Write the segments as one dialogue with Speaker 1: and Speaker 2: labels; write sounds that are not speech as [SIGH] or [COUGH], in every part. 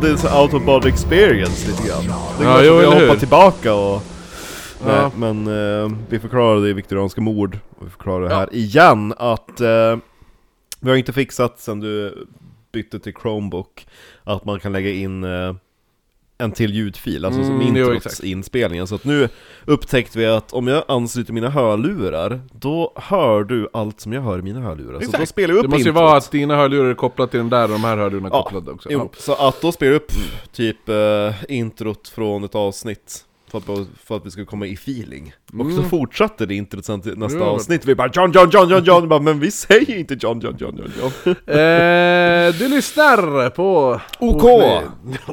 Speaker 1: det är en sån out of body experience lite grann. Det är
Speaker 2: Ja,
Speaker 1: klart
Speaker 2: jo,
Speaker 1: att
Speaker 2: eller
Speaker 1: jag
Speaker 2: hur?
Speaker 1: hoppar tillbaka och...
Speaker 2: Ja.
Speaker 1: Nej, men eh, vi förklarade i viktorianska mord, och vi förklarar
Speaker 2: Ja.
Speaker 1: här igen att eh, vi har inte fixat sen du bytte till Chromebook att man kan lägga in eh, en till ljudfil, alltså som
Speaker 2: Mm, jo,
Speaker 1: introtsinspelningen. Så att nu upptäckte vi att om jag ansluter mina hörlurar, då hör du allt som jag hör i mina hörlurar. Så
Speaker 2: Exakt.
Speaker 1: då spelar jag upp
Speaker 2: Det måste ju
Speaker 1: introt.
Speaker 2: vara att dina hörlurar är kopplade till den där och de här hörlurarna är
Speaker 1: Ja,
Speaker 2: kopplade också.
Speaker 1: Jo, så att då spelar jag upp typ eh, introt från ett avsnitt för att, för att vi skulle komma i feeling. Och så
Speaker 2: Mm.
Speaker 1: fortsatte det introt sen till nästa
Speaker 2: Jo, men-
Speaker 1: avsnitt, vi bara John, John, John, John, John, bara, men vi säger inte John, John, John, John, John. [LAUGHS]
Speaker 2: Ja. Eh, du lyssnar på...
Speaker 1: OK.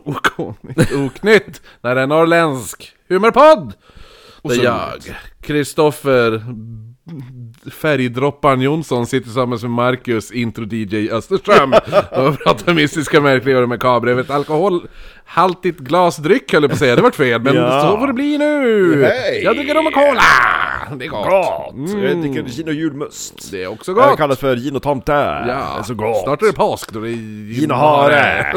Speaker 2: OK! [LAUGHS] Oknytt! När en norrländsk humorpodd!
Speaker 1: Och
Speaker 2: Där
Speaker 1: så-
Speaker 2: jag, Kristoffer Färgdroppan Jonsson sitter tillsammans med Marcus,
Speaker 1: [LAUGHS]
Speaker 2: intro-DJ Österström och pratar mystiska märkligheter med kabel över ett alkoholhaltigt glasdryck höll jag på att säga, det vart fel men
Speaker 1: Ja.
Speaker 2: så får det bli nu!
Speaker 1: Hej.
Speaker 2: Jag dricker rom och cola! Det är gott!
Speaker 1: Gott! Jag dricker gin och julmust.
Speaker 2: Det är också
Speaker 1: Mm. Det här
Speaker 2: gott!
Speaker 1: kallas för gin och tomte. Det är så gott.
Speaker 2: Snart är det påsk då det är
Speaker 1: Gin och hare.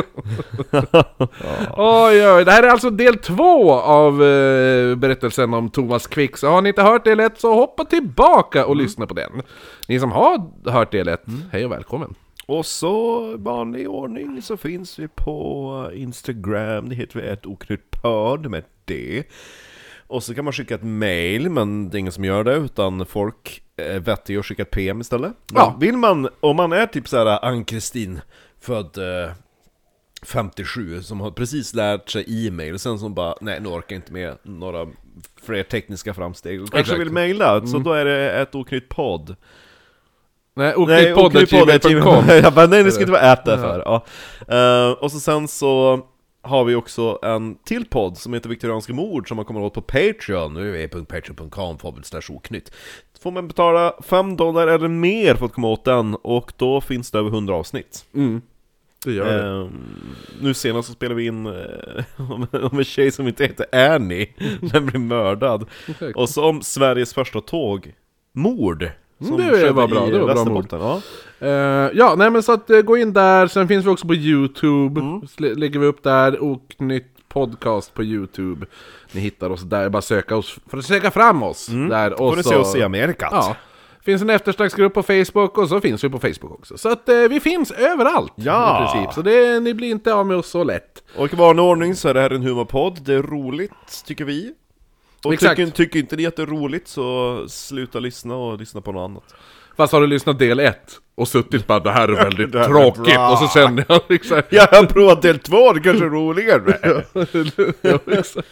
Speaker 2: Oj, oj, det här är alltså del två av eh, berättelsen om Thomas Quick. Så har ni inte hört del ett så hoppa tillbaka
Speaker 1: Mm.
Speaker 2: och lyssna på den. Ni som har hört del ett, hej och välkommen.
Speaker 1: Och så i vanlig ordning så finns vi på Instagram, det heter vi ett oknyttpöd med D. Och så kan man skicka ett mail, men det är ingen som gör det, utan folk är vettiga och skickar ett PM istället. Men
Speaker 2: Ja.
Speaker 1: Vill man, om man är typ såhär Ann-Kristin, född eh, 57, som har precis lärt sig e-mail, och sen som bara, nej nu orkar jag inte med några fler tekniska framsteg. Då Kanske
Speaker 2: Exakt. Mm.
Speaker 1: vill mejla, så då är det ett oknytt podd.
Speaker 2: Nej,
Speaker 1: Nej,
Speaker 2: oknyttpodd.gmail.com
Speaker 1: [LAUGHS] Jag bara, nej det ska inte vara ät därför. Ja. Eh, och så sen så har vi också en till podd som heter Viktorianska mord som man kommer åt på Patreon, nu är patreon.com oknytt. Får man betala 5 dollar eller mer för att komma åt den och då finns det över 100 avsnitt.
Speaker 2: Mm. Det gör det.
Speaker 1: Eh, nu senast så spelade vi in eh, [LAUGHS] om, om en tjej som inte heter
Speaker 2: [LAUGHS]
Speaker 1: Annie, men blir mördad.
Speaker 2: Exakt.
Speaker 1: Och så om Sveriges första tåg, mord. som
Speaker 2: det var
Speaker 1: skedde
Speaker 2: bra,
Speaker 1: i
Speaker 2: det var bra mord.
Speaker 1: Västerbotten, Ja.
Speaker 2: Eh, ja, nej men så att eh, gå in där, sen finns vi också på Youtube.
Speaker 1: Mm.
Speaker 2: Så lä- lägger vi upp där, och nytt podcast på Youtube. Ni hittar oss där, bara söka oss, för att söka fram oss där. Och
Speaker 1: Mm. får ni
Speaker 2: så,
Speaker 1: se oss i Amerikat.
Speaker 2: Ja. Finns en eftersnacksgrupp på Facebook och så finns vi på Facebook också. Så att eh, vi finns överallt
Speaker 1: Ja.
Speaker 2: i princip. Så det, ni blir inte av med oss så lätt.
Speaker 1: Och i vanlig ordning så är det här en humorpodd, det är roligt tycker vi. Och
Speaker 2: Exakt.
Speaker 1: Tycker, tycker inte ni att det är roligt så sluta lyssna och lyssna på något annat.
Speaker 2: Fast har du lyssnat del 1 och suttit bara det här
Speaker 1: [LAUGHS]
Speaker 2: är väldigt
Speaker 1: här är
Speaker 2: tråkigt
Speaker 1: bra.
Speaker 2: och så känner jag liksom... [LAUGHS]
Speaker 1: Ja, jag har provat del två, det kanske är roligare.
Speaker 2: Ja, exakt.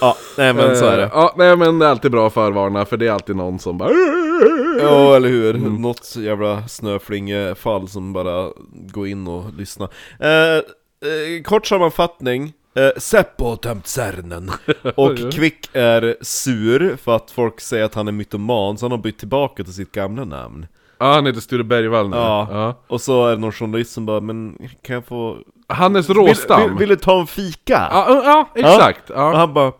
Speaker 1: ja, nej men så är
Speaker 2: Eh,
Speaker 1: det.
Speaker 2: liksom- Ja, nej men det är alltid bra att förvarna för det är alltid någon som bara...
Speaker 1: Ja, eller hur?
Speaker 2: Mm.
Speaker 1: Något jävla snöflingefall som bara går in och lyssnar. Eh, eh, kort sammanfattning. Eh, Seppo har tömt Särnen
Speaker 2: [LAUGHS]
Speaker 1: och Kvick är sur för att folk säger att han är mytoman så han har bytt tillbaka till sitt gamla namn.
Speaker 2: Ja, han heter Sture Bergvall nu.
Speaker 1: Ja.
Speaker 2: Ja.
Speaker 1: Och så är det någon journalist som bara, men kan jag få...
Speaker 2: Hannes
Speaker 1: Vill,
Speaker 2: Råstam.
Speaker 1: vill, vill du ta en fika?
Speaker 2: Ja, ja, exakt. Ja.
Speaker 1: Och han bara,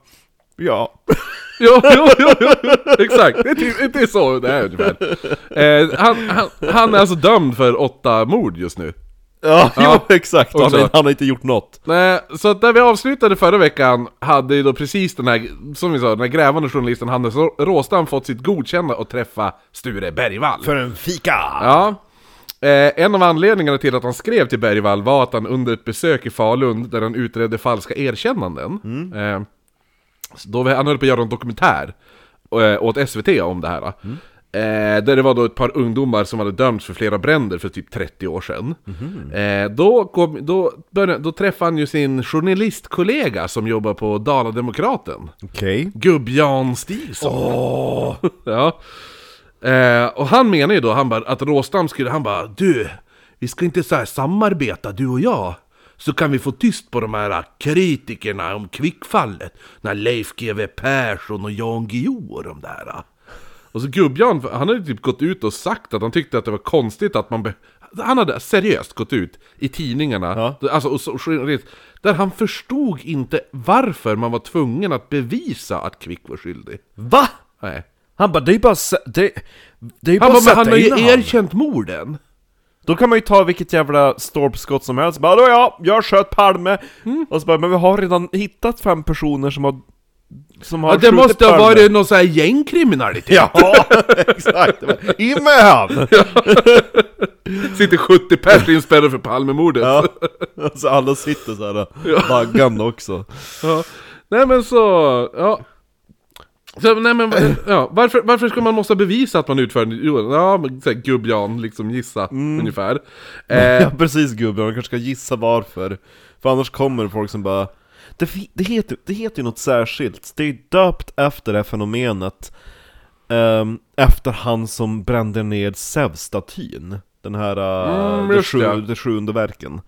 Speaker 1: ja. [LAUGHS]
Speaker 2: [LAUGHS] Jo, jo, jo, jo, exakt. Det är, typ, det är så det är ungefär. Eh, han, han, han är alltså dömd för åtta mord just nu.
Speaker 1: Ja,
Speaker 2: Ja.
Speaker 1: Jo, exakt. Han,
Speaker 2: Och så.
Speaker 1: är- han har inte gjort något.
Speaker 2: Nej, så att där vi avslutade förra veckan hade ju då precis den här, som vi sa, den här grävande journalisten Hannes Rå- Råstam fått sitt godkännande att träffa Sture Bergvall.
Speaker 1: För en fika!
Speaker 2: Ja. Eh, en av anledningarna till att han skrev till Bergvall var att han under ett besök i Falun, där han utredde falska erkännanden, eh, så då var- han höll på att göra en dokumentär eh, åt SVT om det här. Eh, där det var då ett par ungdomar som hade dömts för flera bränder för typ 30 år sedan. Eh, då, kom, då, började, då träffade han ju sin journalistkollega som jobbar på Dala-Demokraten.
Speaker 1: Okej.
Speaker 2: Gubb-Jan Stilson.
Speaker 1: Åh!
Speaker 2: [LAUGHS] Ja. Eh, och han menar ju då han bara, att Råstam skulle, han bara Du, vi ska inte så här samarbeta du och jag. Så kan vi få tyst på de här kritikerna om kvickfallet. När Leif GW Persson och Jan Guillou och de där. Och så Gubbjan, han hade typ gått ut och sagt att han tyckte att det var konstigt att man... Be- han hade seriöst gått ut i tidningarna, alltså, och så, där han förstod inte varför man var tvungen att bevisa att Kvick var skyldig.
Speaker 1: Va?
Speaker 2: Nej.
Speaker 1: Han bara, det är bara s- det, det är bara
Speaker 2: Han bara,
Speaker 1: att
Speaker 2: men han
Speaker 1: sätta
Speaker 2: har ju
Speaker 1: in han."
Speaker 2: erkänt morden!
Speaker 1: Då kan man ju ta vilket jävla stolpskott som helst, bara då ja, jag sköt Palme'
Speaker 2: Mm.
Speaker 1: Och så bara, men vi har redan hittat fem personer som har... Som har
Speaker 2: Ja, det
Speaker 1: skjutit
Speaker 2: måste ha
Speaker 1: Palme."
Speaker 2: varit någon sån här
Speaker 1: [LAUGHS]
Speaker 2: gängkriminalitet.
Speaker 1: Ja, [LAUGHS] exakt! I med han!
Speaker 2: [LAUGHS] Sitter 70 pers inspärrade för Palmemordet.
Speaker 1: Ja, [LAUGHS] alltså alla sitter såhär, baggande
Speaker 2: [LAUGHS]
Speaker 1: också
Speaker 2: Ja. Nej men så, ja. Så, nej, [CLEARS THROAT] men, ja. Varför, varför ska man måste bevisa att man utför en jo, ja, men så här, gubb-Jan, liksom gissa [LAUGHS] ungefär. Eh,
Speaker 1: Ja precis gubben, man kanske ska gissa varför För annars kommer folk som bara Det, fi- det, heter, det heter ju något särskilt, det är ju döpt efter det här fenomenet ehm, Efter han som brände ner Zeus-statyn Den här, eh,
Speaker 2: Mm,
Speaker 1: det,
Speaker 2: just
Speaker 1: sju,
Speaker 2: det.
Speaker 1: det sjunde verken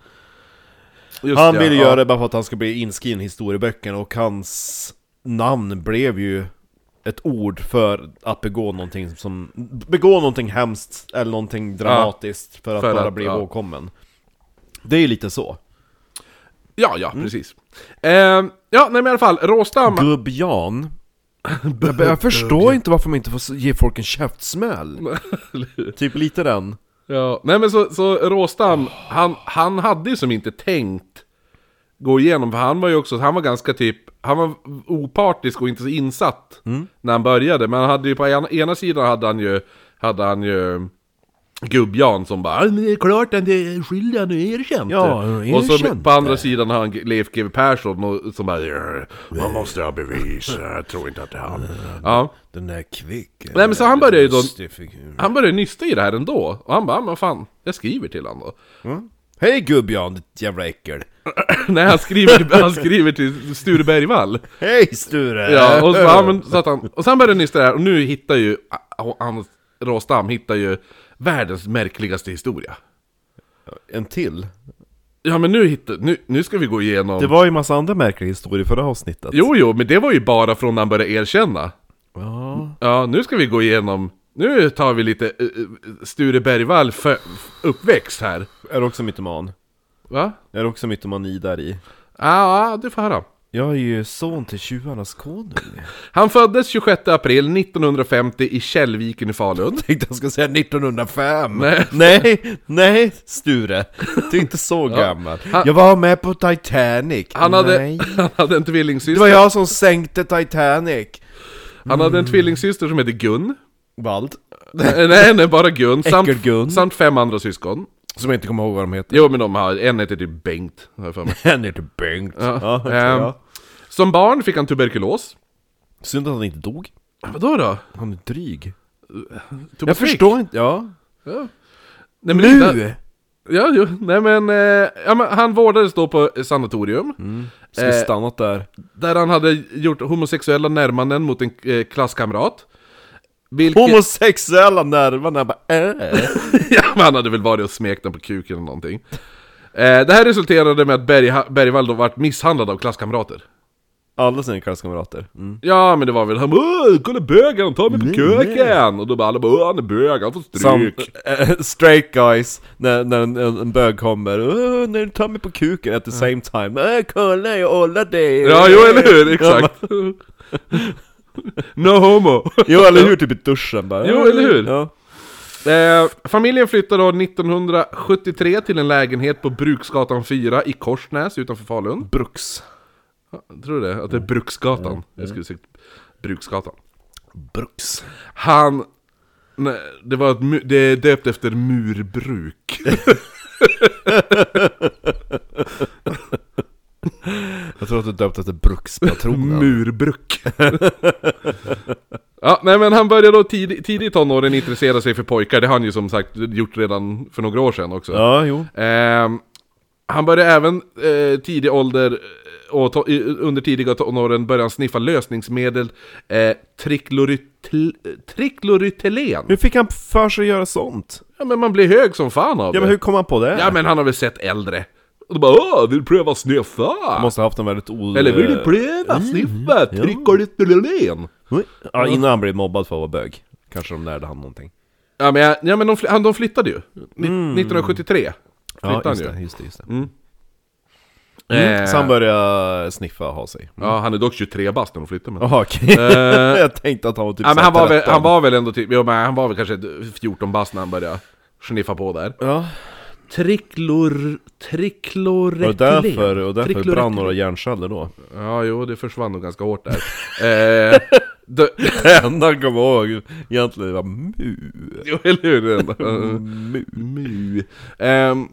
Speaker 2: just
Speaker 1: Han
Speaker 2: det,
Speaker 1: ville
Speaker 2: ja.
Speaker 1: göra det bara för att han ska bli inskriven i historieböckerna och hans namn blev ju ett ord för att begå någonting som, begå någonting hemskt eller någonting dramatiskt för att
Speaker 2: för
Speaker 1: bara
Speaker 2: att-
Speaker 1: bli
Speaker 2: ja.
Speaker 1: ihågkommen. Det är ju lite så.
Speaker 2: Ja, ja, precis. Eh, ja, nej men i alla fall, råstam.
Speaker 1: Gubb-Jan. [LAUGHS] Jag, jag förstår inte varför man inte får ge folk en
Speaker 2: [LAUGHS]
Speaker 1: käftsmäll. typ lite den.
Speaker 2: Ja, nej men så, så Råstam, han, han hade ju som inte tänkt gå igenom, för han var ju också, han var ganska typ, han var opartisk och inte så insatt när han började, men han hade ju på ena, ena sidan hade han ju, hade han ju Gubb-Jan som bara "Ja, men det är klart att det är skyldig, han är erkänt
Speaker 1: Ja, han har
Speaker 2: Och så
Speaker 1: erkänt
Speaker 2: på andra sidan har han Leif GW Persson och, som bara "Rrr, Man måste ha bevis, jag tror inte att det är han Ja
Speaker 1: Den där kvick.
Speaker 2: Nej, men så han började ju då- han började nysta i det här ändå, och han bara, "Ja, men fan, jag skriver till honom då.
Speaker 1: Hej gubb-Jan, ditt jävla äckel.
Speaker 2: [LAUGHS] Nej, han skriver, han skriver till Sture Bergvall.
Speaker 1: Hej Sture!
Speaker 2: Ja, och så, ja, men, så att han, och sen började han nysta det här, och nu hittar ju ah, han, Råstam hittar ju världens märkligaste historia.
Speaker 1: En till.
Speaker 2: Ja, men nu hittar, nu, nu ska vi gå igenom...
Speaker 1: Det var ju massa andra märkliga historier i förra avsnittet.
Speaker 2: Jo, jo, men det var ju bara från när han började erkänna.
Speaker 1: Ja.
Speaker 2: Ja, nu ska vi gå igenom... Nu tar vi lite eh, eh, Sture Bergvall för, uppväxt här.
Speaker 1: Är du också mytoman?
Speaker 2: Va?
Speaker 1: Är du också mytomani där i?
Speaker 2: Ja, ah, du får höra.
Speaker 1: Jag är ju son till tjuvarnas konung.
Speaker 2: Han föddes 26 april 1950 i Källviken i Falun.
Speaker 1: Tänkte jag ska säga 1905!
Speaker 2: Nej.
Speaker 1: nej, nej Sture! Du är inte så gammal. Jag var med på Titanic.
Speaker 2: Han hade,
Speaker 1: Nej.
Speaker 2: [LAUGHS] han hade en
Speaker 1: Det
Speaker 2: tvillingsyster.
Speaker 1: var jag som sänkte Titanic.
Speaker 2: Han hade
Speaker 1: Mm.
Speaker 2: en tvillingsyster som hette Gun.
Speaker 1: Vald.
Speaker 2: nej, nej, nej, bara Gun. Samt,
Speaker 1: Äckelgun.
Speaker 2: samt fem andra syskon.
Speaker 1: Som jag inte kommer ihåg vad de heter.
Speaker 2: Jo, men de har, en heter typ Bengt, har jag för mig.
Speaker 1: Han heter Bengt. [LAUGHS] Ja, det tror
Speaker 2: Ehm,
Speaker 1: jag.
Speaker 2: Som barn fick han tuberkulos.
Speaker 1: Synd att han inte dog.
Speaker 2: Vadå då?
Speaker 1: Han är dryg.
Speaker 2: Tog
Speaker 1: Jag
Speaker 2: stryk.
Speaker 1: förstår inte. Ja.
Speaker 2: Nej, men det-
Speaker 1: Nu!
Speaker 2: Ja, jo, nej men, eh, ja, men han vårdades då på sanatorium.
Speaker 1: Ska vi
Speaker 2: Eh,
Speaker 1: stannat där.
Speaker 2: Där han hade gjort homosexuella närmanden mot en eh, klasskamrat. Vilket...
Speaker 1: Homosexuella nerverna jag bara äh.
Speaker 2: [LAUGHS] ja, men han hade väl varit och smekt den på kuken eller någonting. Eh, det här resulterade med att Bergha- Bergvall då vart misshandlad av klasskamrater.
Speaker 1: Alla sina klasskamrater. Mm.
Speaker 2: Ja men det var väl han bara "Åh, kolla bögen, han tar mig på kuken! Och då bara alla bara "Åh, han är bög, han får stryk.
Speaker 1: Samt eh, straight guys, när, när en, en, en bög kommer "Åh, när du tar mig på kuken at the same time äh, kolla jag ollar dig!
Speaker 2: Ja jo eller hur, exakt. no homo.
Speaker 1: Jo eller hur, typ i duschen bara
Speaker 2: Jo, eller hur?
Speaker 1: Ja.
Speaker 2: Eh, familjen flyttade då 1973 till en lägenhet på Bruksgatan 4 i Korsnäs utanför Falun.
Speaker 1: Bruks
Speaker 2: Ja, Tror du det? Att det är Bruksgatan? Jag skulle säga Bruksgatan.
Speaker 1: Bruks
Speaker 2: Han... Nej, det var ett, mu- det är döpt efter murbruk.
Speaker 1: Jag tror att du döpte efter
Speaker 2: [LAUGHS]
Speaker 1: Brukspatronen
Speaker 2: Murbruk. ja, nej men han började då tid, tidigt i tonåren intressera sig för pojkar. Det har han ju som sagt gjort redan för några år sedan också.
Speaker 1: Ja, jo
Speaker 2: Ehm, han började även eh, tidig ålder eh, och to- i- under tidiga tonåren började han sniffa lösningsmedel eh, triklorytel- triklorytelen.
Speaker 1: Hur fick han för sig att göra sånt?
Speaker 2: Ja men man blir hög som fan av
Speaker 1: Ja men
Speaker 2: det.
Speaker 1: hur kom han på det?
Speaker 2: Ja men han har väl sett äldre. Och då bara åh, vill du pröva sniffa?
Speaker 1: Måste Mm, ha haft en väldigt o...
Speaker 2: Eller vill du pröva sniffa triklorytelen?
Speaker 1: Ja, innan han blev mobbad för att vara bög Kanske de lärde han någonting
Speaker 2: Ja men, jag- ja, men de, fly- han, de flyttade ju. Ni- 1973 flyttade han
Speaker 1: just
Speaker 2: ju.
Speaker 1: det, just det, just det.
Speaker 2: Mm.
Speaker 1: Så han började sniffa och ha
Speaker 2: [LAUGHS]
Speaker 1: sig
Speaker 2: Ja han är dock 23 bast när de flyttade men.
Speaker 1: Jaha okej, [LAUGHS] jag tänkte att han var typ
Speaker 2: Eh, Ja, men
Speaker 1: såhär
Speaker 2: han, var väl,
Speaker 1: 13.
Speaker 2: han var väl ändå typ, jo, men han var väl kanske 14 bast när han började sniffa på där.
Speaker 1: Ja,
Speaker 2: Triklor... Trikloretylen.
Speaker 1: Och därför, och därför
Speaker 2: Trikloretylen.
Speaker 1: brann några hjärnceller då. [LAUGHS]
Speaker 2: Ja, jo, det försvann nog ganska hårt där. eh, då,
Speaker 1: Det enda han kom ihåg egentligen var mu.
Speaker 2: jo, eller hur? Det ändå.
Speaker 1: [LAUGHS] mu.
Speaker 2: Mu. Ehm,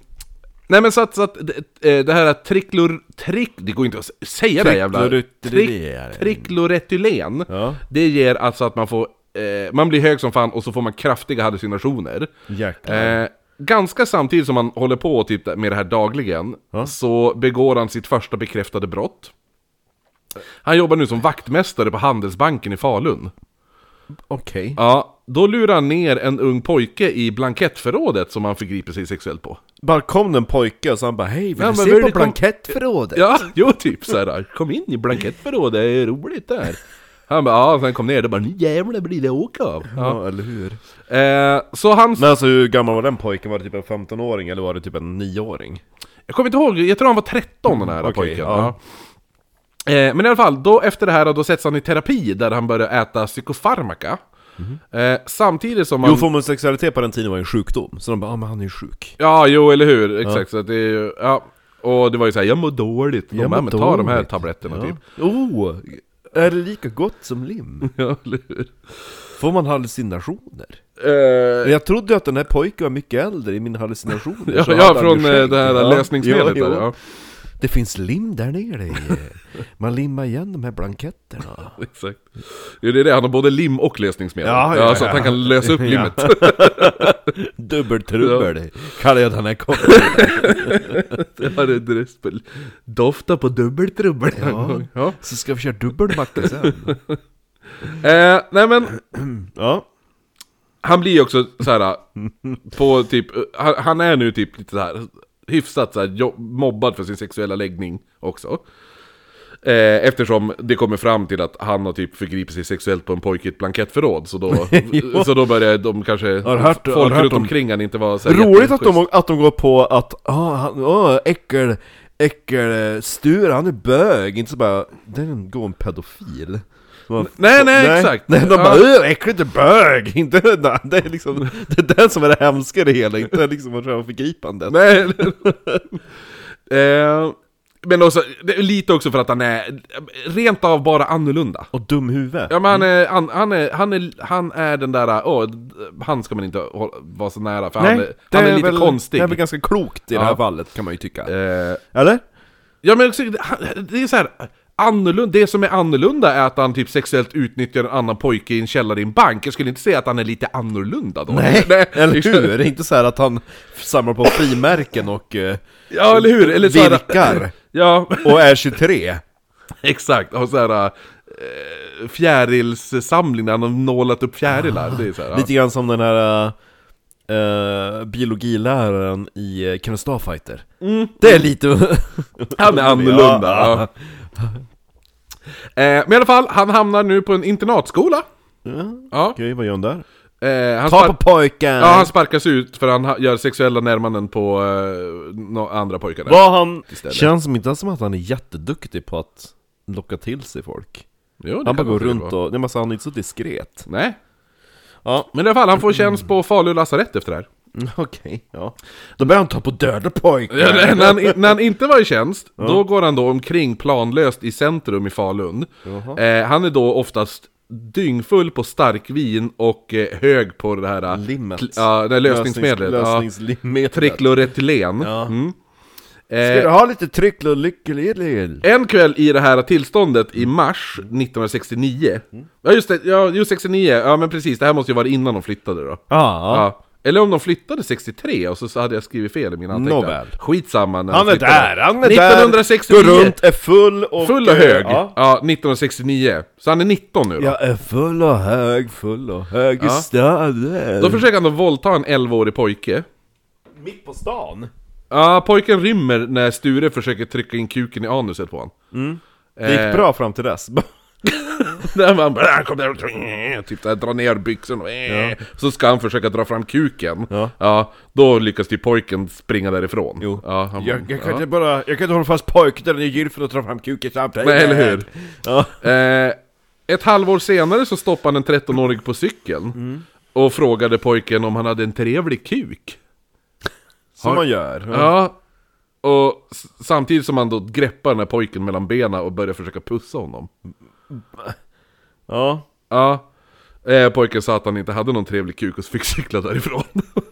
Speaker 2: nej men så att, så att det, eh, det här att triklor... Trick... Det går inte att s- säga det här jävla...
Speaker 1: Trikloretylen.
Speaker 2: Trick- Trikloretylen.
Speaker 1: Ja,
Speaker 2: Det ger alltså att man får... Eh, man blir hög som fan och så får man kraftiga hallucinationer.
Speaker 1: jäklar.
Speaker 2: Eh, ganska samtidigt som man håller på typ, med det här dagligen så begår han sitt första bekräftade brott. Han jobbar nu som vaktmästare på Handelsbanken i Falun.
Speaker 1: Okej.
Speaker 2: Ja, då lurar han ner en ung pojke i blankettförrådet som han förgriper sig sexuellt på.
Speaker 1: Bara kom den pojke och så han bara hej, vill
Speaker 2: Ja,
Speaker 1: du
Speaker 2: men
Speaker 1: se
Speaker 2: vill
Speaker 1: på
Speaker 2: du kom-
Speaker 1: blankettförrådet?
Speaker 2: Ja, jo typ såhär, kom in i blankettförrådet, det är roligt där. Han bara, ja, sen kom ner, det bara, nu jävlar blir det åka av.
Speaker 1: Ja, eller hur?
Speaker 2: Eh, så han
Speaker 1: Men alltså hur gammal var den pojken? Var det typ en 15-åring eller var det typ en 9-åring?
Speaker 2: Jag kommer inte ihåg, jag tror han var 13 den här
Speaker 1: okej,
Speaker 2: pojken.
Speaker 1: ja.
Speaker 2: Ja. Eh, men i alla fall, då efter det här då sätts han i terapi där han börjar äta psykofarmaka. Eh, samtidigt som man...
Speaker 1: Mhm. Jo, för homosexualitet på den tiden var ju en sjukdom, så de bara ah, men han är ju sjuk.
Speaker 2: Ja, jo eller hur, exakt. Så att det är ju, ja. Och det var ju såhär, jag mår dåligt. De
Speaker 1: Jag
Speaker 2: bara,
Speaker 1: mår
Speaker 2: men ta de här
Speaker 1: dåligt."
Speaker 2: tabletterna typ.
Speaker 1: Oh, är det lika gott som lim?
Speaker 2: Ja, eller hur?
Speaker 1: Får man hallucinationer?
Speaker 2: Eh,
Speaker 1: Jag trodde ju att den här pojken var mycket äldre i min hallucination. [LAUGHS]
Speaker 2: ja,
Speaker 1: Så
Speaker 2: ja,
Speaker 1: hade han
Speaker 2: från
Speaker 1: ju
Speaker 2: eh,
Speaker 1: skägg.
Speaker 2: det här
Speaker 1: Ja,
Speaker 2: lösningsmedlet
Speaker 1: jo,
Speaker 2: där.
Speaker 1: jo.
Speaker 2: Ja.
Speaker 1: Det finns lim där nere. i, eh, Man limmar igen de här blanketterna.
Speaker 2: Exakt. Jo, det är det, han har både lim och lösningsmedel.
Speaker 1: Ja,
Speaker 2: Ja,
Speaker 1: ja,
Speaker 2: så att
Speaker 1: ja.
Speaker 2: han kan lösa upp
Speaker 1: Ja.
Speaker 2: limmet. [LAUGHS]
Speaker 1: Dubbeltrubbel, kallar jag den här kocken.
Speaker 2: Det var en dröspel. Dofta på dubbeltrubbel.
Speaker 1: Ja.
Speaker 2: Ja.
Speaker 1: Så ska vi köra dubbelmacka sen.
Speaker 2: Eh, nej men,
Speaker 1: Ja.
Speaker 2: han blir ju också såhär, på typ, han, han är nu typ lite såhär, hyfsat såhär, jo- mobbad för sin sexuella läggning också. Eh, eftersom det kommer fram till att han har typ förgripit sig sexuellt på en pojke i ett blankettförråd.
Speaker 1: [LAUGHS]
Speaker 2: Så då,
Speaker 1: Jo.
Speaker 2: så då börjar de kanske,
Speaker 1: du hört- har
Speaker 2: folk
Speaker 1: du hört
Speaker 2: runt
Speaker 1: om-
Speaker 2: omkring han inte var såhär
Speaker 1: Roligt att
Speaker 2: jätteschysst.
Speaker 1: de, att de går på att, ah, han, åh, äckel, äckel, Sture, han är bög, inte så bara, den går en pedofil. Så man-
Speaker 2: Nej, nej, exakt.
Speaker 1: Nej, de
Speaker 2: Ja.
Speaker 1: bara, "Åh, äckligt, är bög, [LAUGHS] inte, nej, det är liksom, det är den som är det hemska i det hela, inte liksom att själva förgripandet.
Speaker 2: [LAUGHS] Nej. eh, men också, det är lite också för att han är rent av bara annorlunda.
Speaker 1: Och dumhuvud.
Speaker 2: Ja men han är, han, han är, han är, han är den där, åh, d- han ska man inte hålla, vara så nära för han, är- han är, lite
Speaker 1: väl,
Speaker 2: konstig.
Speaker 1: Det är väl ganska klokt i det
Speaker 2: Ja.
Speaker 1: här fallet, kan man ju tycka.
Speaker 2: Eh,
Speaker 1: Eller?
Speaker 2: ja men också, han- det är så här, annorlunda, det som är annorlunda är att han typ sexuellt utnyttjar en annan pojke i en källare i en bank. Jag skulle inte säga att han är lite annorlunda
Speaker 1: [LAUGHS]
Speaker 2: då.
Speaker 1: eller hur? Det är inte så här att han samlar på frimärken och eh,
Speaker 2: [LAUGHS] Ja eller hur? Eller så här- [LAUGHS]
Speaker 1: virkar.
Speaker 2: Ja,
Speaker 1: Och är 23.
Speaker 2: exakt. Och så här, eh, fjärilssamling när han har nålat upp fjärilar. Det är så här, ja.
Speaker 1: Ah. Lite grann som den här eh, biologiläraren i eh, Ken Starfighter. Det är lite...
Speaker 2: Mm. Han är annorlunda.
Speaker 1: [LAUGHS] Ja.
Speaker 2: Ja. Eh, men i alla fall, han hamnar nu på en internatskola. Ja.
Speaker 1: Okej, vad gör han där?
Speaker 2: Eh, han,
Speaker 1: Ta på
Speaker 2: spar-
Speaker 1: pojken!
Speaker 2: ja, han sparkas ut för han ha- gör sexuella närmanden på eh, no- andra pojkar. där.
Speaker 1: Vad han...
Speaker 2: Istället.
Speaker 1: Känns som inte som att han är jätteduktig på att locka till sig folk.
Speaker 2: Jo, det
Speaker 1: Han bara
Speaker 2: kan
Speaker 1: går
Speaker 2: nog
Speaker 1: runt
Speaker 2: vara.
Speaker 1: och... Nej, men alltså, han är inte så diskret.
Speaker 2: Nej.
Speaker 1: Ja.
Speaker 2: Men i alla fall, han får tjänst på Falu lasarett efter det här.
Speaker 1: Mm, Okej, ja. Då börjar han ta på döda pojkar!
Speaker 2: Ja, [LAUGHS] när, han, i- när han inte var i tjänst, då går han då omkring planlöst i centrum i Falun. Eh, han är då oftast dyngfull på starkvin och eh, hög på det här...
Speaker 1: Limmet.
Speaker 2: kl- Ja, det här lösningsmedlet.
Speaker 1: Lösnings,
Speaker 2: ja.
Speaker 1: lösningslimmet.
Speaker 2: Trikloretylen.
Speaker 1: Ja.
Speaker 2: Mm.
Speaker 1: Ska du
Speaker 2: Eh,
Speaker 1: ha lite tryck och lyckelil?
Speaker 2: en kväll i det här tillståndet i mars 1969.
Speaker 1: Mm.
Speaker 2: Ja just det, ja just 69, ja men precis, det här måste ju vara innan de flyttade då.
Speaker 1: Ja.
Speaker 2: Ja. Eller om de flyttade 63 och så, så hade jag skrivit fel i mina anteckningar.
Speaker 1: Nåväl.
Speaker 2: Skitsamma när de
Speaker 1: Han är
Speaker 2: flyttade.
Speaker 1: där, han är
Speaker 2: 1969.
Speaker 1: där! Går runt, är full och...
Speaker 2: Full och hög! Ja.
Speaker 1: Ja.
Speaker 2: 1969. Så han är 19 nu då.
Speaker 1: Jag är full och hög, full och hög
Speaker 2: Ja.
Speaker 1: i staden.
Speaker 2: Då försöker han då våldta en 11-årig pojke.
Speaker 1: Mitt på stan?
Speaker 2: Ja, pojken rymmer när Sture försöker trycka in kuken i anuset på honom.
Speaker 1: Det
Speaker 2: Eh.
Speaker 1: gick bra fram till dess.
Speaker 2: Där man bara, "Ah, kom där och typ där, dra ner byxorna och eh." Så ska han försöka dra fram kuken.
Speaker 1: Ja.
Speaker 2: då lyckas typ pojken springa därifrån. Ja, han, ja.
Speaker 1: bara... Jag kan inte hålla fast pojken där den är gylfen och dra fram kuken samtidigt.
Speaker 2: Nej, eller hur?
Speaker 1: [LAUGHS] Ja.
Speaker 2: Eh, ett halvår senare så stoppade han en 13-årig
Speaker 1: Mm.
Speaker 2: på cykeln. Och frågade pojken om han hade en trevlig kuk.
Speaker 1: Som
Speaker 2: Har-
Speaker 1: man gör. Ja.
Speaker 2: Ja. Och s- samtidigt som han då greppar den här pojken mellan benen och börjar försöka pussa honom.
Speaker 1: ja.
Speaker 2: Ja. Eh, pojken sa att han inte hade någon trevlig kuk och fick cykla därifrån.
Speaker 1: [LAUGHS]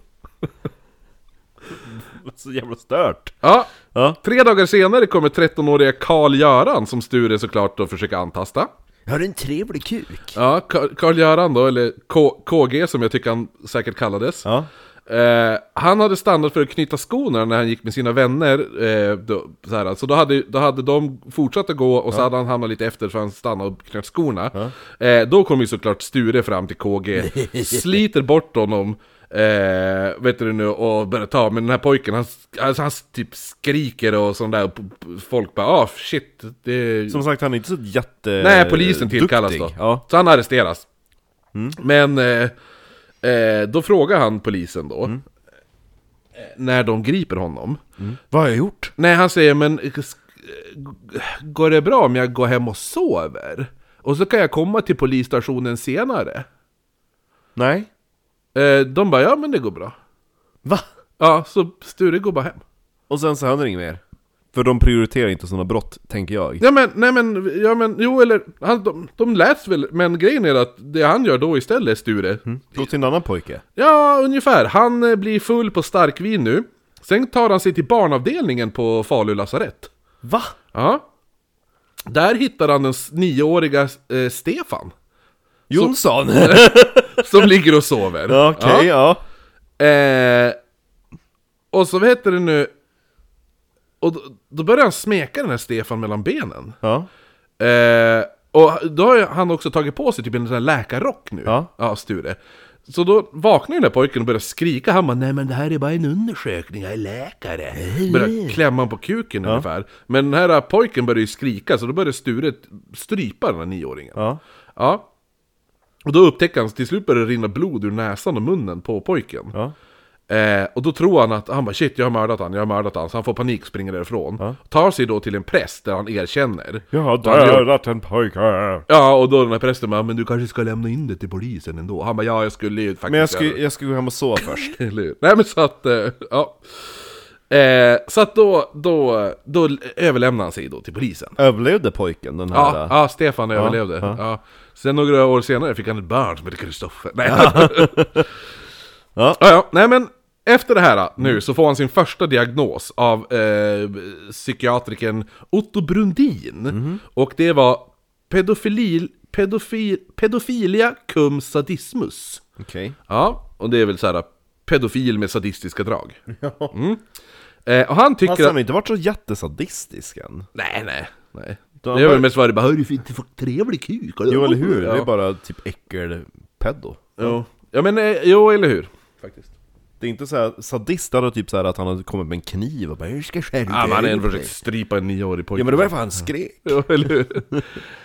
Speaker 1: Så jävla stört.
Speaker 2: ja.
Speaker 1: Ja.
Speaker 2: Tre dagar senare kommer 13-åriga Karl-Göran, som Sture såklart då försöker antasta.
Speaker 1: Jag har en trevlig kuk.
Speaker 2: Ja, Kar- Karl-Göran då, eller K- KG som jag tycker han säkert kallades.
Speaker 1: Ja.
Speaker 2: Eh, han hade stannat för att knyta skorna när han gick med sina vänner. Eh, då, så här, alltså, då, hade, då hade de fortsatt att gå och så hade han hamnat lite efter för han stannade och knöt skorna. Eh, då kom ju såklart Sture fram
Speaker 1: [LAUGHS]
Speaker 2: till KG, sliter bort honom. Eh, vet du nu, och börjar ta, men den här pojken han, alltså, han typ skriker och sånt där, och p- p- folk bara ah shit, det...
Speaker 1: Som sagt, han är inte så jätte...
Speaker 2: Nej, polisen tillkallas
Speaker 1: Eh, duktig.
Speaker 2: då.
Speaker 1: Ja. Mm.
Speaker 2: Så han arresteras. Men eh, eh, då frågar han polisen då,
Speaker 1: Mm.
Speaker 2: eh, när de griper honom.
Speaker 1: Vad har jag gjort?
Speaker 2: Nej, han säger men eh, sk- eh, g- går det bra om jag går hem och sover? Och så kan jag komma till polisstationen senare.
Speaker 1: Nej.
Speaker 2: Eh, de bara, ja men det går bra.
Speaker 1: Va?
Speaker 2: Ja, så Sture går bara hem.
Speaker 1: Och sen så händer inget mer. För de prioriterar inte sådana brott, tänker jag.
Speaker 2: Ja men, nej men, ja men, jo eller, han, de, de läts väl, men grejen är att det han gör då istället, Sture,
Speaker 1: Gå till en annan pojke.
Speaker 2: Ja, ungefär. Han eh, blir full på starkvin nu. Sen tar han sig till barnavdelningen på Falu lasarett.
Speaker 1: Va?
Speaker 2: Ja. Där hittar han den s- nioåriga eh, Stefan.
Speaker 1: Jonsson?
Speaker 2: Som ligger och
Speaker 1: [LAUGHS]
Speaker 2: sover.
Speaker 1: Ja, Okej,
Speaker 2: Ja.
Speaker 1: ja.
Speaker 2: Eh, och så vad heter det nu... Och då, då börjar han smeka den här Stefan mellan benen.
Speaker 1: Ja.
Speaker 2: Eh, och då har ju han också tagit på sig typ en sån här läkarrock nu.
Speaker 1: Ja.
Speaker 2: Sture. Så då vaknar den där pojken och börjar skrika. Han bara, nej men det här är bara en undersökning, jag är läkare. Börjar klämma på kuken ungefär. Men den här eh, pojken börjar ju skrika, så då börjar Sture strypa den här nioåringen.
Speaker 1: Ja.
Speaker 2: Ja. Och då upptäcker han, till slut börjar det rinna blod ur näsan och munnen på pojken.
Speaker 1: Ja.
Speaker 2: Eh, och då tror han att, han bara shit jag har mördat han, jag har mördat han. Så han får panik, springer därifrån. Tar sig då till en präst där han erkänner.
Speaker 1: Jag har
Speaker 2: Han gör-
Speaker 1: dödat en pojke.
Speaker 2: Ja, och då den här prästen bara, men du kanske ska lämna in det till polisen ändå? Han bara, ja jag skulle ju faktiskt
Speaker 1: Men jag ska,
Speaker 2: göra
Speaker 1: jag ska gå hem och sova först.
Speaker 2: det." [LAUGHS] Eller hur? Nej men så att, eh, ja. Eh, så att då, då, då överlämnar han sig då till polisen.
Speaker 1: Överlevde pojken den här? äh.
Speaker 2: Ja, ja Stefan överlevde. Ja. Sen några år senare fick han ett barn som hette Kristoffer. Nej. [LAUGHS]
Speaker 1: Ja.
Speaker 2: ja. ja, nej men efter det här då, nu så får han sin första diagnos av eh, psykiatrikern Otto Brundin.
Speaker 1: Mhm.
Speaker 2: Och det var pedofili, pedofil, pedofilia cum sadismus.
Speaker 1: Okej.
Speaker 2: Ja, och det är väl så här äh, pedofil med sadistiska drag. Mm. Eh, och han tycker
Speaker 1: Alltså
Speaker 2: att...
Speaker 1: han har inte varit så jättesadistisk än.
Speaker 2: Nej, nej, nej.
Speaker 1: Då
Speaker 2: det är
Speaker 1: han
Speaker 2: väl mest vad det bara 'Hör du inte fått trevlig kuk?'
Speaker 1: Jo eller hur?
Speaker 2: Ja.
Speaker 1: Det är bara typ äckelpeddo.
Speaker 2: Jo. Ja men, eh, jo eller hur? Faktiskt.
Speaker 1: Det är inte så här, sadist hade typ så här att han hade kommit med en kniv och bara 'Jag ska skärpa
Speaker 2: Ja, men han är en
Speaker 1: dig."
Speaker 2: försökt strypa en nioårig pojke.
Speaker 1: Ja
Speaker 2: [LAUGHS]
Speaker 1: men det var därför han skrek.
Speaker 2: Jo, eller [LAUGHS] hur?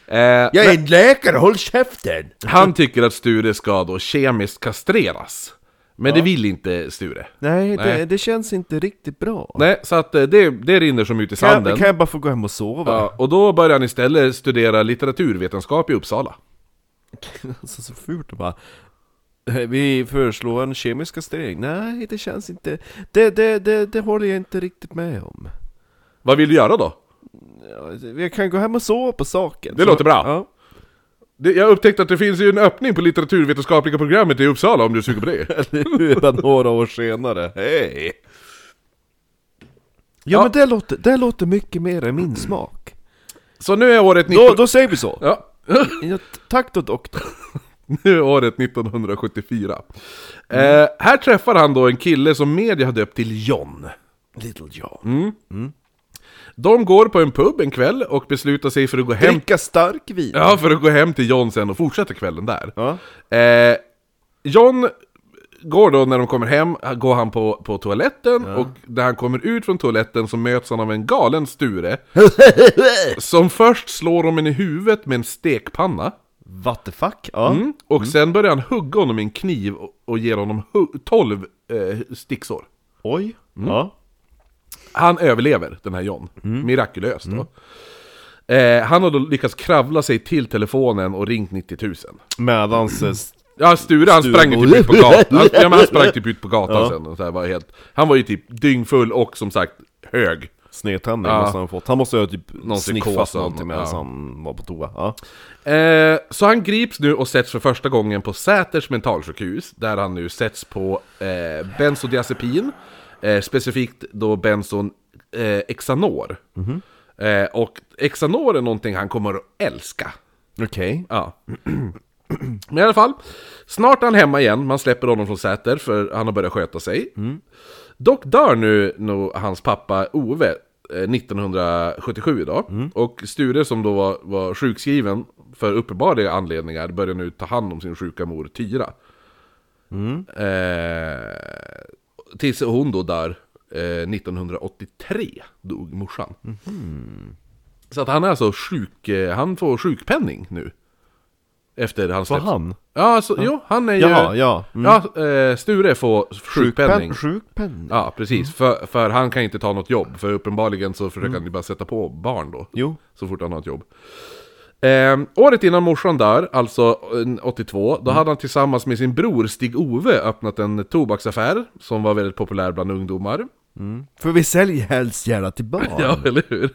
Speaker 2: eh,
Speaker 1: Jag är en läkare, håll käften!
Speaker 2: han tycker att Sture ska då kemiskt kastreras. Men det vill inte Sture.
Speaker 1: Nej,
Speaker 2: Nej.
Speaker 1: Det, det känns inte riktigt bra.
Speaker 2: Nej, så att eh, det, det rinner som ut
Speaker 1: Kan
Speaker 2: i sanden.
Speaker 1: jag, kan jag bara få gå hem och sova?
Speaker 2: Ja, och då börjar han istället studera litteraturvetenskap i Uppsala.
Speaker 1: [LAUGHS] Alltså så fult och bara "Eh, Vi föreslår en kemisk kastrering. Nej, det känns inte... Det, det, det, det håller jag inte riktigt med om.
Speaker 2: Vad vill du göra då?
Speaker 1: Ja, Jag kan gå hem och sova på saken.
Speaker 2: Det låter bra.
Speaker 1: Ja.
Speaker 2: Det, jag upptäckte att det finns ju en öppning på litteraturvetenskapliga programmet i Uppsala om du är sugen på [LAUGHS] det.
Speaker 1: Redan några år senare. Hej! Ja, men det låter, det låter mycket mer än min smak.
Speaker 2: Så nu är året 19...
Speaker 1: Då, då säger vi så.
Speaker 2: Ja. [LAUGHS]
Speaker 1: Ja, tack då doktor.
Speaker 2: Nu är året 1974. Eh, här träffar han då en kille som media har döpt till John.
Speaker 1: Little John.
Speaker 2: De går på en pub en kväll och beslutar sig för att gå hem,
Speaker 1: Dricka stark vin.
Speaker 2: ja, för att gå hem till John sen och fortsätta kvällen där.
Speaker 1: Ja.
Speaker 2: Eh, John går då, när de kommer hem, går han på, på toaletten och när han kommer ut från toaletten så möts han av en galen Sture. som först slår honom i huvudet med en stekpanna.
Speaker 1: What the fuck? Ja.
Speaker 2: Mm. Och sen börjar han hugga honom med en kniv och, och ger honom hu- 12 eh, sticksår.
Speaker 1: Oj. Ja.
Speaker 2: Han överlever, den här John. Mirakulöst då. Eh, han har då lyckats kravla sig till telefonen och ringt 90 000.
Speaker 1: Medans eh, s-
Speaker 2: Ja, Sture han
Speaker 1: Sture
Speaker 2: sprang ju
Speaker 1: bara-
Speaker 2: typ ut på gatan. Han, ja, men han sprang typ ut på [LAUGHS] gatan
Speaker 1: Ja.
Speaker 2: sen. Och så här, var helt, han var ju typ dyngfull och som sagt hög.
Speaker 1: Snedtändning
Speaker 2: Ja.
Speaker 1: måste han ha fått. Han måste ha typ
Speaker 2: Någon
Speaker 1: sniffat
Speaker 2: psykos eller
Speaker 1: någonting medan
Speaker 2: något, ja.
Speaker 1: han var på toa. Ja.
Speaker 2: Eh, så han grips nu och sätts för första gången på Säters mentalsjukhus. Där han nu sätts på eh, bensodiazepin. Eh, specifikt då benson eh, Xanor. Eh, och Xanor är någonting han kommer att älska.
Speaker 1: Okej.
Speaker 2: Ja. Men i alla fall, snart är han hemma igen. Man släpper honom från Säter för han har börjat sköta sig. Dock dör nu, nu hans pappa Ove eh, 1977 idag. Och Sture som då var, var sjukskriven för uppenbara anledningar börjar nu ta hand om sin sjuka mor Tyra. Eh, tills hon då dör eh, 1983 dog morsan.
Speaker 1: Mhm.
Speaker 2: Så att han är alltså sjuk, eh, han får sjukpenning nu. Efter han
Speaker 1: Var
Speaker 2: släpps.
Speaker 1: han?
Speaker 2: Ja, alltså, jo, han är ju...
Speaker 1: Jaha, ja. Mm.
Speaker 2: Ja, eh, Sture får sjukpenning.
Speaker 1: Sjukpen- Mm. Sjukpenning?
Speaker 2: Ja, precis. För, för han kan inte ta något jobb. För uppenbarligen så försöker
Speaker 1: Mm.
Speaker 2: han ju bara sätta på barn då.
Speaker 1: Jo.
Speaker 2: Så fort han har ett jobb. Eh, året innan morsan dör, alltså eh, 82, då
Speaker 1: Mm.
Speaker 2: hade han tillsammans med sin bror Stig-Ove öppnat en tobaksaffär som var väldigt populär bland ungdomar.
Speaker 1: För vi säljer helst gärna till barn.
Speaker 2: Ja, eller hur?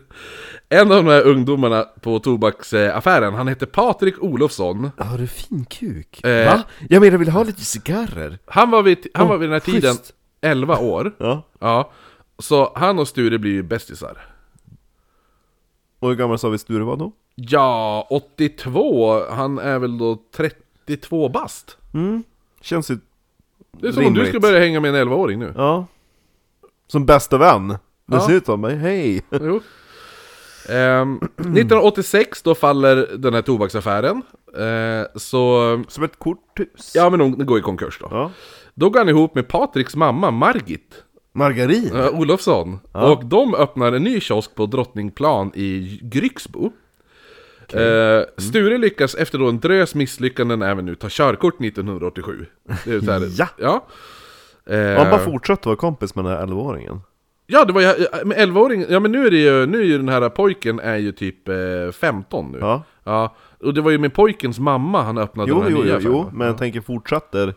Speaker 2: En av de här ungdomarna på tobaksaffären, han hette Patrik Olofsson.
Speaker 1: Har du fin kuk?
Speaker 2: Eh.
Speaker 1: Va? Jag menar, vill du ha lite cigarrer?
Speaker 2: Han var vid, han var vid den här
Speaker 1: Åh, schysst.
Speaker 2: tiden 11 år.
Speaker 1: Ja.
Speaker 2: Ja, så han och Sture blir ju bästisar.
Speaker 1: Och hur gammal sa vi Sture var då?
Speaker 2: Ja, 82, han är väl då 32 bast?
Speaker 1: Känns ju...
Speaker 2: Det är som om du
Speaker 1: Rimligt.
Speaker 2: skulle börja hänga med en 11-åring nu.
Speaker 1: Ja. Som bästa vän.
Speaker 2: Ja.
Speaker 1: Dessutom, ja. hej!
Speaker 2: Jo.
Speaker 1: [CLEARS THROAT]
Speaker 2: Ehm, 1986 då faller den här tobaksaffären. Eh, så,
Speaker 1: Som ett korthus.
Speaker 2: ja men hon går i konkurs då.
Speaker 1: Ja.
Speaker 2: Då går han ihop med Patriks mamma Margit
Speaker 1: Margarin?
Speaker 2: eh, Olofsson. Och de öppnar en ny kiosk på Drottningplan i Grycksbo.
Speaker 1: Mm.
Speaker 2: Eh, Sture lyckas efter då en drös misslyckanden även nu ta körkort 1987. Det är så här,
Speaker 1: Ja.
Speaker 2: ja. Eh,
Speaker 1: Han bara fortsatte vara kompis med den här 11-åringen.
Speaker 2: Ja, det var ju, med 11-åringen, ja men nu är det ju, nu är ju den här pojken är ju typ eh, 15 nu.
Speaker 1: Ja.
Speaker 2: Ja, och det var ju med pojkens mamma han öppnade
Speaker 1: Jo,
Speaker 2: den här
Speaker 1: jo,
Speaker 2: nya
Speaker 1: jo, jo,
Speaker 2: affären.
Speaker 1: men jag tänker fortsätter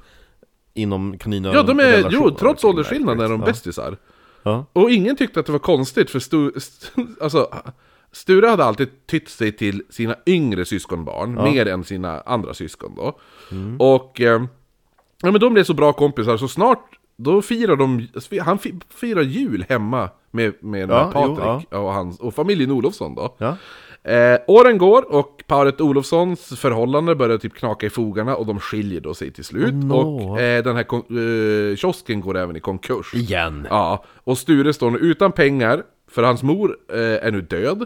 Speaker 1: inom kaninöron
Speaker 2: Ja, de är, jo,
Speaker 1: liksom
Speaker 2: trots åldersskillnaden är de bästisar.
Speaker 1: Ja.
Speaker 2: Och ingen tyckte att det var konstigt för Stu, st, alltså, Sture hade alltid tytt sig till sina yngre syskonbarn, mer än sina andra syskon då.
Speaker 1: Mm.
Speaker 2: Och eh, ja, men de blev så bra kompisar så snart, då firar de, han fi- firar jul hemma med, med den här
Speaker 1: Ja, jo,
Speaker 2: Patrik och, hans, och familjen Olofsson då.
Speaker 1: Ja.
Speaker 2: Eh, åren går och paret Olofssons förhållande börjar typ knaka i fogarna och de skiljer då sig till slut.
Speaker 1: no.
Speaker 2: Och eh, den här kon- eh, kiosken går även i konkurs.
Speaker 1: Igen.
Speaker 2: Ja, och Sture står nu utan pengar, för hans mor eh, är nu död.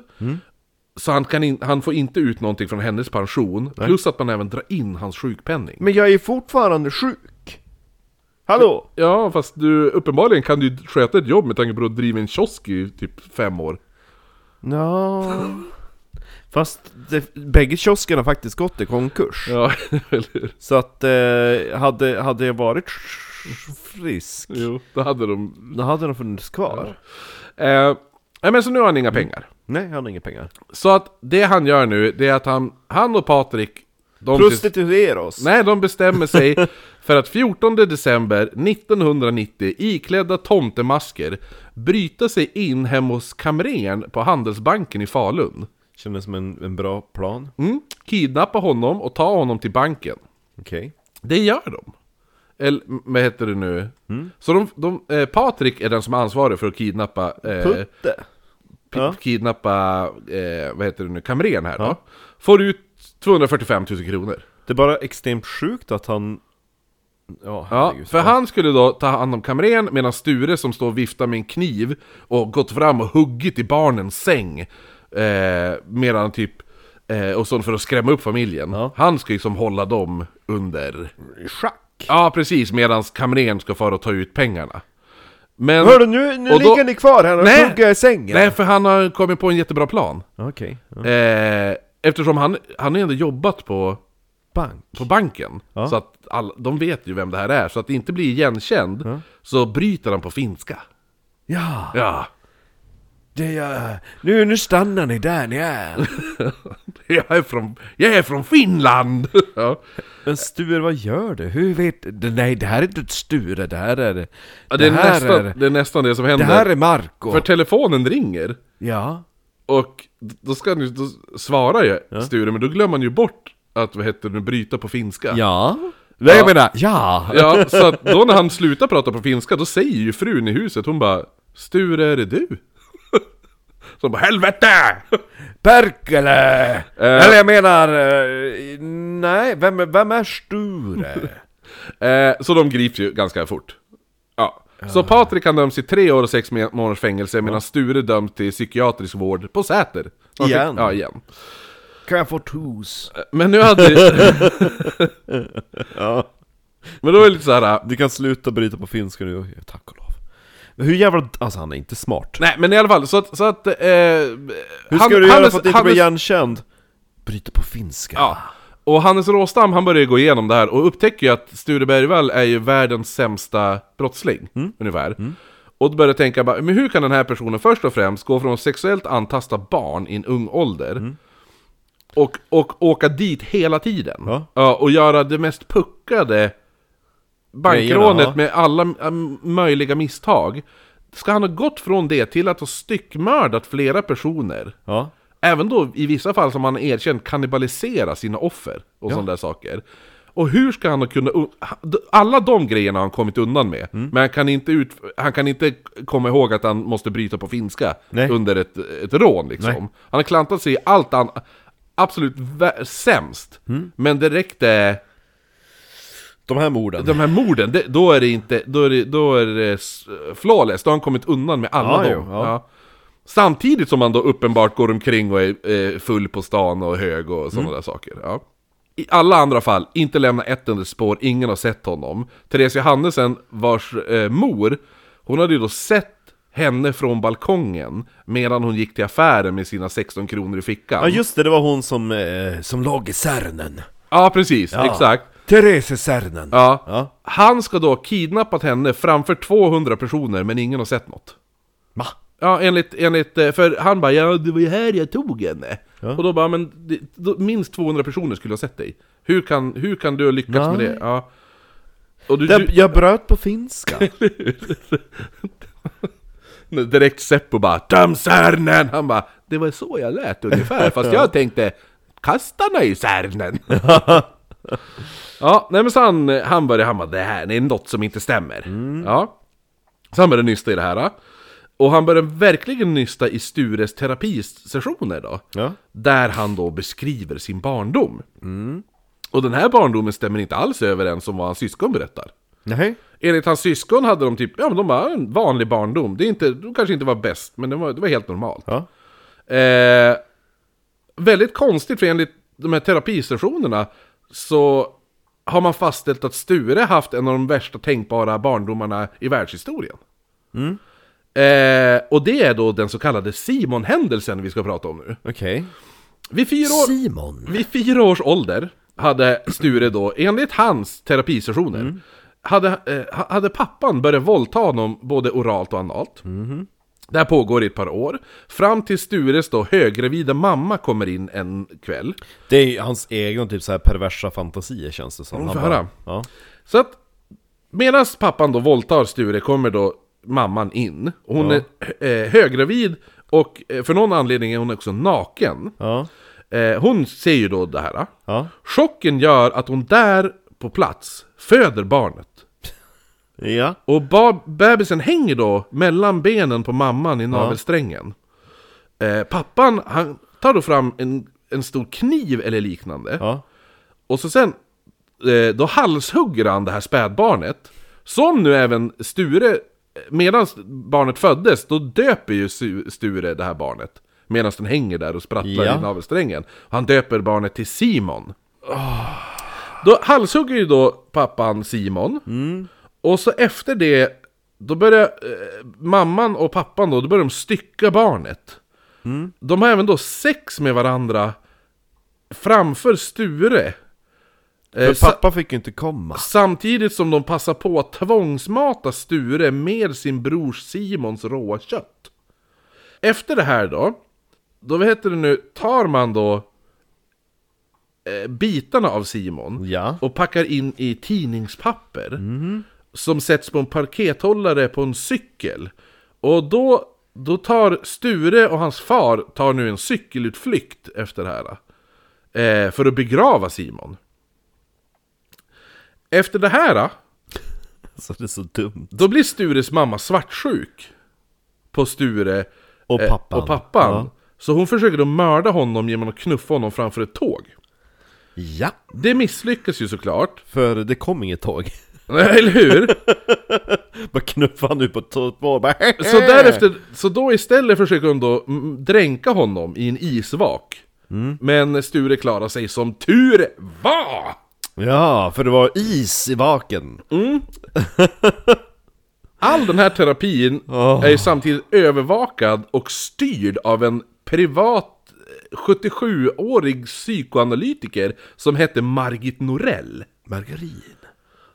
Speaker 2: Så han, kan in, han får inte ut någonting från hennes pension, plus att man även drar in hans sjukpenning.
Speaker 1: Men jag är fortfarande sjuk. Hallå?
Speaker 2: Ja, fast du, uppenbarligen kan du ju sköta ett jobb med tanke på att du driver en kiosk i typ fem år.
Speaker 1: Ja. [LAUGHS] Fast det, bägge kioskerna har faktiskt gått i konkurs.
Speaker 2: Ja, [LAUGHS] eller hur?
Speaker 1: Så att, eh, hade, hade jag varit frisk,
Speaker 2: Jo, då hade de...
Speaker 1: då hade de funnits kvar.
Speaker 2: Eh, nej, men så nu har han inga pengar.
Speaker 1: Nej, han har inga pengar.
Speaker 2: Så att det han gör nu, det är att han, han och Patrik... De
Speaker 1: Prostituera oss!
Speaker 2: Nej, de bestämmer sig för att 14 december 1990 iklädda tomtemasker bryta sig in hemma hos kamrern på Handelsbanken i Falun.
Speaker 1: Kändes som en, en bra plan.
Speaker 2: Mm. Kidnappa honom och ta honom till banken.
Speaker 1: Okej.
Speaker 2: Det gör de. Eller m- vad heter det nu? Så de, de, eh, Patrik är den som är ansvarig för att kidnappa, eh,
Speaker 1: Putte.
Speaker 2: pi- kidnappa eh, vad heter det nu, kamrern här då. Får ut 245 000 kronor.
Speaker 1: Det är bara extremt sjukt att han... Ja,
Speaker 2: Ja,
Speaker 1: herregud.
Speaker 2: för han skulle då ta hand om kamrern medan Sture som står och viftar med en kniv och gått fram och huggit i barnens säng. Eh, medan typ, eh, och sånt för att skrämma upp familjen.
Speaker 1: Ja.
Speaker 2: Han ska liksom hålla dem under...
Speaker 1: Schack!
Speaker 2: Ja, precis, medan kamrern ska fara och ta ut pengarna. Men...
Speaker 1: Hörru nu, nu
Speaker 2: och då-
Speaker 1: ligger ni kvar här och
Speaker 2: Nej.
Speaker 1: hugger i sängen!
Speaker 2: Nej, för han har kommit på en jättebra plan.
Speaker 1: Okej. Ja.
Speaker 2: Eh, eftersom han, han har ändå jobbat på
Speaker 1: Bank.
Speaker 2: på banken.
Speaker 1: Ja.
Speaker 2: Så att all, de vet ju vem det här är. Så att det inte blir igenkänd så bryter han på finska.
Speaker 1: Ja!
Speaker 2: Ja.
Speaker 1: Det är, nu, nu stannar ni där ni är.
Speaker 2: [LAUGHS] Jag är från, jag är från Finland! [LAUGHS] ja.
Speaker 1: Men Sture, vad gör du? Hur vet... det- Nej, det här är inte ett Sture, det här är... Det,
Speaker 2: Ja, det, är
Speaker 1: här
Speaker 2: nästan,
Speaker 1: är...
Speaker 2: det är nästan det som
Speaker 1: Det
Speaker 2: händer.
Speaker 1: här är Marco.
Speaker 2: För telefonen ringer.
Speaker 1: Ja.
Speaker 2: Och då ska han ju, då svarar ju Sture, men då glömmer han ju bort att, vad heter det, bryta på finska.
Speaker 1: Ja. Nej, jag
Speaker 2: Ja.
Speaker 1: menar, ja.
Speaker 2: [LAUGHS] Ja, så att då när han slutar prata på finska, då säger ju frun i huset, hon bara Sture, är det du? [LAUGHS] Så hon bara helvete! [LAUGHS]
Speaker 1: Perkele! Eller jag menar... eh, Nej, vem, vem är Sture?
Speaker 2: Eh, så de grips ju ganska fort. Ja.
Speaker 1: Ah.
Speaker 2: Så Patrik han döms till tre år och sex me- månaders fängelse medan Sture döms till psykiatrisk vård på Säter. Så han
Speaker 1: Igen.
Speaker 2: Fick, ja, igen. Eh,
Speaker 1: kan jag få tos?
Speaker 2: Men nu hade...
Speaker 1: [LAUGHS] Ja.
Speaker 2: Men då är det lite så här. eh,
Speaker 1: Du kan sluta bryta på finska nu, tack och lov. Men hur jävla... Alltså han är inte smart.
Speaker 2: Nej men i alla fall, så att... Så att eh,
Speaker 1: Hur ska du göra för att inte bli igenkänd? Bryta på finska.
Speaker 2: Ja. Och Hannes Råstam han börjar ju gå igenom det här och upptäcker ju att Sture Bergvall är ju världens sämsta brottsling,
Speaker 1: Mm.
Speaker 2: ungefär. Och då börjar jag tänka, bara, men hur kan den här personen först och främst gå från att sexuellt antasta barn i en ung ålder
Speaker 1: Mm.
Speaker 2: och, och åka dit hela tiden?
Speaker 1: Ja.
Speaker 2: och göra det mest puckade
Speaker 1: Grejerna, ja.
Speaker 2: bankrånet med alla äm, möjliga misstag. Ska han ha gått från det till att ha styckmördat flera personer?
Speaker 1: Ja.
Speaker 2: Även då i vissa fall som han erkänt kannibalisera sina offer och sådana där saker. Och hur ska han kunna... un- Alla de grejerna har han kommit undan med.
Speaker 1: Mm.
Speaker 2: Men han kan, inte ut, han kan inte komma ihåg att han måste bryta på finska
Speaker 1: Nej.
Speaker 2: under ett, ett rån liksom.
Speaker 1: Nej.
Speaker 2: Han har klantat sig i allt han... Absolut vä- sämst.
Speaker 1: Mm.
Speaker 2: Men direkt eh,
Speaker 1: De här morden.
Speaker 2: de här morden, det, då är det inte... Då är det, då är det s- flawless. Då har han kommit undan med alla
Speaker 1: Ja,
Speaker 2: dem.
Speaker 1: jo, ja.
Speaker 2: Ja. Samtidigt som man då uppenbart går omkring och är eh, full på stan och hög och
Speaker 1: Mm.
Speaker 2: sådana där saker. Ja. I alla andra fall, inte lämna ett under spår, ingen har sett honom. Therese Johannesen, vars eh, mor, hon hade ju då sett henne från balkongen medan hon gick till affären med sina 16 kronor i fickan.
Speaker 1: Ja just det, det var hon som, eh, som låg i Särnen.
Speaker 2: ja precis, exakt.
Speaker 1: Therese Särnen.
Speaker 2: Ja.
Speaker 1: Ja.
Speaker 2: Han ska då ha kidnappat henne framför 200 personer men ingen har sett något.
Speaker 1: Va?
Speaker 2: Ja, enligt, enligt eh, för han bara ja, det var ju här jag tog henne. Och då bara, men det, då, minst 200 personer skulle ha sett dig. Hur kan, hur kan du ha lyckats med
Speaker 1: Nej.
Speaker 2: det? Ja. Och du,
Speaker 1: Jag,
Speaker 2: du
Speaker 1: jag bröt på finska.
Speaker 2: direkt Seppo bara Döm Särnen! Han bara, det var så jag lät ungefär, fast jag tänkte Kastarna i Särnen! ja, nej men så han, han började, han bara, det här det är något som inte stämmer. Ja. Så han började nysta i det här. Och han började verkligen nysta i Stures terapisessioner då.
Speaker 1: Ja.
Speaker 2: Där han då beskriver sin barndom. Och den här barndomen stämmer inte alls överens som vad hans syskon berättar.
Speaker 1: [LAUGHS] Nej.
Speaker 2: Enligt hans syskon hade de typ, ja men de var en vanlig barndom. Det är inte, de kanske inte var bäst, men det var, det var helt normalt.
Speaker 1: Ja.
Speaker 2: Eh, väldigt konstigt, för enligt de här terapisessionerna så har man fastställt att Sture haft en av de värsta tänkbara barndomarna i världshistorien.
Speaker 1: Mm.
Speaker 2: Eh, och det är då den så kallade Simon-händelsen vi ska prata om nu.
Speaker 1: Okej.
Speaker 2: Vid fyra år...
Speaker 1: Simon.
Speaker 2: Vid fyra års ålder hade Sture då, enligt hans terapisessioner,
Speaker 1: Mm.
Speaker 2: hade, eh, ha- hade pappan börjat våldta honom både oralt och analt.
Speaker 1: Mm-hmm.
Speaker 2: Det här pågår i ett par år. Fram till Stures då högrevida mamma kommer in en kväll.
Speaker 1: Det är ju hans egna typ så här perversa fantasier känns det som.
Speaker 2: får
Speaker 1: Han bara-
Speaker 2: höra.
Speaker 1: Ja.
Speaker 2: Så att medan pappan då våldtar Sture kommer då mamman in. Hon
Speaker 1: Ja.
Speaker 2: är eh, höggravid och eh, för någon anledning är hon också naken.
Speaker 1: Ja.
Speaker 2: Eh, hon ser ju då det här.
Speaker 1: Ja.
Speaker 2: Chocken gör att hon där på plats föder barnet.
Speaker 1: Ja.
Speaker 2: Och ba- bebisen hänger då mellan benen på mamman i navelsträngen. Eh, pappan, han tar då fram en, en stor kniv eller liknande.
Speaker 1: Ja.
Speaker 2: Och så sen, eh, då halshugger han det här spädbarnet. Som nu även Sture, medan barnet föddes, då döper ju Su- Sture det här barnet. Medan den hänger där och sprattlar
Speaker 1: Ja.
Speaker 2: i navelsträngen. Han döper barnet till Simon. Då halshugger ju då pappan Simon. Och så efter det, då börjar eh, mamman och pappan då, då börjar de stycka barnet. De har även då sex med varandra framför Sture. Eh,
Speaker 1: Men
Speaker 2: sa-
Speaker 1: pappa fick ju inte komma. [LAUGHS]
Speaker 2: samtidigt som de passar på att tvångsmata Sture med sin brors Simons råa kött. Efter det här då, då vad heter det nu, tar man då eh, bitarna av Simon
Speaker 1: Ja.
Speaker 2: och packar in i tidningspapper som sätts på en parkethållare på en cykel. Och då, då tar Sture och hans far tar nu en cykelutflykt efter det här. Eh, för att begrava Simon. Efter det här
Speaker 1: Alltså det är så dumt.
Speaker 2: då blir Stures mamma svartsjuk på Sture
Speaker 1: Och
Speaker 2: eh,
Speaker 1: pappan.
Speaker 2: och pappan. Så hon försöker då mörda honom genom att knuffa honom framför ett tåg.
Speaker 1: Ja.
Speaker 2: Det misslyckas ju såklart, [LAUGHS]
Speaker 1: För det kom inget tåg. [LAUGHS]
Speaker 2: eller hur?
Speaker 1: Bara knuffade han ut på tåget och bara [LAUGHS]
Speaker 2: Så därefter, så då istället försöker hon då mm, dränka honom i en isvak.
Speaker 1: Mm.
Speaker 2: Men Sture klarar sig som tur var!
Speaker 1: Ja, för det var is i vaken.
Speaker 2: All den här terapin
Speaker 1: Åh.
Speaker 2: är ju samtidigt övervakad och styrd av en privat eh, 77-årig psykoanalytiker som hette Margit Norell.
Speaker 1: Margarin.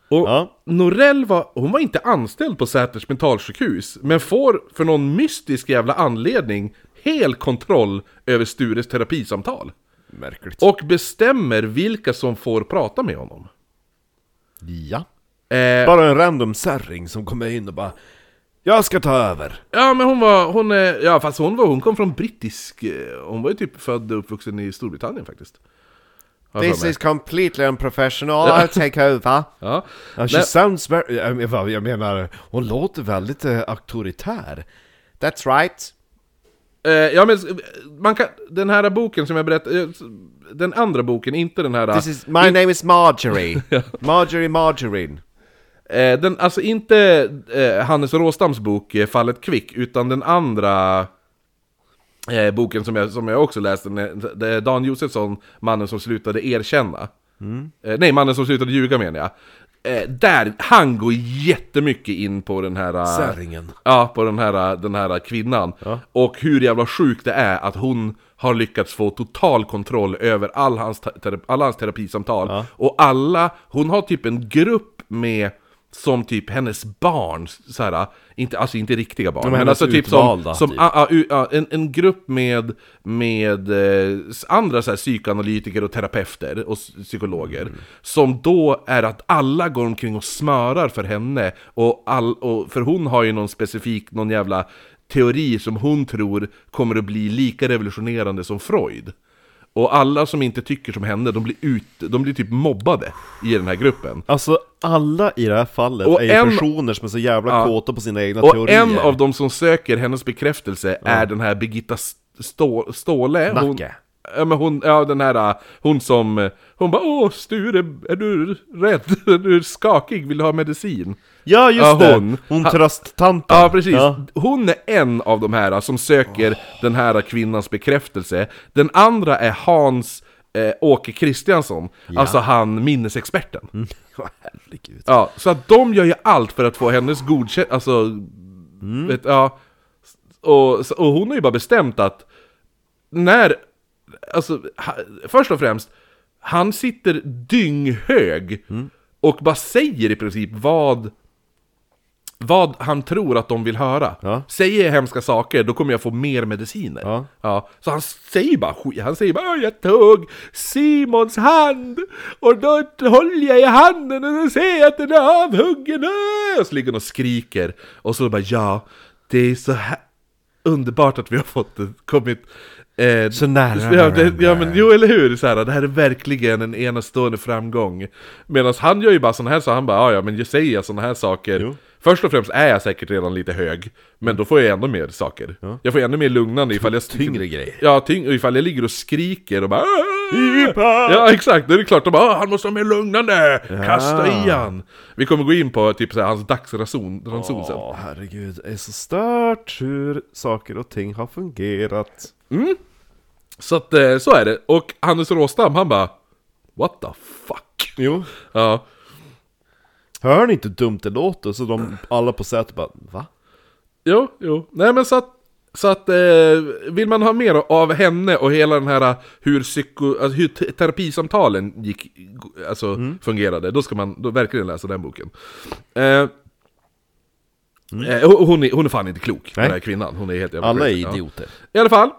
Speaker 2: Och
Speaker 1: Ja.
Speaker 2: Norell var, hon var inte anställd på Säters mentalsjukhus, men får för någon mystisk jävla anledning hel kontroll över Stures terapisamtal.
Speaker 1: Märkligt.
Speaker 2: Och bestämmer vilka som får prata med honom.
Speaker 1: Ja.
Speaker 2: Eh,
Speaker 1: Bara en random särring som kommer in och bara Jag ska ta över.
Speaker 2: Ja men hon var, hon är, ja fast hon var, hon kom från brittisk, eh, hon var ju typ född och uppvuxen i Storbritannien faktiskt. Har jag för mig.
Speaker 1: completely unprofessional, I
Speaker 2: [LAUGHS]
Speaker 1: take over.
Speaker 2: Ja.
Speaker 1: Ja, she
Speaker 2: Nej.
Speaker 1: sounds very... jag men- vad- Jag menar, hon låter väldigt eh, auktoritär. That's right.
Speaker 2: Eh, ja men, eh, man kan, den här boken som jag berättade, eh, den andra boken, inte den här...
Speaker 1: is, my name is
Speaker 2: [LAUGHS]
Speaker 1: Marjorie. Marjorie Margarine.
Speaker 2: Eh, den, alltså inte eh, Hannes Råstams bok eh, Fallet Kvick, utan den andra eh, boken som jag, som jag också läste, när- det är Dan Josefsson, Mannen som slutade erkänna. Eh, nej, Mannen som slutade ljuga menar jag. Eh, där, han går jättemycket in på den här... eh,
Speaker 1: Särringen.
Speaker 2: Ja, på den här, eh, den här kvinnan. Och hur jävla sjukt det är att hon har lyckats få total kontroll över all hans te- ter- alla hans terapisamtal. Och alla, hon har typ en grupp med som typ hennes barn, så här, inte, alltså inte riktiga barn, men,
Speaker 1: hennes
Speaker 2: alltså typ som,
Speaker 1: utvalda,
Speaker 2: som
Speaker 1: typ.
Speaker 2: a, a, u, a, en, en grupp med, med eh, s- andra så här, psykoanalytiker och terapeuter och s- psykologer
Speaker 1: Mm.
Speaker 2: som då är att alla går omkring och smörar för henne och, all, och för hon har ju någon specifik, någon jävla teori som hon tror kommer att bli lika revolutionerande som Freud. Och alla som inte tycker som henne, de blir, ut, de blir typ mobbade i den här gruppen.
Speaker 1: Alltså alla i det här fallet
Speaker 2: Och
Speaker 1: är ju
Speaker 2: en-
Speaker 1: personer som är så jävla kåta på sina egna
Speaker 2: Och
Speaker 1: teorier.
Speaker 2: en av de som söker hennes bekräftelse är den här Birgitta Stå- Ståhle. Hon,
Speaker 1: Nacke.
Speaker 2: ja, men hon, ja, den här, äh, hon som, eh, hon bara åh Sture, är du rädd? [LAUGHS] Är du skakig? Vill du ha medicin?
Speaker 1: Ja just
Speaker 2: Ja,
Speaker 1: det!
Speaker 2: hon.
Speaker 1: Hon, trösttanten.
Speaker 2: Ja,
Speaker 1: [LAUGHS]
Speaker 2: precis.
Speaker 1: Ja.
Speaker 2: Hon är en av de här äh, som söker den här äh, kvinnans bekräftelse. Den andra är Hans eh, Åke Kristiansson, alltså han minnesexperten.
Speaker 1: Mm. Herregud.
Speaker 2: Ja, så att de gör ju allt för att få hennes godkännande, alltså... Vet, ja. Och, så- och hon har ju bara bestämt att när... Alltså, ha, först och främst, han sitter dynghög och bara säger i princip vad... Vad han tror att de vill höra.
Speaker 1: Ja.
Speaker 2: Säger jag hemska saker, då kommer jag få mer mediciner.
Speaker 1: Ja.
Speaker 2: så han säger bara skit. Han säger bara "Åh, jag tog Simons hand och då håller jag i handen och då ser jag att den är avhuggen. Åh!" Och så ligger han och skriker. Och så bara ja, det är så här underbart att vi har fått det, kommit eh,
Speaker 1: Så nära
Speaker 2: Ja, det, ja men
Speaker 1: varandra.
Speaker 2: jo eller hur, så här, det här är verkligen en enastående framgång. Medan han gör ju bara sådana här så han bara "Ja, ja men jag säger jag sådana här saker.
Speaker 1: Jo.
Speaker 2: Först och främst är jag säkert redan lite hög, men då får jag ännu mer saker. Jag får ännu mer lugnande ifall
Speaker 1: [LAUGHS]
Speaker 2: jag... [LAUGHS]
Speaker 1: tyngre grejer.
Speaker 2: Ja, tyng, ifall jag ligger och skriker och bara "Aah!"
Speaker 1: Ipa!
Speaker 2: Ja exakt, då är det klart de bara "Åh, han måste ha mer lugnande! Kasta i han! Vi kommer gå in på typ så här, hans dagsranson ranson sen.
Speaker 1: Åh herregud, det är så stört hur saker och ting har fungerat.
Speaker 2: Så att eh, så är det. Och Hannes Råstam han bara What the fuck?
Speaker 1: Jo.
Speaker 2: Ja.
Speaker 1: Hör ni inte hur dumt det låter? Så de alla på sätet bara va?
Speaker 2: Jo, jo. Nej men så att, så att eh, vill man ha mer av henne och hela den här eh, hur, psyko, alltså, hur te- terapisamtalen gick,
Speaker 1: Mm.
Speaker 2: alltså, fungerade, då ska man då verkligen läsa den boken. Eh, Eh, och hon, är, hon är fan inte klok,
Speaker 1: Mm. Nej.
Speaker 2: den här kvinnan. Hon är helt jävla
Speaker 1: Alla är
Speaker 2: crazy, ja.
Speaker 1: idioter.
Speaker 2: I alla fall,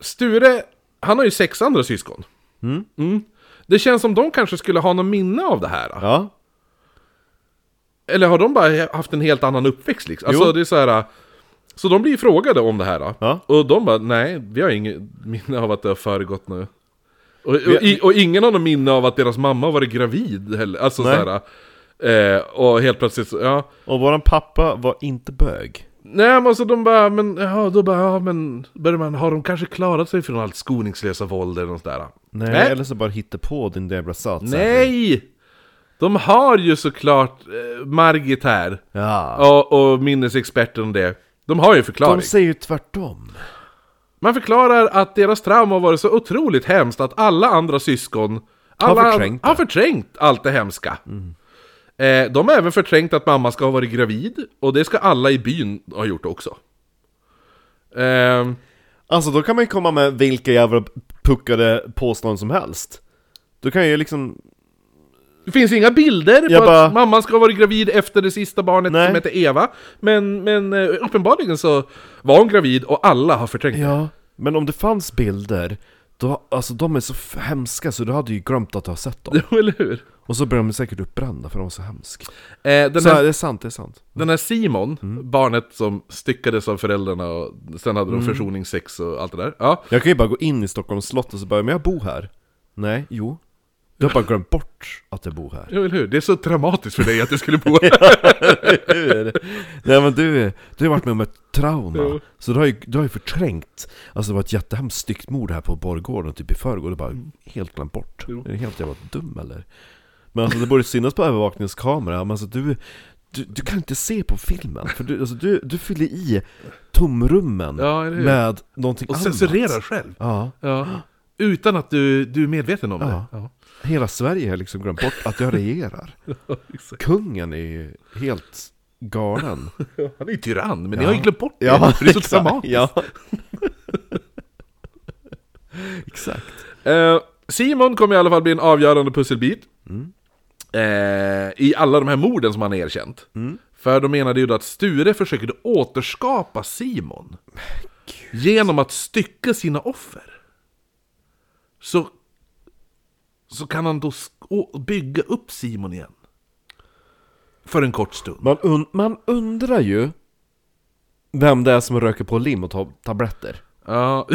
Speaker 2: Sture, han har ju sex andra syskon. Mm. Det känns som de kanske skulle ha något minne av det här. då.
Speaker 1: Ja.
Speaker 2: Eller har de bara haft en helt annan uppväxt liksom? Alltså
Speaker 1: Jo.
Speaker 2: det är så här. Så de blir frågade om det här då.
Speaker 1: Ja.
Speaker 2: Och de bara, nej, vi har inget [LAUGHS] minne av att det har föregått nu. Och, och,
Speaker 1: Vi-
Speaker 2: i- och ingen har något minne av att deras mamma har varit gravid heller. Alltså
Speaker 1: Nej.
Speaker 2: så här. Eh, och helt plötsligt så, ja.
Speaker 1: Och våran pappa var inte bög.
Speaker 2: Nej men alltså de bara, men ja, då bara, ja men börjar man, har de kanske klarat sig från allt skoningslösa våld eller något sådär? äh?
Speaker 1: Nej,
Speaker 2: Nej.
Speaker 1: eller så bara hitta på din jävla sats.
Speaker 2: Nej! De har ju såklart eh, Margit här,
Speaker 1: Ja.
Speaker 2: och, och minnesexperten och det. De har ju förklaring.
Speaker 1: De säger ju tvärtom.
Speaker 2: Man förklarar att deras trauma har varit så otroligt hemskt att alla andra syskon alla,
Speaker 1: förträngt det. Mm.
Speaker 2: har förträngt allt det hemska. Eh, de har även förträngt att mamma ska ha varit gravid, och det ska alla i byn ha gjort också. Ehm,
Speaker 1: Alltså då kan man ju komma med vilka jävla puckade påståenden som helst. Du kan ju liksom...
Speaker 2: Det finns inga bilder
Speaker 1: Jag
Speaker 2: på
Speaker 1: bara-
Speaker 2: att mamman ska ha varit gravid efter det sista barnet
Speaker 1: Nej.
Speaker 2: som heter Eva. Men, men eh, uppenbarligen så var hon gravid och alla har förträngt det.
Speaker 1: Ja. Men om det fanns bilder, då, alltså de är så f- hemska så du hade ju glömt att du har sett dem.
Speaker 2: Jo, [LAUGHS] Eller hur?
Speaker 1: Och så blir de säkert uppbrända för de var så hemska.
Speaker 2: Eh, den,
Speaker 1: Så här,
Speaker 2: här,
Speaker 1: det är sant, det är sant.
Speaker 2: den här Simon,
Speaker 1: Mm.
Speaker 2: barnet som styckades av föräldrarna och sen hade de försoningssex och allt det där. Ja.
Speaker 1: Jag kan ju bara gå in i Stockholms slott och så bara, men jag bor här. Nej, jo. Du har bara glömt bort att jag bor här.
Speaker 2: Jo, eller hur? Det är så traumatiskt för dig att du
Speaker 1: [LAUGHS]
Speaker 2: skulle bo här.
Speaker 1: Nej men du, du har varit med om ett trauma.
Speaker 2: Jo.
Speaker 1: Så du har ju, du har ju förträngt. Alltså det var ett jättehemskt styggt mord här på Borggården typ i förrgår. Du bara helt glömt bort.
Speaker 2: Mm. Jo.
Speaker 1: Är du helt jävla dum eller? Men alltså det borde synas på övervakningskamera. Men alltså du, du, du kan inte se på filmen. För du, alltså, du, du fyller i tomrummen
Speaker 2: Ja, eller hur?
Speaker 1: med någonting
Speaker 2: Och
Speaker 1: annat.
Speaker 2: censurerar själv.
Speaker 1: Ja.
Speaker 2: Ja. Utan att du, du är medveten om
Speaker 1: Ja.
Speaker 2: det. Ja.
Speaker 1: Hela Sverige har liksom glömt bort att jag
Speaker 2: [LAUGHS]
Speaker 1: regerar.
Speaker 2: exakt.
Speaker 1: Kungen är ju helt galen.
Speaker 2: Han är ju tyrann, men ni
Speaker 1: Ja.
Speaker 2: har ju glömt bort det.
Speaker 1: Ja,
Speaker 2: för det är så
Speaker 1: exakt,
Speaker 2: traumatiskt. [LAUGHS]
Speaker 1: Ja. exakt.
Speaker 2: Eh, Simon kommer i alla fall bli en avgörande pusselbit. Eh, I alla de här morden som han har erkänt. För de menade ju då att Sture försökte återskapa Simon. Genom att stycka sina offer. Så, så kan han då sk- å- bygga upp Simon igen. För en kort stund.
Speaker 1: Man, un- man undrar ju vem det är som röker på lim och tar tabletter.
Speaker 2: Ja.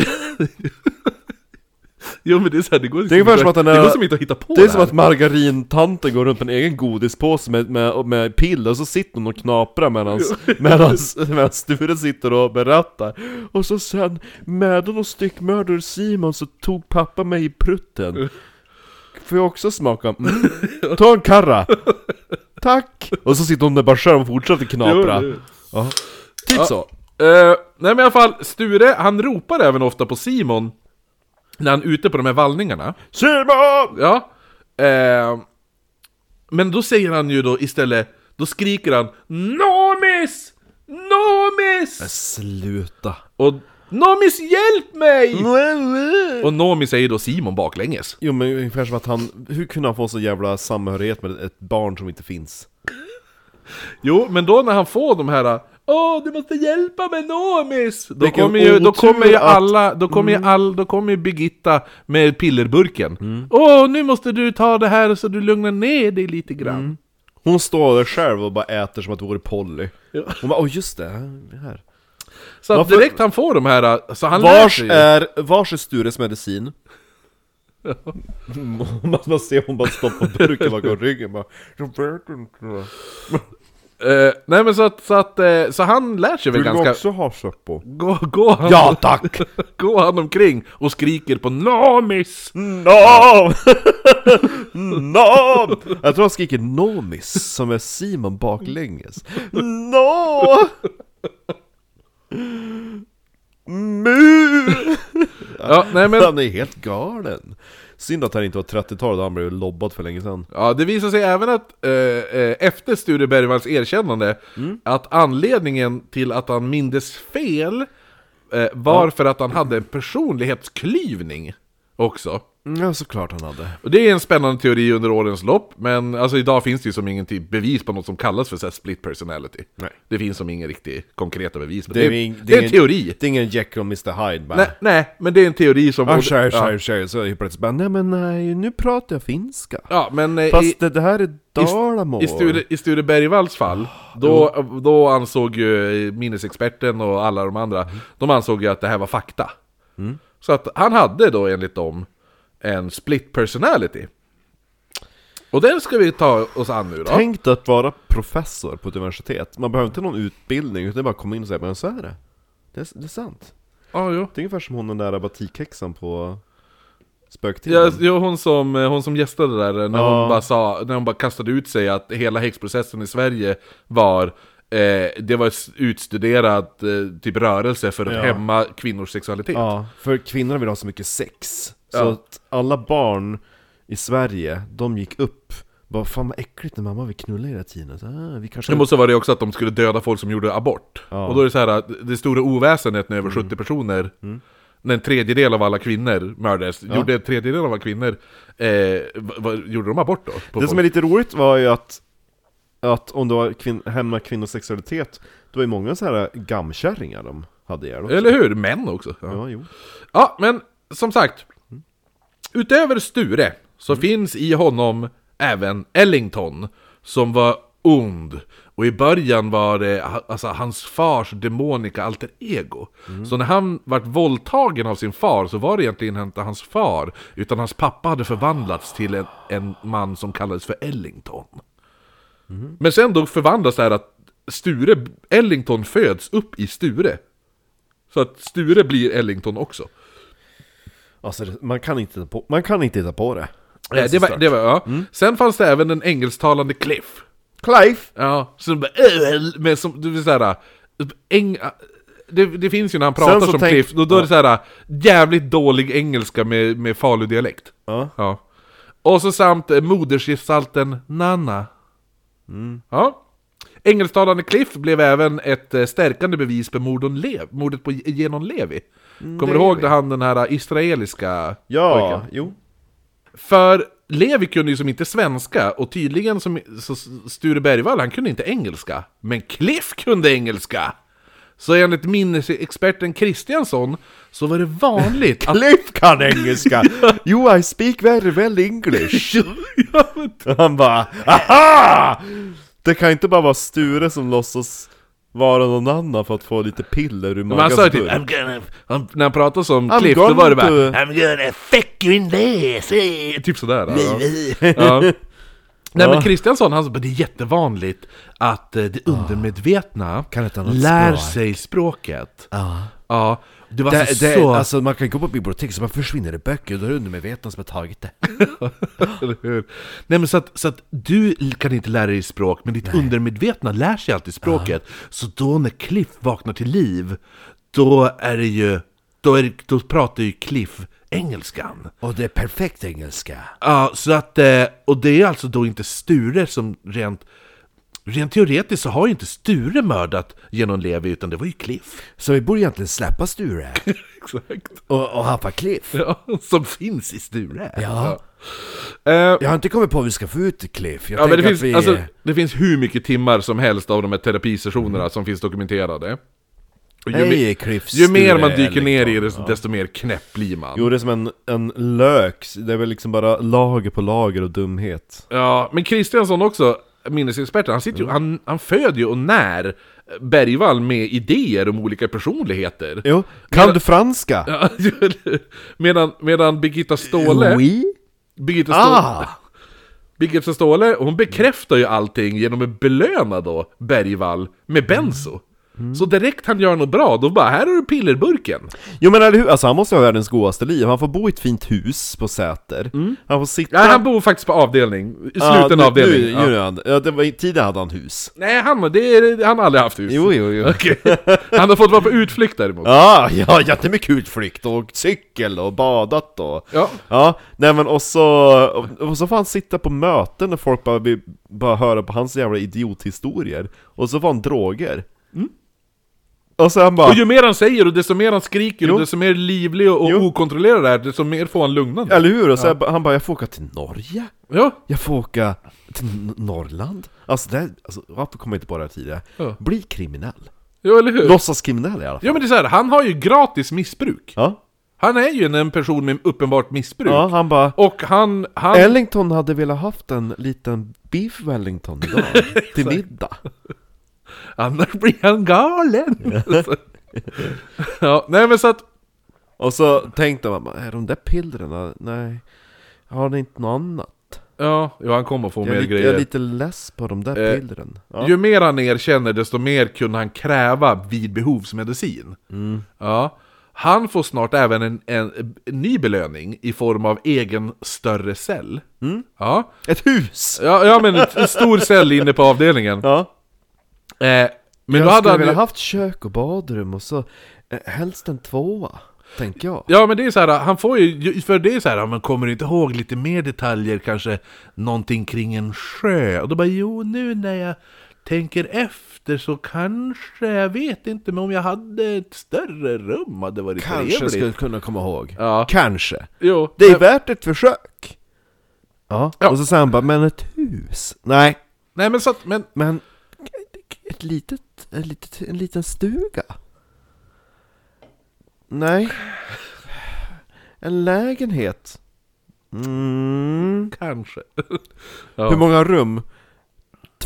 Speaker 2: [LAUGHS] jo men det är så här, det går liksom
Speaker 1: ungefär
Speaker 2: inte-
Speaker 1: som att den
Speaker 2: det
Speaker 1: är-
Speaker 2: går som inte att hitta på
Speaker 1: Det är
Speaker 2: här.
Speaker 1: som att margarintanten går runt med en egen godispåse med, med, med piller och så sitter hon och knaprar
Speaker 2: [LAUGHS]
Speaker 1: medans, medans, medans Sture sitter och berättar. Och så sen, medan och styckmördare Simon så tog pappa mig i prutten. Får jag också smaka? Mm. Ta en karra! Tack! Och så sitter hon där bara själv och fortsätter knapra.
Speaker 2: Jo, jo.
Speaker 1: Ja. Typ
Speaker 2: Ja.
Speaker 1: så.
Speaker 2: Eh, nej men i alla fall, Sture han ropar även ofta på Simon när han är ute på de här vallningarna.
Speaker 1: Simon!
Speaker 2: Ja. Eh, men då säger han ju då istället, då skriker han Nomis! Nomis!
Speaker 1: Sluta.
Speaker 2: Och Nomis hjälp mig! Och Nomi säger då Simon baklänges.
Speaker 1: Jo men ungefär som att han, hur kunde han få så jävla samhörighet med ett barn som inte finns?
Speaker 2: Jo, men då när han får de här Åh, du måste hjälpa mig Nomis! Då
Speaker 1: Vilken
Speaker 2: kommer, ju, då
Speaker 1: otur
Speaker 2: kommer ju
Speaker 1: att- Mm.
Speaker 2: alla, då kommer ju all, då kommer ju Birgitta med pillerburken. Åh, nu måste du ta det här så du lugnar ner dig lite grann.
Speaker 1: Mm. Hon står där själv och bara äter som att det vore Polly. Hon bara, åh just det, här- här.
Speaker 2: Så att
Speaker 1: Varför-
Speaker 2: direkt han får de här, så han
Speaker 1: Vars
Speaker 2: läser ju.
Speaker 1: är, vars är Stures medicin? Mm, [LAUGHS] Man man ser hon bara stoppar burken bakom ryggen bara, jag vet inte.
Speaker 2: Eh, nej men så att, så att, eh, så han lär sig väl ganska...
Speaker 1: ha Seppo?
Speaker 2: Gå, gå, han,
Speaker 1: Ja tack!
Speaker 2: [LAUGHS] gå han omkring och skriker på Nomis!
Speaker 1: [LAUGHS] Nom! Nom! Jag tror han skriker Nomis, som är Simon baklänges. Nå! Mu!
Speaker 2: Ja, nej men...
Speaker 1: Han är helt galen. Synd att han inte var 30-talet, han blev lobbad för länge sedan.
Speaker 2: Ja, det visar sig även att eh, eh, efter Sture Bergvalls erkännande
Speaker 1: Mm.
Speaker 2: att anledningen till att han mindes fel eh, var för att han hade en personlighetsklyvning också.
Speaker 1: Ja, såklart han hade.
Speaker 2: Och det är en spännande teori under årens lopp, men alltså idag finns det ju som ingen typ bevis på något som kallas för så här split personality.
Speaker 1: Nej.
Speaker 2: Det finns som ingen riktigt konkreta bevis, men
Speaker 1: Det
Speaker 2: det
Speaker 1: är
Speaker 2: är, det
Speaker 1: ing-
Speaker 2: är, en
Speaker 1: ingen-
Speaker 2: teorí.
Speaker 1: Det är ingen Jekyll och Mr Hyde bara.
Speaker 2: Nej, nej, men det är en teori som...
Speaker 1: Ah,
Speaker 2: borde-
Speaker 1: tjej,
Speaker 2: ja.
Speaker 1: tjej, tjej. Så helt plötsligt bara, nej men nej, nu pratar jag finska.
Speaker 2: Ja, men eh, i,
Speaker 1: Fast det, det här är Dalamo.
Speaker 2: i, Sture, i Sture Bergvalls fall,
Speaker 1: Ah,
Speaker 2: då, då ansåg ju minnesexperten och alla de andra,
Speaker 1: Mm.
Speaker 2: de ansåg ju att det här var fakta. Så att han hade då enligt dem en split personality. Och den ska vi ta oss an nu då.
Speaker 1: Tänk dig att vara professor på ett universitet. Man behöver inte någon utbildning, utan bara komma in och säga men så är det. Det är, det är sant.
Speaker 2: Ja, jo.
Speaker 1: Det är ungefär som hon den där batikhäxan på Spöktiden.
Speaker 2: Ja, ja, hon, som, hon som gästade där när,
Speaker 1: Mm. Ja.
Speaker 2: hon bara sa, när hon bara kastade ut sig att hela häxprocessen i Sverige var eh, Det var s- utstuderad eh, typ rörelse för att
Speaker 1: Ja.
Speaker 2: hämma kvinnors sexualitet
Speaker 1: Ja, för kvinnorna vill ha så mycket sex. Så
Speaker 2: Ja.
Speaker 1: att alla barn i Sverige, de gick upp. Bara, fan vad äckligt när mamma vill knulla hela tiden. Så, ah, vi kanske...
Speaker 2: Det måste vara det också att de skulle döda folk som gjorde abort
Speaker 1: Ja. Mm.
Speaker 2: Och då är det så här att det stora oväsendet när över 70 personer När en tredjedel av alla kvinnor mördades, gjorde en tredjedel av alla kvinnor eh, vad, vad, Gjorde de abort då? på
Speaker 1: Det
Speaker 2: folk?
Speaker 1: som är lite roligt var ju att, att om det var kvin- hemma kvinnor då var ju många så här gammkärringar de hade ihjäl också.
Speaker 2: Eller hur? Män också! Ja.
Speaker 1: Ja, jo.
Speaker 2: Ja, men som sagt. Utöver Sture så finns i honom även Ellington som var ond. Och i början var det ha- alltså, hans fars demoniska alter ego. Så när han vart våldtagen av sin far så var det egentligen inte hans far. Utan hans pappa hade förvandlats till en, en man som kallades för Ellington. Men sen då förvandlas det här att Sture, Ellington föds upp i Sture. Så att Sture blir Ellington också.
Speaker 1: Alltså, det- man kan inte hitta på, man kan inte hitta på det.
Speaker 2: Nej, Eh, det var, det var, ja.
Speaker 1: Mm.
Speaker 2: Sen fanns det även den engelsktalande Cliff.
Speaker 1: Clive!
Speaker 2: Ja, som bara... "Öl", Men som, du vill säga... äh, Eng, det, det finns ju när han pratar
Speaker 1: Sen så
Speaker 2: som
Speaker 1: tänk-
Speaker 2: Cliff, då, då är det så här äh, jävligt dålig engelska med, med faludialekt.
Speaker 1: Ja.
Speaker 2: Ja. Och så samt eh, modersgestalten Nanna.
Speaker 1: Mm.
Speaker 2: Ja. Engelsktalande Cliff blev även ett eh, stärkande bevis på morden Lev, mordet på Genon Levi. Kommer du
Speaker 1: Levi.
Speaker 2: ihåg när han den här äh, israeliska
Speaker 1: Ja,
Speaker 2: pojken?
Speaker 1: jo.
Speaker 2: För Levi kunde ju som inte svenska, och tydligen som så Sture Bergvall, han kunde inte engelska. Men Cliff kunde engelska! Så enligt minnesexperten Kristiansson så var det
Speaker 1: [LAUGHS]
Speaker 2: vanligt att...
Speaker 1: Clive kan
Speaker 2: [LAUGHS]
Speaker 1: engelska! Jo, I speak very well English!
Speaker 2: Ja, men-
Speaker 1: Och han bara AHA! Det kan inte bara vara Sture som låtsas vara någon annan för att få lite piller ur
Speaker 2: men han
Speaker 1: magans
Speaker 2: sa ju typ
Speaker 1: burk.
Speaker 2: I'm gonna... Han, när han pratade som
Speaker 1: I'm
Speaker 2: Cliff, då var det bara "Äh,
Speaker 1: going to-
Speaker 2: I'm gonna fuck you in the ass! eh." Typ sådär. Ja. Ja. Nej
Speaker 1: Ja.
Speaker 2: men Kristiansson, han sa "Men det är jättevanligt att eh, det undermedvetna
Speaker 1: Kan ett annat
Speaker 2: lär
Speaker 1: språk."
Speaker 2: sig språket. Ja. Det var
Speaker 1: Det,
Speaker 2: alltså
Speaker 1: det,
Speaker 2: så...
Speaker 1: alltså man kan gå på bibliotek så man försvinner i böcker, då är det undermedvetna som har tagit det.
Speaker 2: [LAUGHS] Eller hur? Nej men så att, så att du kan inte lära dig språk, men ditt undermedvetna lär sig alltid språket. Så då när Cliff vaknar till liv, då är det ju, då, är, det- då pratar ju Cliff engelskan.
Speaker 1: Och det är perfekt engelska.
Speaker 2: Ja, så att, eh, och det är alltså då inte Sture som rent, rent teoretiskt så har ju inte Sture mördat genom Levi, utan det var ju Cliff.
Speaker 1: Så vi borde egentligen släppa Sture.
Speaker 2: Exakt.
Speaker 1: Och, och haffa Cliff.
Speaker 2: Ja, som finns i Sture.
Speaker 1: Ja.
Speaker 2: Ja. Eh,
Speaker 1: Jag har inte kommit på hur vi ska få ut Cliff. Jag
Speaker 2: Ja, men det
Speaker 1: tänker
Speaker 2: finns,
Speaker 1: att vi...
Speaker 2: alltså, det finns hur mycket timmar som helst av de här terapisessionerna
Speaker 1: Mm.
Speaker 2: som finns dokumenterade. Och ju, me-
Speaker 1: Hej Cliff
Speaker 2: ju mer
Speaker 1: Sture
Speaker 2: man dyker ner i
Speaker 1: Ellington.
Speaker 2: det, desto mer knäpp blir man.
Speaker 1: liksom. Jo, det är som en, en lök. Det är väl liksom bara lager på lager och dumhet.
Speaker 2: Ja, men Kristiansson också, minnesexperten, han,
Speaker 1: Mm.
Speaker 2: sitter ju, han, han föder ju och när Bergvall med idéer om olika personligheter.
Speaker 1: Jo, kan du franska?
Speaker 2: Ja, [LAUGHS] medan, medan Birgitta Ståhle...
Speaker 1: Oui?
Speaker 2: Birgitta Ståhle...
Speaker 1: Ah!
Speaker 2: Birgitta Ståhle, hon bekräftar ju allting genom att belöna då Bergvall med benzo.
Speaker 1: Mm.
Speaker 2: Så direkt han gör något bra, då bara här har du pillerburken.
Speaker 1: Jo men eller hur, alltså han måste ha världens godaste liv. Han får bo i ett fint hus på Säter. Han får sitta...
Speaker 2: Ja, Mm. han bor faktiskt på avdelning, i
Speaker 1: Ja,
Speaker 2: sluten
Speaker 1: nu,
Speaker 2: avdelning.
Speaker 1: Nu,
Speaker 2: ja.
Speaker 1: nu är han, ja, det var, tidigare hade han hus.
Speaker 2: Nej, han, det är, han har aldrig haft hus.
Speaker 1: Jo, jo, jo.
Speaker 2: [LAUGHS] Okej. Han har fått vara på utflykt däremot.
Speaker 1: Ja, ja, jättemycket utflykt och åkt cykel och badat och...
Speaker 2: Ja.
Speaker 1: Ja, nej men och så, och så får han sitta på möten och folk bara, vill- bara höra på hans jävla idiothistorier. Och så får han droger. Och sen bara...
Speaker 2: Mm. Och ju mer han säger och desto mer han skriker
Speaker 1: Jo.
Speaker 2: och desto mer livlig och
Speaker 1: Jo.
Speaker 2: okontrollerad det är, desto mer får han lugnande.
Speaker 1: Eller hur? Och så han bara 'Jag får åka till Norge'
Speaker 2: Ja.
Speaker 1: Jag får åka till N- Norrland. Alltså, det, alltså varför kommer jag inte på det här tidigare?
Speaker 2: Ja.
Speaker 1: Bli kriminell.
Speaker 2: ja, eller hur?
Speaker 1: Låtsas kriminell i alla fall.
Speaker 2: Ja men det är så här, han har ju gratis missbruk.
Speaker 1: Ja,
Speaker 2: Han är ju en- en person med uppenbart missbruk.
Speaker 1: ja han bara...
Speaker 2: Och han, han...
Speaker 1: Ellington hade velat haft en liten beef Wellington
Speaker 2: [LAUGHS]
Speaker 1: idag, till middag.
Speaker 2: Annars blir han galen! ja, nej men så att...
Speaker 1: Och så tänkte man, är de där pillerna, nej, har ni inte något annat?
Speaker 2: Ja, jo, han kommer få
Speaker 1: Jag
Speaker 2: mer
Speaker 1: är, lite, jag
Speaker 2: grejer.
Speaker 1: är lite less på de där
Speaker 2: Eh,
Speaker 1: pillren. Ja.
Speaker 2: Ju mer han erkänner, desto mer kunde han kräva vid behovsmedicin.
Speaker 1: Mm.
Speaker 2: Ja. Han får snart även en, en, en ny belöning i form av egen större cell.
Speaker 1: Mm.
Speaker 2: Ja.
Speaker 1: Ett hus!
Speaker 2: Ja, ja, men en stor cell inne på avdelningen.
Speaker 1: Ja.
Speaker 2: Eh, men
Speaker 1: jag
Speaker 2: då hade
Speaker 1: skulle
Speaker 2: han ju...
Speaker 1: vilja haft kök och badrum och så eh, helst en tvåa, tänker jag.
Speaker 2: Ja men det är så här, han får ju, för det är så här, ja, men kommer du inte ihåg lite mer detaljer kanske? Någonting kring en sjö? Och då bara, jo nu när jag tänker efter så kanske, jag vet inte, men om jag hade ett större rum hade varit
Speaker 1: Kanske
Speaker 2: trevligt.
Speaker 1: skulle kunna komma ihåg.
Speaker 2: Ja.
Speaker 1: Kanske.
Speaker 2: Jo,
Speaker 1: Det är värt ett försök! Ja.
Speaker 2: Ja.
Speaker 1: och så säger han bara 'Men ett hus?' Nej,
Speaker 2: nej men så att, men,
Speaker 1: men ett litet, ett litet, en liten stuga? Nej. En lägenhet? Mm.
Speaker 2: kanske. Ja.
Speaker 1: Hur många rum?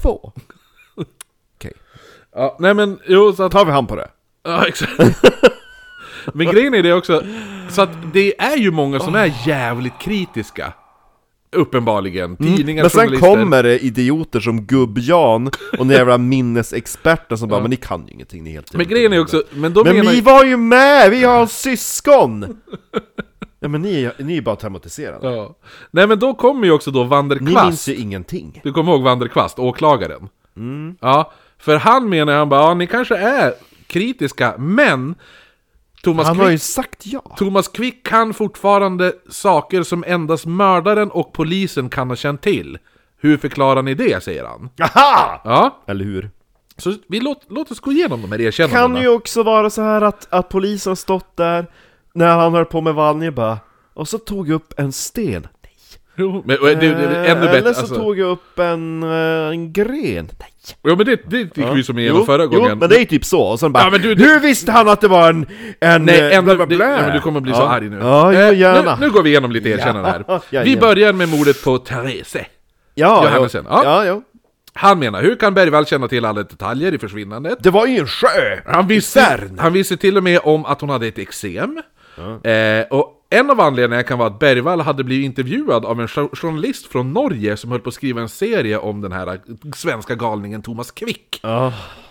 Speaker 1: Två. Okej,
Speaker 2: ja, [LAUGHS] nej men, jo så att,
Speaker 1: tar vi han på det.
Speaker 2: ja exakt. [LAUGHS] men grejen är det också, så att det är ju många som är jävligt kritiska. Uppenbarligen. Tidningar,
Speaker 1: Mm. Men sen
Speaker 2: journalister.
Speaker 1: kommer det idioter som Gubb-Jan och den
Speaker 2: [LAUGHS]
Speaker 1: jävla minnesexperten som bara 'Men ni kan ju ingenting, ni är helt
Speaker 2: Men grejen är också, men då
Speaker 1: Men
Speaker 2: menar
Speaker 1: vi var ju med, vi
Speaker 2: [LAUGHS]
Speaker 1: har syskon! ja men ni, är- ni är bara traumatiserade.
Speaker 2: Ja. Nej men då kommer ju också då
Speaker 1: Ni
Speaker 2: Vanderkvast.
Speaker 1: minns ju ingenting.
Speaker 2: Du kommer ihåg Vanderkvast, åklagaren?
Speaker 1: Mm.
Speaker 2: Ja, för han menar han bara, ja ni kanske är kritiska, men Thomas
Speaker 1: Han
Speaker 2: Quick,
Speaker 1: har ju sagt ja.
Speaker 2: Thomas Quick kan fortfarande saker som endast mördaren och polisen kan ha känt till. Hur förklarar ni det, säger han.
Speaker 1: Aha!
Speaker 2: Ja,
Speaker 1: Eller hur?
Speaker 2: så vi låt, låt oss gå igenom de här
Speaker 1: Kan
Speaker 2: erkännandena.
Speaker 1: ju också vara så här att, att polisen har stått där när han höll på med Vanja bara och så tog jag upp en sten.
Speaker 2: Jo, men, och det, det, det, ännu
Speaker 1: Eh, Eller
Speaker 2: bättre.
Speaker 1: så
Speaker 2: Alltså.
Speaker 1: tog jag upp en, eh, en gren. Nej.
Speaker 2: Jo, men det, det gick vi som igenom
Speaker 1: Jo,
Speaker 2: förra gången.
Speaker 1: Jo, men det är ju typ så. Och sen bara,
Speaker 2: Ja, men du- du-
Speaker 1: hur visste han att det var en... en
Speaker 2: Nej,
Speaker 1: eh, bla,
Speaker 2: ändå,
Speaker 1: bla,
Speaker 2: det,
Speaker 1: bla?"
Speaker 2: nej, men du kommer bli så
Speaker 1: Ja.
Speaker 2: arg nu.
Speaker 1: Ja,
Speaker 2: Eh,
Speaker 1: gärna.
Speaker 2: Nu, nu går vi igenom lite erkännanden
Speaker 1: [LAUGHS] Ja,
Speaker 2: här. Vi
Speaker 1: jajamän.
Speaker 2: börjar med mordet på Therese.
Speaker 1: Ja,
Speaker 2: Johannesen,
Speaker 1: ja. ja,
Speaker 2: ja.
Speaker 1: ja.
Speaker 2: Han menar, hur kan Bergvall känna till alla detaljer i försvinnandet?
Speaker 1: Det var ju en sjö!
Speaker 2: Han visste,
Speaker 1: Cern.
Speaker 2: han visste till och med om att hon hade ett eksem. Eh, och en av anledningarna kan vara att Bergvall hade blivit intervjuad av en jo- journalist från Norge som höll på att skriva en serie om den här eh, svenska galningen Thomas Quick.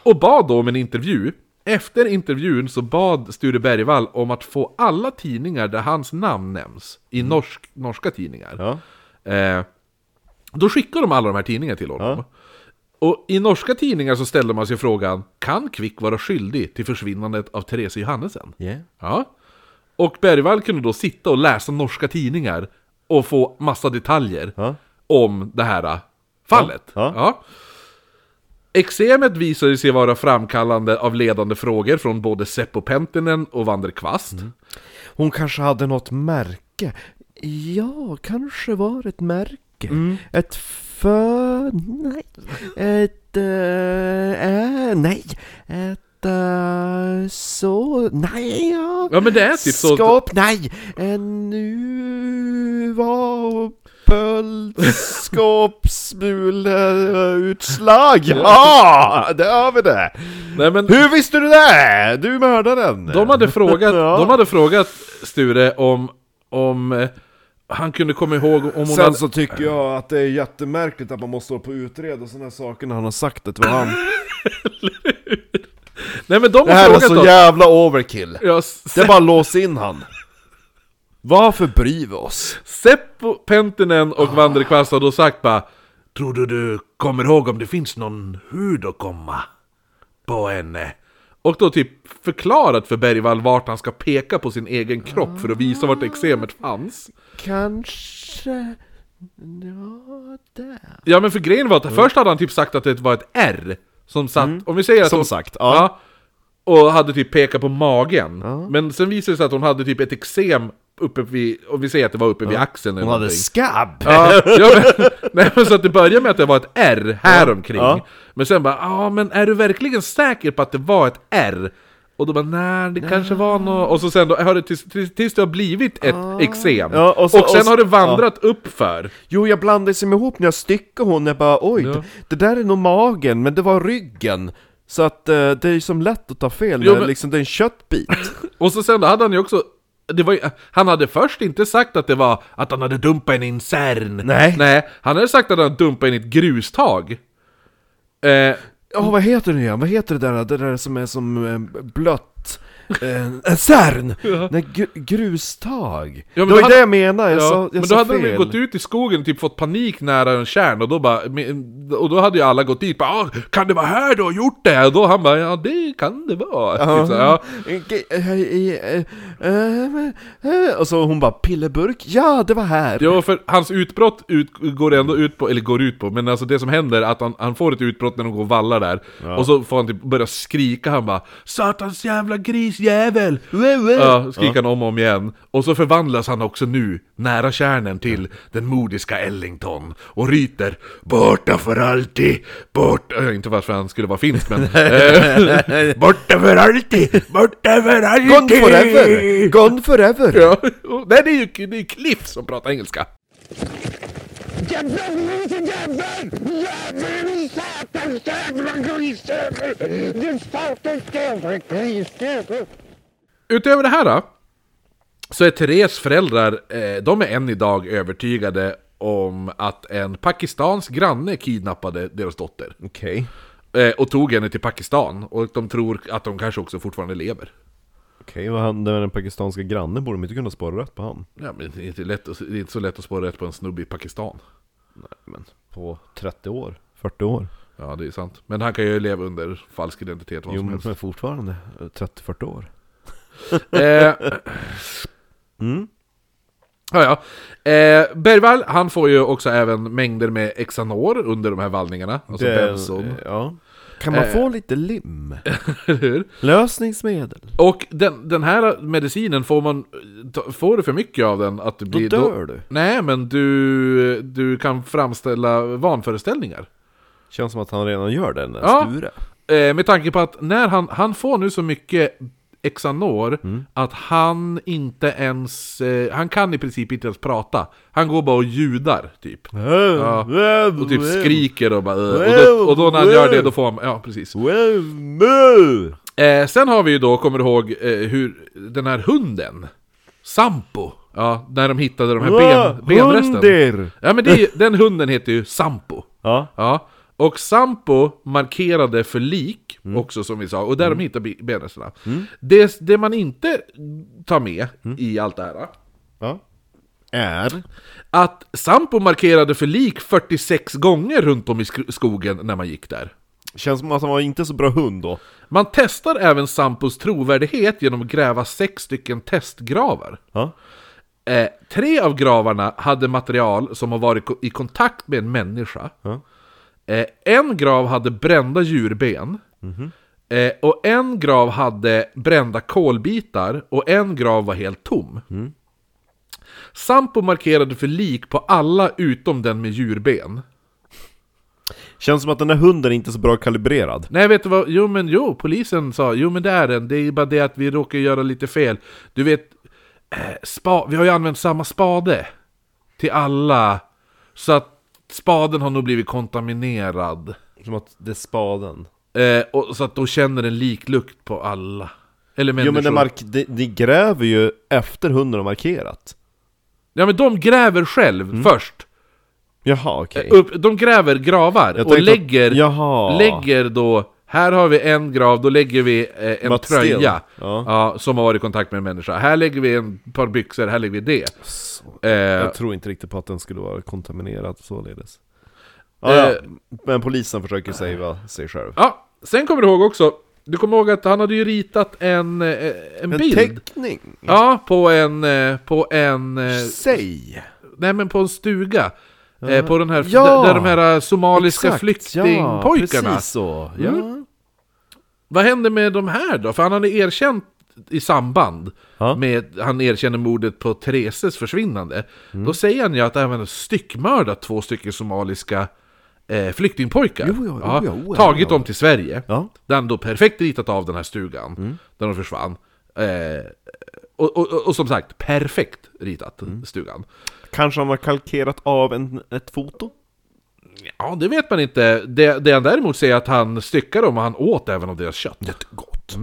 Speaker 2: Och bad då om en intervju. Efter intervjun så bad Sture Bergvall om att få alla tidningar där hans namn nämns. I norsk, norska tidningar.
Speaker 1: Mm. Ja.
Speaker 2: Eh, då skickade de alla de här tidningarna till honom. Och i norska tidningar så ställde man sig frågan Kan Quick vara skyldig till försvinnandet av Therese Johannesen?
Speaker 1: Yeah.
Speaker 2: Ja. Och Bergvall kunde då sitta och läsa norska tidningar och få massa detaljer
Speaker 1: Ja.
Speaker 2: om det här äh, fallet.
Speaker 1: Ja.
Speaker 2: Eksemet visade sig vara framkallande av ledande frågor från både Seppo Pentinen och Vander Kvast.
Speaker 1: Mm. Hon kanske hade något märke. Ja, kanske var ett märke. Ett för... Nej. Ett... eh, eh, nej. Ett... eh, så... Nej, ja.
Speaker 2: Ja men det är typ så...
Speaker 1: Skåp, nej! En nu var pöldskåpsmuleutslag! Ja! Där har vi det!
Speaker 2: Nej, men...
Speaker 1: Hur visste du det? Du mördaren!
Speaker 2: De hade
Speaker 1: [LAUGHS]
Speaker 2: frågat,
Speaker 1: Ja.
Speaker 2: de hade frågat Sture om, om eh, han kunde komma ihåg om hon
Speaker 1: Sen
Speaker 2: hade...
Speaker 1: så tycker jag att det är jättemärkligt att man måste hålla på och utreda sådana här saker när han har sagt att det var han. [CLEARS THROAT]
Speaker 2: Nej men de
Speaker 1: Det
Speaker 2: har
Speaker 1: här är
Speaker 2: frågat
Speaker 1: så
Speaker 2: dem.
Speaker 1: jävla overkill.
Speaker 2: Ja, s-
Speaker 1: Det är bara att låsa in han. Varför bryr vi oss?
Speaker 2: Seppo Pentinen och Vanderkvast har då sagt bara Ah. Tror du du kommer ihåg om det finns någon hud att komma på henne? Och då typ förklarat för Bergvall vart han ska peka på sin egen kropp för att visa vart eksemet fanns.
Speaker 1: Kanske... Ja, där.
Speaker 2: Ja men för grejen var att först hade han typ sagt att det var ett R Mm. som satt, om vi säger att
Speaker 1: Som
Speaker 2: hon-
Speaker 1: sagt, ja.
Speaker 2: Och hade typ pekat på magen.
Speaker 1: Ja.
Speaker 2: Men sen visade det sig att hon hade typ ett eksem uppe vid, och vi säger att det var uppe vid axeln eller
Speaker 1: Hon hade
Speaker 2: någonting.
Speaker 1: skabb! [LAUGHS]
Speaker 2: Ja, ja, men, nej, men så att det började med att det var ett R häromkring.
Speaker 1: Ja.
Speaker 2: Men sen bara, ja men är du verkligen säker på att det var ett R? Och då bara, nej det kanske var något... Och så sen då, har det, tills, tills, tills det har blivit ett eksem.
Speaker 1: Ja,
Speaker 2: och,
Speaker 1: och så-
Speaker 2: sen
Speaker 1: och så-
Speaker 2: har det vandrat uppför.
Speaker 1: Jo, jag blandade sig med ihop när jag styckade hon, jag bara oj,
Speaker 2: Ja.
Speaker 1: det, det där är nog magen, men det var ryggen. Så att eh, det är ju som lätt att ta fel
Speaker 2: Jo,
Speaker 1: när
Speaker 2: men-
Speaker 1: liksom det är en köttbit.
Speaker 2: Och så sen då hade han ju också... Det var, ju- han hade först inte sagt att det var att han hade dumpat en i en cern.
Speaker 1: [LAUGHS] Nej.
Speaker 2: Nej, han hade sagt att han dumpat en i ett grustag. Eh,
Speaker 1: Ja, vad heter det igen? Vad heter det där, det där som är som eh, blött? Eh, En
Speaker 2: [LAUGHS]
Speaker 1: cern! Nej, gr- grustag!
Speaker 2: Ja, men
Speaker 1: det
Speaker 2: då
Speaker 1: var ju
Speaker 2: hade-
Speaker 1: det jag menade, jag
Speaker 2: ja,
Speaker 1: sa, jag
Speaker 2: men då
Speaker 1: sa
Speaker 2: hade
Speaker 1: fel.
Speaker 2: de ju gått ut i skogen och typ fått panik nära en kärn och då bara, men- och då hade ju alla gått dit bara "Ah, Kan det vara här du har gjort det? Och då han bara Ja det kan det vara
Speaker 1: Ja.
Speaker 2: typ så, här, ja.
Speaker 1: Ge- eh, eh, eh, eh, Och så hon bara pillerburk, ja det var här!
Speaker 2: Jo, för hans utbrott ut, går ändå ut på, eller går ut på, men alltså det som händer är att han, han får ett utbrott när de går och vallar där Och så får han typ börja skrika, han bara Satans jävla grisjävel! Ja, skriker han om och om igen. Och så förvandlas han också nu, nära kärnen, till den modiska Ellington. Och ryter Borta för alltid, borta... Äh, inte varför han skulle vara finsk men... eh, [LAUGHS] borta för alltid, borta för alltid!
Speaker 1: Gone forever! Gone forever!
Speaker 2: Ja, och- nej det är ju det är Cliff som pratar engelska.
Speaker 3: Jävlar, grisen, jävlar! Jävlar, satans jävla grisjävel! Din satans jävla grisjävel!
Speaker 2: Utöver det här då, så är Therese föräldrar, eh, de är än idag övertygade om att en pakistansk granne kidnappade deras dotter.
Speaker 1: Okej.
Speaker 2: Eh, och tog henne till Pakistan, och de tror att de kanske också fortfarande lever.
Speaker 1: Okej, vad hände med den pakistanska grannen? Borde de inte kunna spara rätt på han?
Speaker 2: Ja, men det är inte, lätt att, det är inte så lätt att spåra rätt på en snubbe i Pakistan.
Speaker 1: Men på 30 år? 40 år?
Speaker 2: Ja, det är sant. Men han kan ju leva under falsk identitet, vad
Speaker 1: Jo,
Speaker 2: som
Speaker 1: men
Speaker 2: helst.
Speaker 1: men fortfarande eh, 30-40 år.
Speaker 2: Eh,
Speaker 1: Mm.
Speaker 2: Ja, ja. Eh, Bergvall, han får ju också även mängder med Xanor under de här vallningarna. Alltså benson. Eh.
Speaker 1: ja. Kan man få lite lim?
Speaker 2: Eller hur?
Speaker 1: Lösningsmedel?
Speaker 2: Och den, den här medicinen, får man ta- får du för mycket av den att du
Speaker 1: Då
Speaker 2: blir...
Speaker 1: dör du.
Speaker 2: Nej, men du, du kan framställa vanföreställningar.
Speaker 1: Känns som att han redan gör det, den där
Speaker 2: Ja.
Speaker 1: Sture.
Speaker 2: Eh, med tanke på att när han, han får nu så mycket Xanor
Speaker 1: Mm.
Speaker 2: att han inte ens... Eh, han kan i princip inte ens prata. Han går bara och ljudar, typ. Och typ skriker och bara... "Åh", Och då, och då när han gör det, då får han... Ja, precis. Eh, sen har vi ju då, kommer du ihåg, eh, hur den här hunden, Sampo, ja, när de hittade de här ben, benresten.
Speaker 1: Hunder!
Speaker 2: Ja men det, är ju- den hunden heter ju Sampo.
Speaker 1: Ja.
Speaker 2: Ja, och Sampo markerade för lik, också som vi sa, och där de hittar bi- benresterna. Det, det man inte tar med i allt det här,
Speaker 1: ja. Är?
Speaker 2: att Sampo markerade för lik 46 gånger runt om i sk- skogen när man gick där.
Speaker 1: Känns som att han var inte så bra hund då.
Speaker 2: Man testar även Sampos trovärdighet genom att gräva sex stycken testgravar.
Speaker 1: Ja.
Speaker 2: Eh, tre av gravarna hade material som har varit ko- i kontakt med en människa.
Speaker 1: Ja.
Speaker 2: Eh, en grav hade brända djurben.
Speaker 1: Mhm.
Speaker 2: Eh, och en grav hade brända kolbitar och en grav var helt tom.
Speaker 1: Mm.
Speaker 2: Sampo markerade för lik på alla utom den med djurben.
Speaker 1: Känns som att den där hunden är inte är så bra kalibrerad.
Speaker 2: Nej vet du vad, jo men jo, polisen sa jo men det är den, det är bara det att vi råkar göra lite fel. Du vet, eh, spa, vi har ju använt samma spade till alla. Så att spaden har nog blivit kontaminerad.
Speaker 1: Som att det är spaden.
Speaker 2: Eh, och, så att då känner den liklukt på alla. Eller människor.
Speaker 1: Jo men det mark- det- det gräver ju efter hunden har markerat.
Speaker 2: Ja men de gräver själv
Speaker 1: Mm.
Speaker 2: först.
Speaker 1: Jaha okej.
Speaker 2: Upp, de gräver gravar
Speaker 1: Jag
Speaker 2: och
Speaker 1: tänkte att-
Speaker 2: lägger,
Speaker 1: Jaha.
Speaker 2: lägger då här har vi en grav, då lägger vi eh, en
Speaker 1: Mats Sten.
Speaker 2: tröja
Speaker 1: Ja.
Speaker 2: som har varit i kontakt med en människa. Här lägger vi en par byxor, här lägger vi det. Eh,
Speaker 1: Jag tror inte riktigt på att den skulle vara kontaminerad således.
Speaker 2: Eh.
Speaker 1: Ja, ja. Men polisen försöker savea sig själv.
Speaker 2: ja, sen kommer du ihåg också, du kommer ihåg att han hade ju ritat en, eh, en,
Speaker 1: En
Speaker 2: bild.
Speaker 1: teckning?
Speaker 2: Ja, på en, eh, på en, eh,
Speaker 1: Säg!
Speaker 2: nej men på en stuga. Eh, på den här,
Speaker 1: Ja.
Speaker 2: där de här somaliska
Speaker 1: Exakt, ja,
Speaker 2: flyktingpojkarna.
Speaker 1: Precis så. Ja.
Speaker 2: Mm. Vad händer med de här då? För han hade erkänt i samband
Speaker 1: Ja.
Speaker 2: med han erkänner mordet på Thereses försvinnande.
Speaker 1: Mm.
Speaker 2: Då säger han ju att även styckmördat två stycken somaliska eh, flyktingpojkar.
Speaker 1: Jo, jo, jo, jo, jo,
Speaker 2: tagit
Speaker 1: ja.
Speaker 2: dem till Sverige.
Speaker 1: Ja. Mm.
Speaker 2: Där han då perfekt ritat av den här stugan. Där de försvann. Eh, och, och, och, och som sagt, perfekt ritat
Speaker 1: Mm.
Speaker 2: stugan.
Speaker 1: Kanske han har kalkerat av en, ett foto?
Speaker 2: Ja, det vet man inte. Det, det han däremot säger är att han styckade dem och han åt även av deras kött. Mm.
Speaker 1: Jättegott.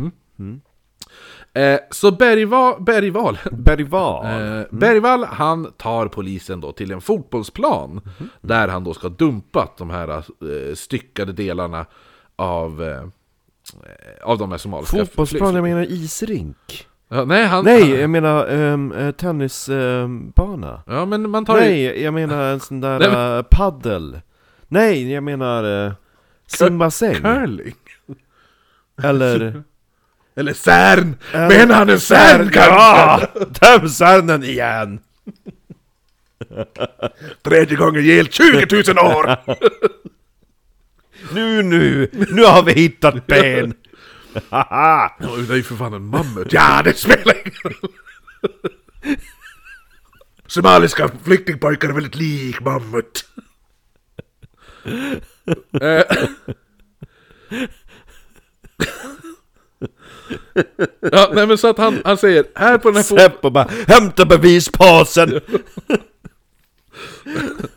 Speaker 2: Eh, så Bergva, Bergval,
Speaker 1: Bergval.
Speaker 2: eh, Bergvall, han tar polisen då till en fotbollsplan
Speaker 1: Mm.
Speaker 2: där han då ska dumpa de här eh, styckade delarna av, eh, av de här somaliska...
Speaker 1: Fotbollsplan, jag menar isrink.
Speaker 2: Ja, nej, han,
Speaker 1: Nej, jag menar ehm, eh, tennisbana.
Speaker 2: Ja, men man tar ju...
Speaker 1: Nej, jag menar en sån där
Speaker 2: Nej,
Speaker 1: uh, paddel. Nej, jag menar eh, simbassäng.
Speaker 2: Curling.
Speaker 1: Eller...
Speaker 2: Eller CERN!
Speaker 1: Eh,
Speaker 2: Menar han en CERN kanske?
Speaker 1: Ja! Töm Särnen igen!
Speaker 2: 30 gånger gel, 20
Speaker 1: [LAUGHS]
Speaker 2: 000 år!
Speaker 1: Nu, nu! Nu har vi hittat ben! Haha!
Speaker 2: Ja, det är ju för fan en mammut. Ja, det spelar ingen roll. Somaliska flyktingpojkar är väldigt lik mammut. Eh. ja, nej men så att han, han säger, här på den här fot-
Speaker 1: Seppo bara Hämta bevispåsen!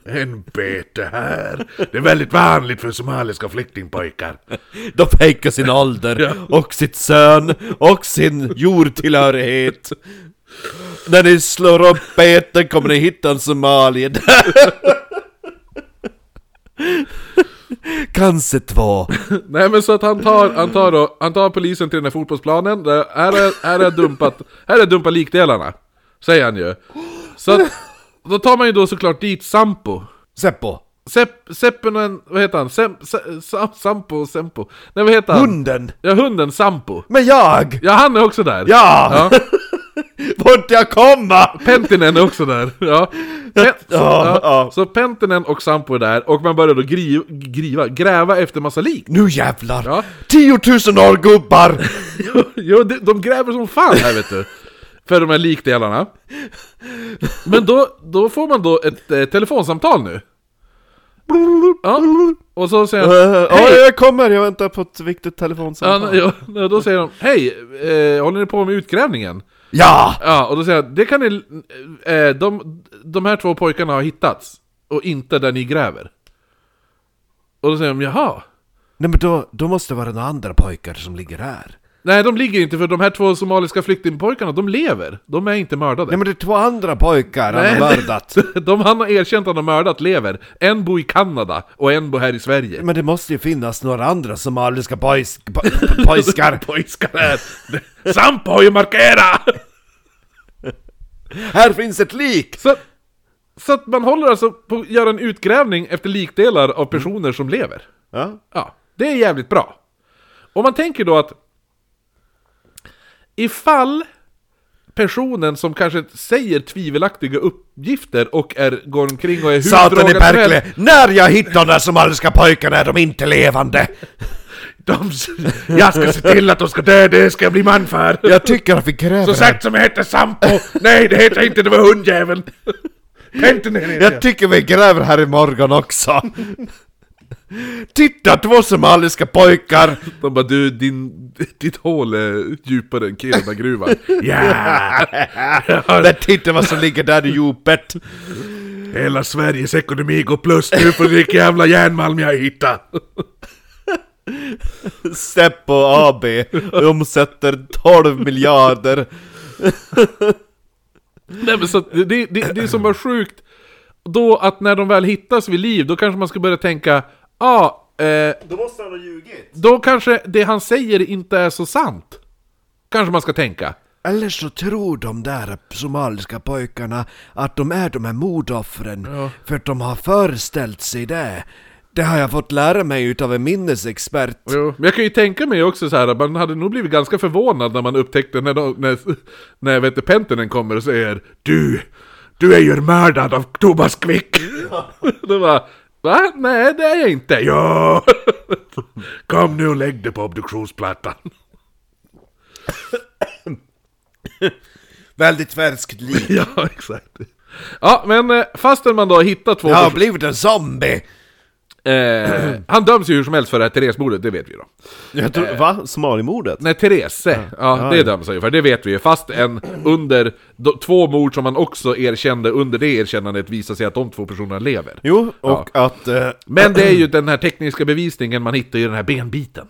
Speaker 2: En bete här. Det är väldigt vanligt för somaliska flyktingpojkar.
Speaker 1: De fejkar sin ålder och sitt sön och sin jordtillhörighet. När ni slår upp beten kommer ni hitta en [LAUGHS] somalier där. Cancer 2.
Speaker 2: Nej men så att han tar, han tar, då, han tar polisen till den här fotbollsplanen, där, här är här är dumpat, här är dumpat likdelarna. Säger han ju. Så att, då tar man ju då såklart dit Sampo.
Speaker 1: Seppo.
Speaker 2: Sepp, Seppunen, vad heter han? Sem, se, sam, sampo, Sempo. Nej vad heter han?
Speaker 1: Hunden.
Speaker 2: Ja hunden Sampo.
Speaker 1: Men jag!
Speaker 2: Ja han är också där.
Speaker 1: Ja!
Speaker 2: Ja.
Speaker 1: Vart jag komma!
Speaker 2: Pentinen är också där. Ja. Pen- så,
Speaker 1: Ja, ja.
Speaker 2: så Pentinen och Sampo är där och man börjar då griva, griva gräva efter massa lik.
Speaker 1: Nu jävlar!
Speaker 2: Ja.
Speaker 1: 10 000 år gubbar!
Speaker 2: [LAUGHS] Jo, de, de gräver som fan här vet du. För de här likdelarna. Men då, då får man då ett eh, telefonsamtal nu. Ja, och så säger han...
Speaker 1: [LAUGHS] Eh, [LAUGHS] Ja, jag kommer, jag väntar på ett viktigt telefonsamtal.
Speaker 2: Ja, ja, då säger de Hej, eh, håller ni på med utgrävningen?
Speaker 1: Ja!
Speaker 2: Ja, och då säger jag Det kan ni... Eh, de, de här två pojkarna har hittats och inte där ni gräver. Och då säger de Jaha.
Speaker 1: Nej men då, då måste det vara några andra pojkar som ligger här.
Speaker 2: Nej, de ligger inte för de här två somaliska flyktingpojkarna, de lever. De är inte mördade.
Speaker 1: Nej men det är två andra pojkar han
Speaker 2: Nej,
Speaker 1: har mördat.
Speaker 2: De han har erkänt att han har mördat lever. En bor i Kanada och en bor här i Sverige.
Speaker 1: Men det måste ju finnas några andra somaliska pojs, po,
Speaker 2: [LAUGHS]
Speaker 1: pojskar.
Speaker 2: Pojskar här! Sampo har ju markerat!
Speaker 1: här finns ett lik!
Speaker 2: Så, så att man håller alltså på att göra en utgrävning efter likdelar av personer som lever.
Speaker 1: Ja.
Speaker 2: Ja, det är jävligt bra. Om man tänker då att ifall personen som kanske säger tvivelaktiga uppgifter och är, går omkring och är hur
Speaker 1: Satan i
Speaker 2: drogad som helst-
Speaker 1: Berkeley, när jag hittar de där somaliska pojkarna är de inte levande!
Speaker 2: De, jag ska se till att de ska dö, det ska jag bli man för!
Speaker 1: Jag tycker att vi kräver
Speaker 2: Så sagt som jag hette Sampo! Nej, det heter jag inte, det var hundjäveln! Tänk ner heter
Speaker 1: Jag
Speaker 2: jag!
Speaker 1: tycker vi gräver här imorgon också! Titta, två somaliska pojkar!
Speaker 2: De bara, du, din, ditt hål är djupare än [LAUGHS] Kiruna-gruvan.
Speaker 1: Men titta vad som ligger där i djupet!
Speaker 2: Hela Sveriges ekonomi går plus nu för vilken jävla järnmalm jag hittat!
Speaker 1: Seppo AB omsätter 12 miljarder.
Speaker 2: Nej men så att det, det, det är som var sjukt, då att när de väl hittas vid liv, då kanske man ska börja tänka, ja, ah, eh,
Speaker 1: Då måste han ha ljugit.
Speaker 2: då kanske det han säger inte är så sant. Kanske man ska tänka.
Speaker 1: Eller så tror de där somaliska pojkarna att de är de här mordoffren för att de har föreställt sig det. Det har jag fått lära mig utav en minnesexpert.
Speaker 2: Jo. Men jag kan ju tänka mig också så här, man hade nog blivit ganska förvånad när man upptäckte när, de, när, när vet du, Pentinen kommer och säger Du, du är ju mördad av [LAUGHS] Thomas Quick! Då bara, va? Nej det är jag inte! Ja! [LAUGHS] Kom nu och lägg dig på obduktionsplattan.
Speaker 1: Väldigt färskt liv.
Speaker 2: [LAUGHS] ja, exakt. Ja, men eh, fastän man då har hittat två
Speaker 1: Jag har
Speaker 2: personer...
Speaker 1: blivit en zombie!
Speaker 2: [CLEARS THROAT] Eh, han döms ju hur som helst för det här Therese-mordet, det vet vi då.
Speaker 1: Jag tror, va? Somalimordet?
Speaker 2: Nej, Therese. Ja, det döms han ju för, det vet vi ju. Fast en under de, två mord som man också erkände, under det erkännandet visar sig att de två personerna lever.
Speaker 1: Jo, och att... Eh,
Speaker 2: Men det är ju den här tekniska bevisningen man hittar i den här benbiten.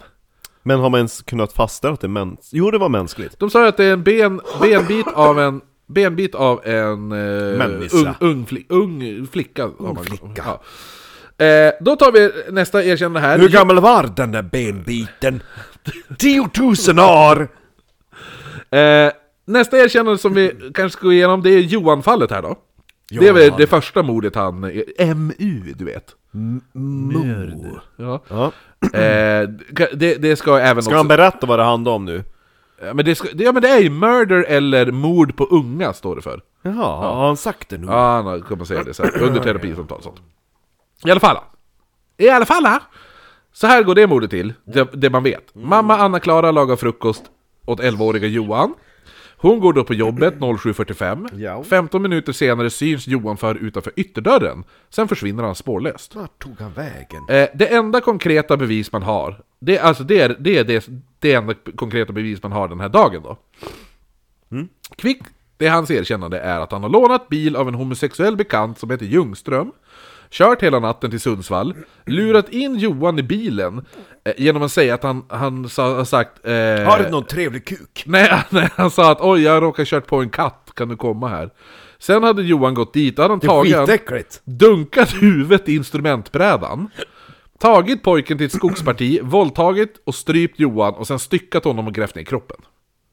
Speaker 1: men har man ens kunnat fastställa att det är mäns... Jo, det var mänskligt.
Speaker 2: De sa ju att det är en ben, benbit av en benbit av en eh,
Speaker 1: Människa.
Speaker 2: ung, ung, fli, ung flicka. har man- Ja. Eh, då tar vi nästa erkännande här.
Speaker 1: Hur gammal var den där benbiten? 10 000 år!
Speaker 2: Eh, nästa erkännande som vi kanske ska gå igenom, det är Johan-fallet här då. Det är
Speaker 1: Johan.
Speaker 2: väl det första mordet han... MU, du vet. Mörd. Ja.
Speaker 1: Ja.
Speaker 2: Eh, det, det ska även
Speaker 1: Ska
Speaker 2: också...
Speaker 1: han berätta vad det handlar om nu?
Speaker 2: Ja, Men det, ska, ja men det är ju murder eller mord på unga står det för.
Speaker 1: Jaha, har han sagt det nu?
Speaker 2: Ja, han har- kommer säga det så här, under terapisamtal och sånt. I alla fall. I alla fall. Så här går det mordet till, det, det man vet. Mamma Anna-Klara lagar frukost åt 11-åriga Johan. Hon går då på jobbet 07.45.
Speaker 1: Ja.
Speaker 2: 15 minuter senare syns Johan för utanför ytterdörren. Sen försvinner han spårlöst.
Speaker 1: Vart tog han vägen?
Speaker 2: Eh, det enda konkreta bevis man har, det, alltså det är det, är det, det enda konkreta bevis man har den här dagen då.
Speaker 1: Mm.
Speaker 2: Kvick, det hans erkännande är att han har lånat bil av en homosexuell bekant som heter Ljungström, kört hela natten till Sundsvall, lurat in Johan i bilen eh, genom att säga att han, han sa, har sagt... Eh,
Speaker 1: Har du någon trevlig kuk?
Speaker 2: nej, [LAUGHS] nej, han sa att oj, jag råkar kört på en katt, kan du komma här? Sen hade Johan gått dit, då hade han
Speaker 1: Det är
Speaker 2: tagit... han-
Speaker 1: skitäckligt!
Speaker 2: dunkat huvudet i instrumentbrädan, tagit pojken till ett skogsparti, våldtagit och strypt Johan och sen styckat honom och grävt ner kroppen.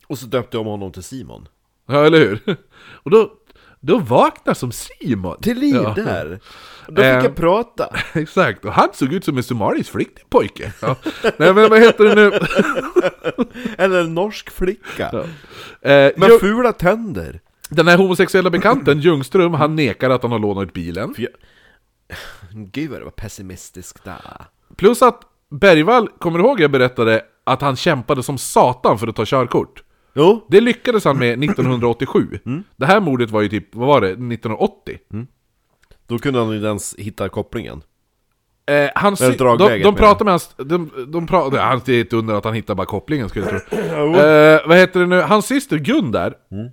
Speaker 1: Och så döpte jag om honom till Simon.
Speaker 2: Ja, eller hur? Och då, då vaknar som Simon.
Speaker 1: Till liv
Speaker 2: Ja,
Speaker 1: där! Då
Speaker 2: Eh.
Speaker 1: fick jag prata.
Speaker 2: [LAUGHS] Exakt, och han såg ut som en summarisk flyktig pojke. Ja. Nej men vad heter det nu?
Speaker 1: Eller en norsk flicka.
Speaker 2: Eh,
Speaker 1: Med
Speaker 2: Ljung-
Speaker 1: fula tänder.
Speaker 2: den här homosexuella bekanten, Ljungström, han nekar att han har lånat ut bilen.
Speaker 1: Gud vad det var pessimistiskt där.
Speaker 2: Plus att Bergvall, kommer du ihåg jag berättade att han kämpade som satan för att ta körkort?
Speaker 1: Jo,
Speaker 2: Det lyckades han
Speaker 1: Mm.
Speaker 2: med 1987. Det här mordet var ju typ, vad var det, 1980?
Speaker 1: Mm. då kunde han ju inte ens hitta kopplingen.
Speaker 2: Eh, han sy-
Speaker 1: Eller
Speaker 2: de,
Speaker 1: dragläget,
Speaker 2: de
Speaker 1: menar
Speaker 2: pratade med hans... De, de pratade, han, det är ett under att han hittar bara kopplingen skulle
Speaker 1: [LAUGHS]
Speaker 2: jag tro. eh, vad heter det nu, hans syster Gun där.
Speaker 1: Mm.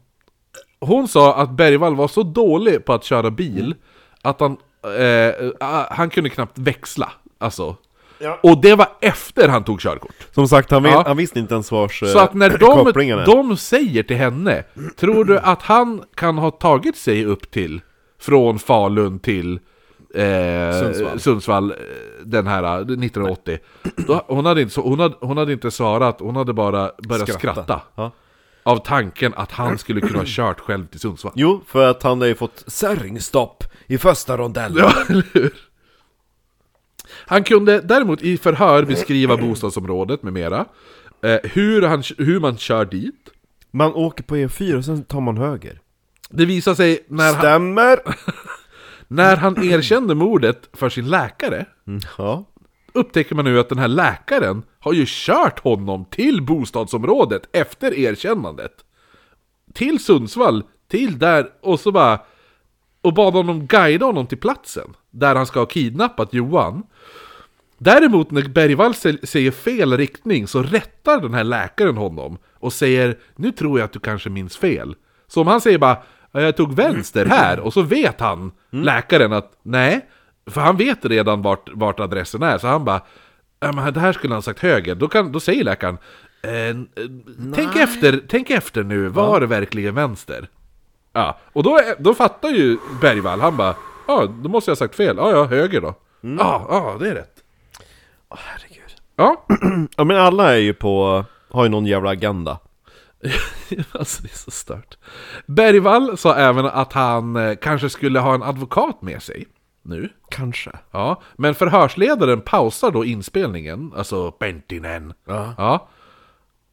Speaker 2: Hon sa att Bergvall var så dålig på att köra bil
Speaker 1: Mm.
Speaker 2: att han, eh, eh, han kunde knappt växla. Alltså.
Speaker 1: Ja.
Speaker 2: Och det var efter han tog körkort.
Speaker 1: Som sagt, han, vet,
Speaker 2: Ja.
Speaker 1: han visste inte ens vars
Speaker 2: Så att när
Speaker 1: Eh, kopplingarna
Speaker 2: de, de säger till henne, tror du att han kan ha tagit sig upp till, från Falun till eh, Sundsvall.
Speaker 1: Sundsvall.
Speaker 2: eh, den här eh, 1980? Då, hon, hade inte, så- hon, hade, hon hade inte svarat, hon hade bara börjat skratta.
Speaker 1: Ja.
Speaker 2: Av tanken att han skulle kunna ha kört själv
Speaker 1: [CLEARS THROAT]
Speaker 2: till Sundsvall.
Speaker 1: Jo, för att han har ju fått särringstopp i första rondellen.
Speaker 2: Ja, eller hur? Han kunde däremot i förhör beskriva bostadsområdet med mera. Eh, hur, han, hur man kör dit.
Speaker 1: Man åker på E4 och sen tar man höger.
Speaker 2: Det visar sig när han,
Speaker 1: Stämmer!
Speaker 2: När han erkände mordet för sin läkare
Speaker 1: Mm, Ja.
Speaker 2: upptäcker man nu att den här läkaren har ju kört honom till bostadsområdet efter erkännandet. Till Sundsvall, till där och så bara... Och bad honom guida honom till platsen där han ska ha kidnappat Johan. Däremot när Bergvall sä- säger fel riktning så rättar den här läkaren honom och säger Nu tror jag att du kanske minns fel. Så om han säger bara "Ja, Jag tog vänster här och så vet han, läkaren, att nej. För han vet redan vart, vart adressen är så han bara "Ja, men Det här skulle han ha sagt höger. Då, kan, då säger läkaren "Eh, eh, tänk, efter, tänk efter nu, var det verkligen vänster? Ja, och då, är- då fattar ju Bergvall, han bara Ja, då måste jag ha sagt fel. Ja, ja, höger då. Ja, ja, det är rätt.
Speaker 1: herregud.
Speaker 2: Ja.
Speaker 1: Ja men alla är ju på, har ju någon jävla agenda.
Speaker 2: [LAUGHS] alltså det är så stört. Bergvall sa även att han eh, kanske skulle ha en advokat med sig. Nu.
Speaker 1: Kanske.
Speaker 2: Ja, men förhörsledaren pausar då inspelningen, alltså Pentinen.
Speaker 1: Ja.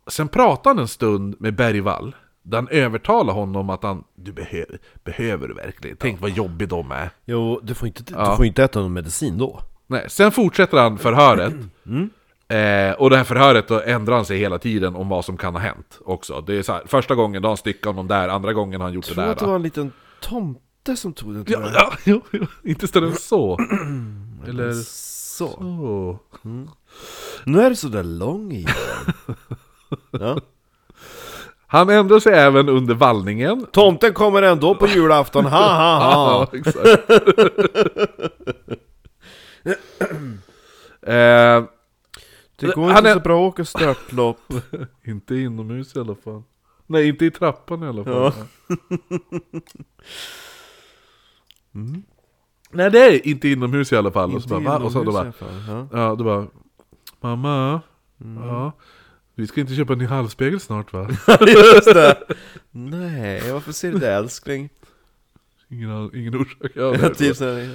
Speaker 2: Sen pratar han en stund med Bergvall. Där han övertalar honom att han, du behöver, behöver du verkligen? Tänk vad jobbig de är.
Speaker 1: Jo, du får inte, du får inte äta någon medicin då. [CLEARS THROAT] Mm.
Speaker 2: Nej, sen fortsätter han förhöret. Eh, och det här förhöret då ändrar han sig hela tiden om vad som kan ha hänt också. Det är så här, första gången då har han styckat honom där, andra gången har han gjort
Speaker 1: Jag
Speaker 2: det
Speaker 1: tror
Speaker 2: där.
Speaker 1: att det var en liten tomte som tog den till
Speaker 2: Ja,
Speaker 1: mig.
Speaker 2: ja, jo, jo, inte större
Speaker 1: [CLEARS THROAT]
Speaker 2: än så. Eller
Speaker 1: Så.
Speaker 2: så.
Speaker 1: Nu är du sådär lång
Speaker 2: [LAUGHS]
Speaker 1: igen. ja.
Speaker 2: Han ändrar sig även under vallningen.
Speaker 1: Tomten kommer ändå på julafton, ha ha ha!
Speaker 2: [LAUGHS] Ja, exakt. [CLEARS THROAT] eh,
Speaker 1: Det går
Speaker 2: Han
Speaker 1: inte
Speaker 2: är-
Speaker 1: så bra att åka störtlopp.
Speaker 2: inte inomhus i alla fall. Nej, inte i trappan i alla fall. Nej, det är inte inomhus i alla fall. och så bara, va? Och så då bara, Ja, då bara Mamma,
Speaker 1: Mm.
Speaker 2: ja, vi ska inte köpa en ny halvspegel
Speaker 1: [LAUGHS]
Speaker 2: snart va?
Speaker 1: Just det! [LAUGHS] Nej, varför ser du det älskling?
Speaker 2: Ingen, ingen orsak. Ja,
Speaker 1: Ja,
Speaker 2: [LAUGHS] nej,
Speaker 1: typ sådär.
Speaker 2: ja,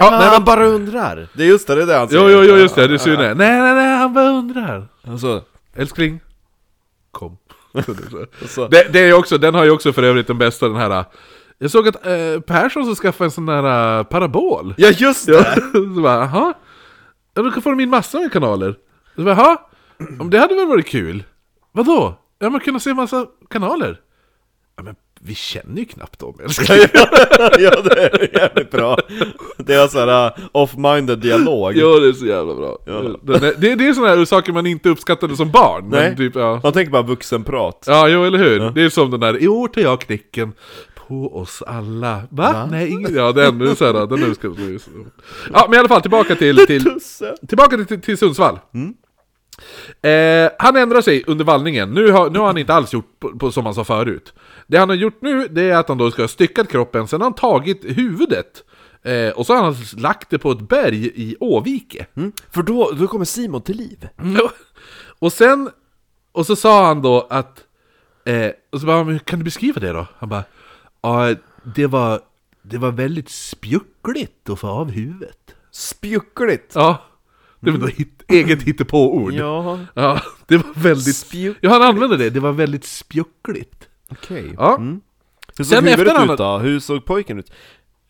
Speaker 1: Ah,
Speaker 2: nej, men,
Speaker 1: han bara undrar! Det är just det, det är det han
Speaker 2: jo, jo, jo, just det, du ser ju det. Nej, nej, nej, han bara undrar.
Speaker 1: Alltså,
Speaker 2: Älskling,
Speaker 1: [LAUGHS]
Speaker 2: kom.
Speaker 1: alltså.
Speaker 2: det, det är ju också, den har ju också för övrigt den bästa den här. Jag såg att eh, Persson ska skaffa en sån där eh, parabol.
Speaker 1: Ja just det!
Speaker 2: [LAUGHS] Så bara, jaha? Ja, då får de in massor med kanaler. Så bara, jaha? Ja, men Det hade väl varit kul? Vadå? Ja, man kunde se massa kanaler. Ja, men vi känner ju knappt dem, älskling.
Speaker 1: [LAUGHS]
Speaker 2: [LAUGHS]
Speaker 1: ja det är jävligt bra! Det är såhär uh, off-minded dialog.
Speaker 2: Ja, det är så jävla bra. Det, det, det är sådana här saker man inte uppskattade som barn.
Speaker 1: Nej.
Speaker 2: Men typ, ja.
Speaker 1: Man tänker bara vuxenprat.
Speaker 2: Ja, jo, eller hur? Det är som den där, i år tar jag knäcken på oss alla. Va? Nej, ingen... Ja, den är så här, den är ska... Ja, men i alla fall, tillbaka till... till
Speaker 1: Tusse!
Speaker 2: tillbaka till, till Sundsvall. Eh, han ändrar sig under vallningen. Nu har, nu har han inte alls gjort på, på, som han sa förut. Det han har gjort nu, det är att han då ska ha styckat kroppen, sen har han tagit huvudet. Eh, och så har han lagt det på ett berg i Åvike.
Speaker 1: För då, då kommer Simon till liv.
Speaker 2: Mm. [LAUGHS] Och sen, och så sa han då att, eh, och så bara, "Men kan du beskriva det då? Han bara, ja det var, det var väldigt spjuckligt att få av huvudet.
Speaker 1: Spjuckligt!
Speaker 2: Ja, det var då hit, eget hittepåord.
Speaker 1: Ja,
Speaker 2: Ja, det var väldigt...
Speaker 1: Spjuckligt.
Speaker 2: Ja, han använde det. Det var väldigt spjuckligt.
Speaker 1: okej.
Speaker 2: Ja.
Speaker 1: Hur såg
Speaker 2: Sen
Speaker 1: huvudet
Speaker 2: efter han-
Speaker 1: ut då? Hur såg pojken ut?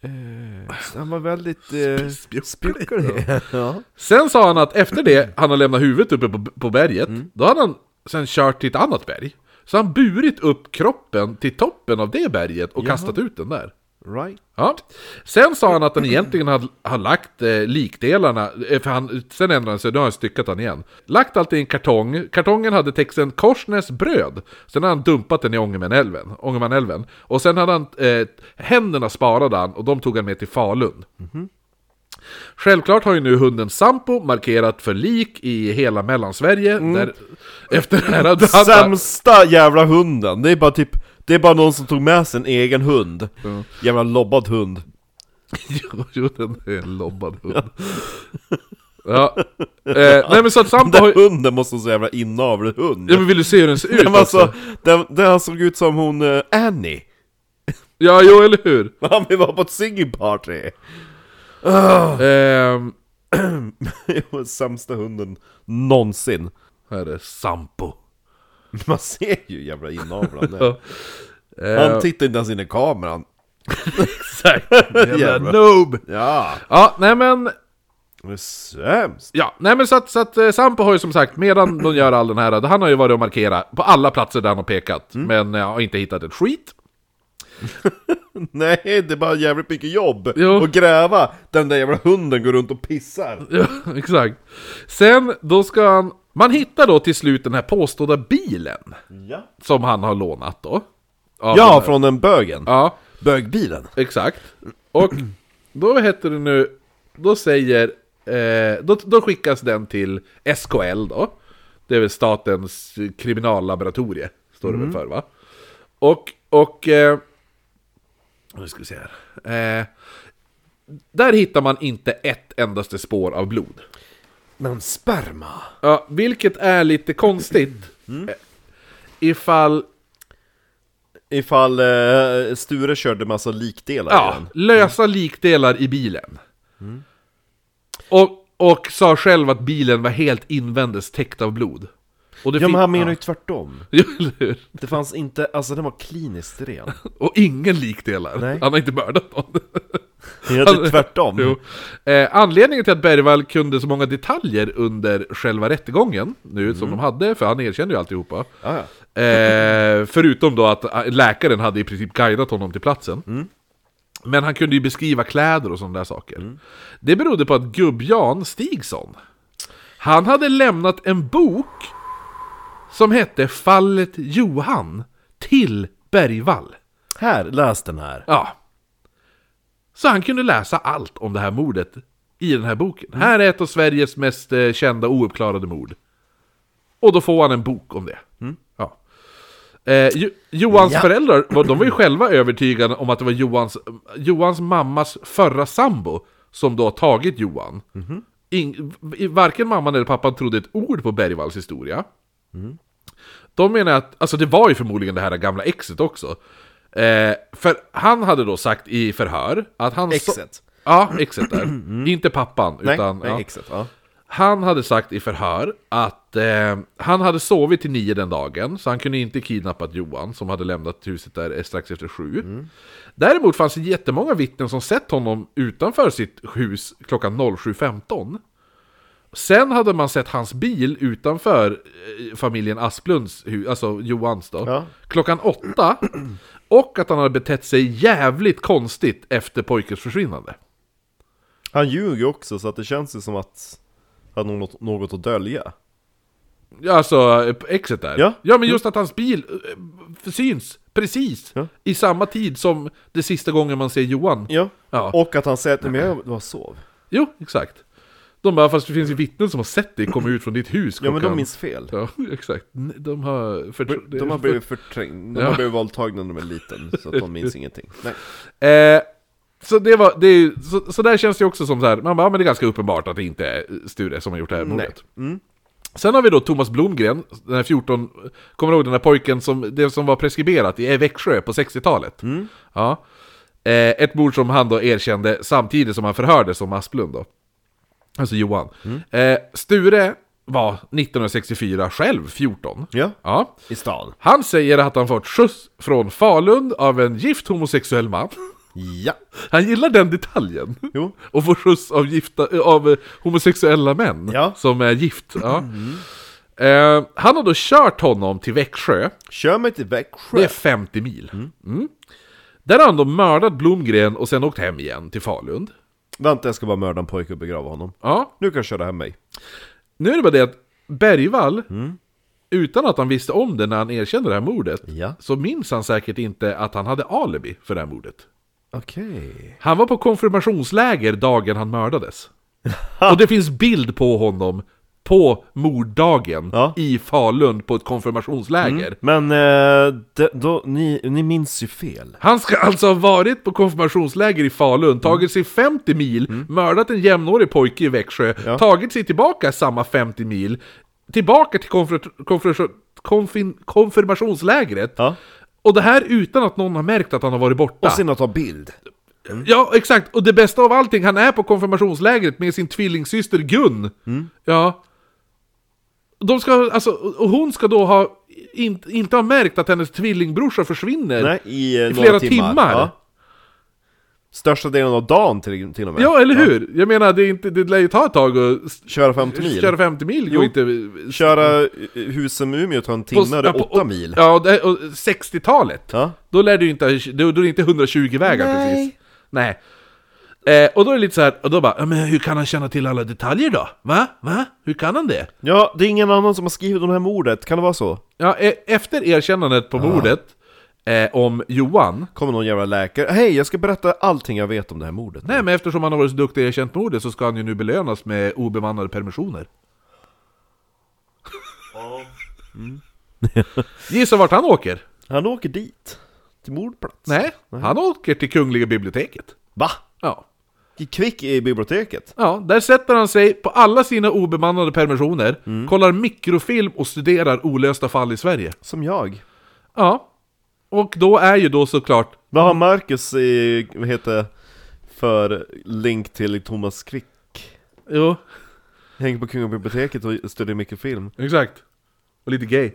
Speaker 1: Eh, han var väldigt... Eh,
Speaker 2: Spjucklig.
Speaker 1: spjucklig. [LAUGHS] ja.
Speaker 2: Sen sa han att efter det, han har lämnat huvudet uppe på, på berget, då hade han sen kört till ett annat berg. Så han burit upp kroppen till toppen av det berget och kastat ut den där.
Speaker 1: Right.
Speaker 2: Ja. Sen sa han att han egentligen hade, hade lagt eh, likdelarna, eh, för han, sen ändrade han sig, nu har han styckat han igen. Lagt allt i en kartong, kartongen hade texten Korsnäs bröd, sen hade han dumpat den i Ångermanälven. Ångermanälven. Och sen hade han, eh, händerna sparade han och de tog han med till Falun. Självklart har ju nu hunden Sampo markerat för lik i hela Mellansverige, där, efter det här [LAUGHS] hade han...
Speaker 1: Sämsta jävla hunden! Det är bara typ... Det är bara någon som tog med sig en egen hund. Jävla lobbad hund.
Speaker 2: Jo, [LAUGHS] jo, den är en lobbad hund. Ja. Eh, nej men så att Sampo har
Speaker 1: Den
Speaker 2: ju...
Speaker 1: hunden måste vara så jävla inavlad hund.
Speaker 2: Ja men vill du se hur den ser
Speaker 1: [LAUGHS]
Speaker 2: ut alltså?
Speaker 1: Den, var så, den, den såg ut som hon eh, Annie. [LAUGHS]
Speaker 2: Ja, jo eller hur?
Speaker 1: Han vill vara på ett singing party.
Speaker 2: Ehm,
Speaker 1: [LAUGHS] Det var sämsta hunden någonsin. [LAUGHS]
Speaker 2: här är Sampo.
Speaker 1: Man ser ju hur jävla inavlad han är.
Speaker 2: Ja. Eh.
Speaker 1: Han tittar inte ens in i kameran.
Speaker 2: Exakt!
Speaker 1: Jävlar.
Speaker 2: Jävla noob!
Speaker 1: Ja,
Speaker 2: Ja, nej men...
Speaker 1: det är sämst. [LAUGHS]
Speaker 2: Ja, nej men så att, så att eh, Sampo har ju som sagt, medan de gör all den här, han har ju varit och markerat på alla platser där han har pekat, men eh, har inte hittat ett skit.
Speaker 1: Nej, det är bara jävligt mycket jobb
Speaker 2: Jo.
Speaker 1: att gräva. Den där jävla hunden går runt och pissar.
Speaker 2: Ja, [LAUGHS] exakt. Sen, då ska han... Man hittar då till slut den här påstådda bilen,
Speaker 1: Ja,
Speaker 2: som han har lånat då. Av den
Speaker 1: ja
Speaker 2: här-
Speaker 1: från den bögen.
Speaker 2: Ja,
Speaker 1: Bögbilen.
Speaker 2: Exakt. Och då heter det nu, då säger, eh, då, då skickas den till SKL då. Det är väl Statens kriminallaboratorie, står det väl för va? Och, och, eh, nu ska vi se här. Eh, där hittar man inte ett endaste spår av blod.
Speaker 1: Men sperma.
Speaker 2: Ja, vilket är lite konstigt. Eh, Ifall
Speaker 1: Ifall eh, Sture körde massa likdelar i
Speaker 2: Ja,
Speaker 1: den.
Speaker 2: lösa likdelar i bilen.
Speaker 1: Mm.
Speaker 2: Och, och sa själv att bilen var helt invändes täckt av blod. Och det
Speaker 1: Ja men
Speaker 2: fin-
Speaker 1: han menar ju tvärtom.
Speaker 2: Ja, [LAUGHS] eller hur?
Speaker 1: Det fanns
Speaker 2: [LAUGHS]
Speaker 1: inte, alltså den var kliniskt ren.
Speaker 2: Och ingen likdelar.
Speaker 1: Nej.
Speaker 2: Han har inte mördat någon. [LAUGHS]
Speaker 1: Helt tvärtom.
Speaker 2: Alltså, Jo.
Speaker 1: Mm.
Speaker 2: Eh, anledningen till att Bergvall kunde så många detaljer under själva rättegången, nu
Speaker 1: Mm.
Speaker 2: som de hade, för han erkände ju alltihopa.
Speaker 1: Ah, ja.
Speaker 2: Eh, förutom då att eh, läkaren hade i princip guidat honom till platsen. Men han kunde ju beskriva kläder och sådana där saker. Det berodde på att gubb-Jan Stigson, han hade lämnat en bok som hette Fallet Johan till Bergvall.
Speaker 1: Här, läs den här.
Speaker 2: Ja. Så han kunde läsa allt om det här mordet i den här boken. Här är ett av Sveriges mest eh, kända ouppklarade mord. Och då får han en bok om det. Ja. Eh, jo Johans
Speaker 1: Mm. Ja.
Speaker 2: föräldrar var, de var ju själva övertygade om att det var Johans, Johans mammas förra sambo som då har tagit Johan.
Speaker 1: Mhm.
Speaker 2: In, i- varken mamman eller pappan trodde ett ord på Bergvalls historia.
Speaker 1: Mm.
Speaker 2: De menar att, alltså det var ju förmodligen det här gamla exet också. Eh, för han hade då sagt i förhör att han... sa-
Speaker 1: Exet. Mm.
Speaker 2: Ja, exet där. Inte pappan,
Speaker 1: Nej,
Speaker 2: utan...
Speaker 1: nej
Speaker 2: ja.
Speaker 1: exakt. Ja.
Speaker 2: Han hade sagt i förhör att eh, han hade sovit till nio den dagen, så han kunde inte kidnappat Johan som hade lämnat huset där eh, strax efter sju. Däremot fanns det jättemånga vittnen som sett honom utanför sitt hus klockan 07.15. Sen hade man sett hans bil utanför eh, familjen Asplunds hus, alltså Johans då,
Speaker 1: Ja.
Speaker 2: klockan åtta. Och att han hade betett sig jävligt konstigt efter pojkens försvinnande.
Speaker 1: Han ljuger också, så att det känns ju som att han har något, något att dölja.
Speaker 2: Ja, alltså eh, exet där.
Speaker 1: Ja.
Speaker 2: men just att hans bil eh, syns precis
Speaker 1: Ja.
Speaker 2: i samma tid som det sista gången man ser Johan.
Speaker 1: Ja.
Speaker 2: Ja.
Speaker 1: Och att han säger att "Nej, men jag var sov.
Speaker 2: Jo, exakt. De bara, fast det finns ju vittnen som har sett dig komma ut från ditt hus
Speaker 1: Ja men de
Speaker 2: klockan."
Speaker 1: minns fel.
Speaker 2: Ja, [LAUGHS] exakt. Nej, De har... För...
Speaker 1: De har blivit förträngda, de
Speaker 2: Ja.
Speaker 1: har blivit våldtagna när de är liten, så att de
Speaker 2: [LAUGHS]
Speaker 1: minns ingenting. Nej.
Speaker 2: Eh, så det var, det är ju, så, så där känns det ju också som så här, man bara, ja, men det är ganska uppenbart att det inte är Sture som har gjort det här mordet. Sen har vi då Thomas Blomgren, den här 14, kommer du ihåg den här pojken som, det som var preskriberat i Växjö på 60-talet? Ja. Eh, ett mord som han då erkände samtidigt som han förhördes som Asplund då. Alltså Johan. Eh, Sture var 1964 själv 14.
Speaker 1: Ja.
Speaker 2: ja.
Speaker 1: I stan.
Speaker 2: Han säger att han fått skjuts från Falun av en gift homosexuell man.
Speaker 1: Ja.
Speaker 2: Han gillar den detaljen.
Speaker 1: Jo.
Speaker 2: Och får skjuts av, gifta, eh, av eh, homosexuella män
Speaker 1: Ja. Mhm.
Speaker 2: som är gift. Ja. Eh, han har då kört honom till Växjö,
Speaker 1: Kör mig till Växjö.
Speaker 2: det är 50 mil. Mm. Där har han då mördat Blomgren och sen åkt hem igen till Falun.
Speaker 1: Vänta jag ska bara mörda en pojke och begrava honom.
Speaker 2: Ja.
Speaker 1: Nu kan jag köra hem mig.
Speaker 2: Nu är det bara det att Bergvall,
Speaker 1: Mm.
Speaker 2: utan att han visste om det när han erkände det här mordet,
Speaker 1: Ja.
Speaker 2: så minns han säkert inte att han hade alibi för det här mordet.
Speaker 1: Okej.
Speaker 2: Han var på konfirmationsläger dagen han mördades. Och det finns bild på honom på morddagen
Speaker 1: Ja. Mm.
Speaker 2: i Falun på ett konfirmationsläger.
Speaker 1: Men eh, de, då, ni, ni minns ju fel.
Speaker 2: Han ska alltså ha varit på konfirmationsläger i
Speaker 1: Mm.
Speaker 2: Falun, tagit sig 50 mil, mördat en jämnårig pojke i Växjö, tagit sig tillbaka samma 50 mil, tillbaka till konfr- konfr- konfin- konfirmationslägret.
Speaker 1: Ja.
Speaker 2: Och det här utan att någon har märkt att han har varit borta.
Speaker 1: Och sen att ta bild.
Speaker 2: Ja, exakt. Och det bästa av allting, han är på konfirmationslägret med sin tvillingsyster Gun.
Speaker 1: Mm.
Speaker 2: Ja. De ska, alltså, och hon ska då ha, in, inte ha märkt att hennes tvillingbrorsa försvinner.
Speaker 1: Nej, i, eh,
Speaker 2: I
Speaker 1: några
Speaker 2: flera timmar.
Speaker 1: Ja. Största delen av dagen till, till och med.
Speaker 2: Ja, eller hur? Jag menar, det, är inte, det lär ju ta ett tag att s-
Speaker 1: Köra 50 mil.
Speaker 2: köra 50 mil.
Speaker 1: Jo.
Speaker 2: går inte...
Speaker 1: Köra eh, Husum Umeå tar en timme, det
Speaker 2: ja,
Speaker 1: är
Speaker 2: på-
Speaker 1: 8 mil.
Speaker 2: Ja, det- och 60-talet.
Speaker 1: Ja.
Speaker 2: Då lär du inte, då, då är det inte 120 vägar
Speaker 1: Nej.
Speaker 2: precis. Nej. Eh, och då är det lite så här, och då bara, "Ja, men hur kan han känna till alla detaljer då? Va? Va? Hur kan han det?
Speaker 1: Ja, det är ingen annan som har skrivit om det här mordet, kan det vara så?
Speaker 2: Ja, e- efter erkännandet på mordet eh, om Johan,
Speaker 1: Kommer någon jävla läkare, hej jag ska berätta allting jag vet om det här mordet
Speaker 2: nej men eftersom han har varit så duktig och erkänt mordet så ska han ju nu belönas med obemannade permissioner. Gissa vart han åker?
Speaker 1: Han åker dit, till mordplats
Speaker 2: Nej, han åker till Kungliga biblioteket.
Speaker 1: Va?
Speaker 2: Ja.
Speaker 1: Gick Kvick i biblioteket?
Speaker 2: Ja, där sätter han sig på alla sina obemannade permissioner, kollar mikrofilm och studerar olösta fall i Sverige.
Speaker 1: Som jag
Speaker 2: Ja. Och då är ju då såklart...
Speaker 1: Vad har Marcus i, vad heter det, för länk till Thomas Quick?
Speaker 2: Jo,
Speaker 1: Hänger på Kungabiblioteket och studerar mycket film
Speaker 2: exakt. Och lite gay.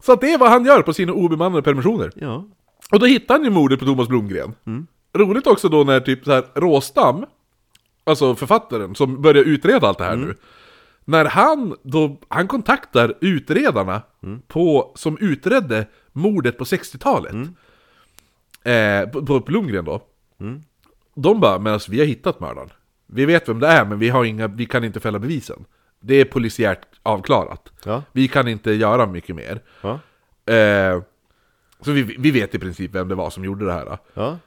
Speaker 2: Så att det är vad han gör på sina obemannade permissioner.
Speaker 1: Ja.
Speaker 2: Och då hittar han ju mordet på Thomas Blomgren. Roligt också då när typ så här Råstam, alltså författaren som börjar utreda allt det här nu. När han då, han kontaktar utredarna på, som utredde mordet på 60-talet. Eh, på, på Blomgren då. De bara, men alltså vi har hittat mördaren. Vi vet vem det är, men vi, har inga, vi kan inte fälla bevisen. Det är polisiärt avklarat.
Speaker 1: Ja.
Speaker 2: Vi kan inte göra mycket mer.
Speaker 1: Ja.
Speaker 2: Eh, så vi, vi vet i princip vem det var som gjorde det här.
Speaker 1: ja.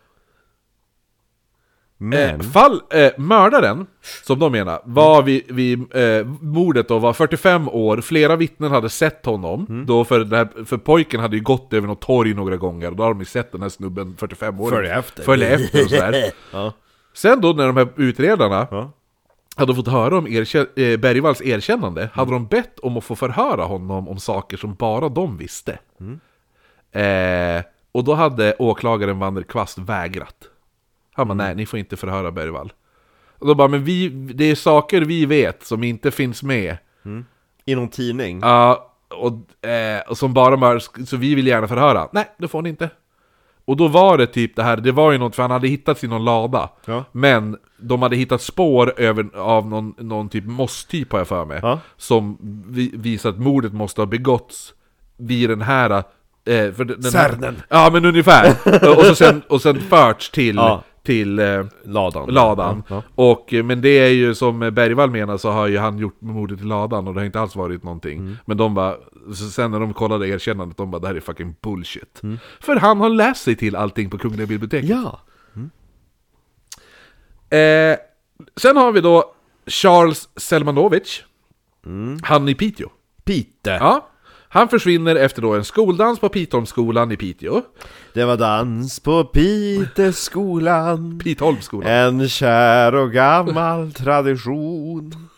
Speaker 2: Eh,
Speaker 1: Men...
Speaker 2: fall, eh, mördaren, som de menar, var vid, vid eh, mordet då var 45 år, flera vittnen hade sett honom.
Speaker 1: Mm.
Speaker 2: Då för, det här, för pojken hade ju gått över något torg några gånger, och då har de ju sett den här snubben 45 år.
Speaker 1: Följ efter.
Speaker 2: Följ efter
Speaker 1: [LAUGHS]
Speaker 2: och sådär.
Speaker 1: Ja.
Speaker 2: Sen då när de här utredarna
Speaker 1: Ja.
Speaker 2: hade fått höra om erkä- eh, Bergvalls erkännande hade de bett om att få förhöra honom om saker som bara de visste. Eh, och då hade åklagaren Vander Kvast vägrat. Han bara, nej ni får inte förhöra Bergvall. Och då bara, men vi, det är saker vi vet som inte finns med.
Speaker 1: I någon tidning?
Speaker 2: Ja, och, eh, och som bara mör, så vi vill gärna förhöra. Nej, det får ni inte. Och då var det typ det här, det var ju något, för han hade hittats i någon lada.
Speaker 1: Ja.
Speaker 2: Men de hade hittat spår över, av någon, någon typ mosstyp har jag för mig.
Speaker 1: Ja.
Speaker 2: Som vi, visar att mordet måste ha begåtts vid den här... Eh, för den den Här,
Speaker 1: Cernen.
Speaker 2: ja, men [LAUGHS] ungefär. och, så sen, och sen förts till...
Speaker 1: Ja.
Speaker 2: till eh,
Speaker 1: Ladan.
Speaker 2: Ladan.
Speaker 1: Ja.
Speaker 2: Och, eh, men det är ju som Bergvall menar så har ju han gjort mordet i ladan och det har inte alls varit någonting.
Speaker 1: Mm.
Speaker 2: Men de bara, så sen när de kollade erkännandet, de bara det här är fucking bullshit.
Speaker 1: Mm.
Speaker 2: För han har läst sig till allting på Kungliga biblioteket.
Speaker 1: ja.
Speaker 2: Eh, sen har vi då Charles Selmanovic.
Speaker 1: Mm.
Speaker 2: Han i Piteå.
Speaker 1: Pite.
Speaker 2: Ja. Han försvinner efter då en skoldans på Pitholmsskolan i Piteå.
Speaker 1: Det var dans på Piteskolan
Speaker 2: Pitholmsskolan.
Speaker 1: En kär och gammal tradition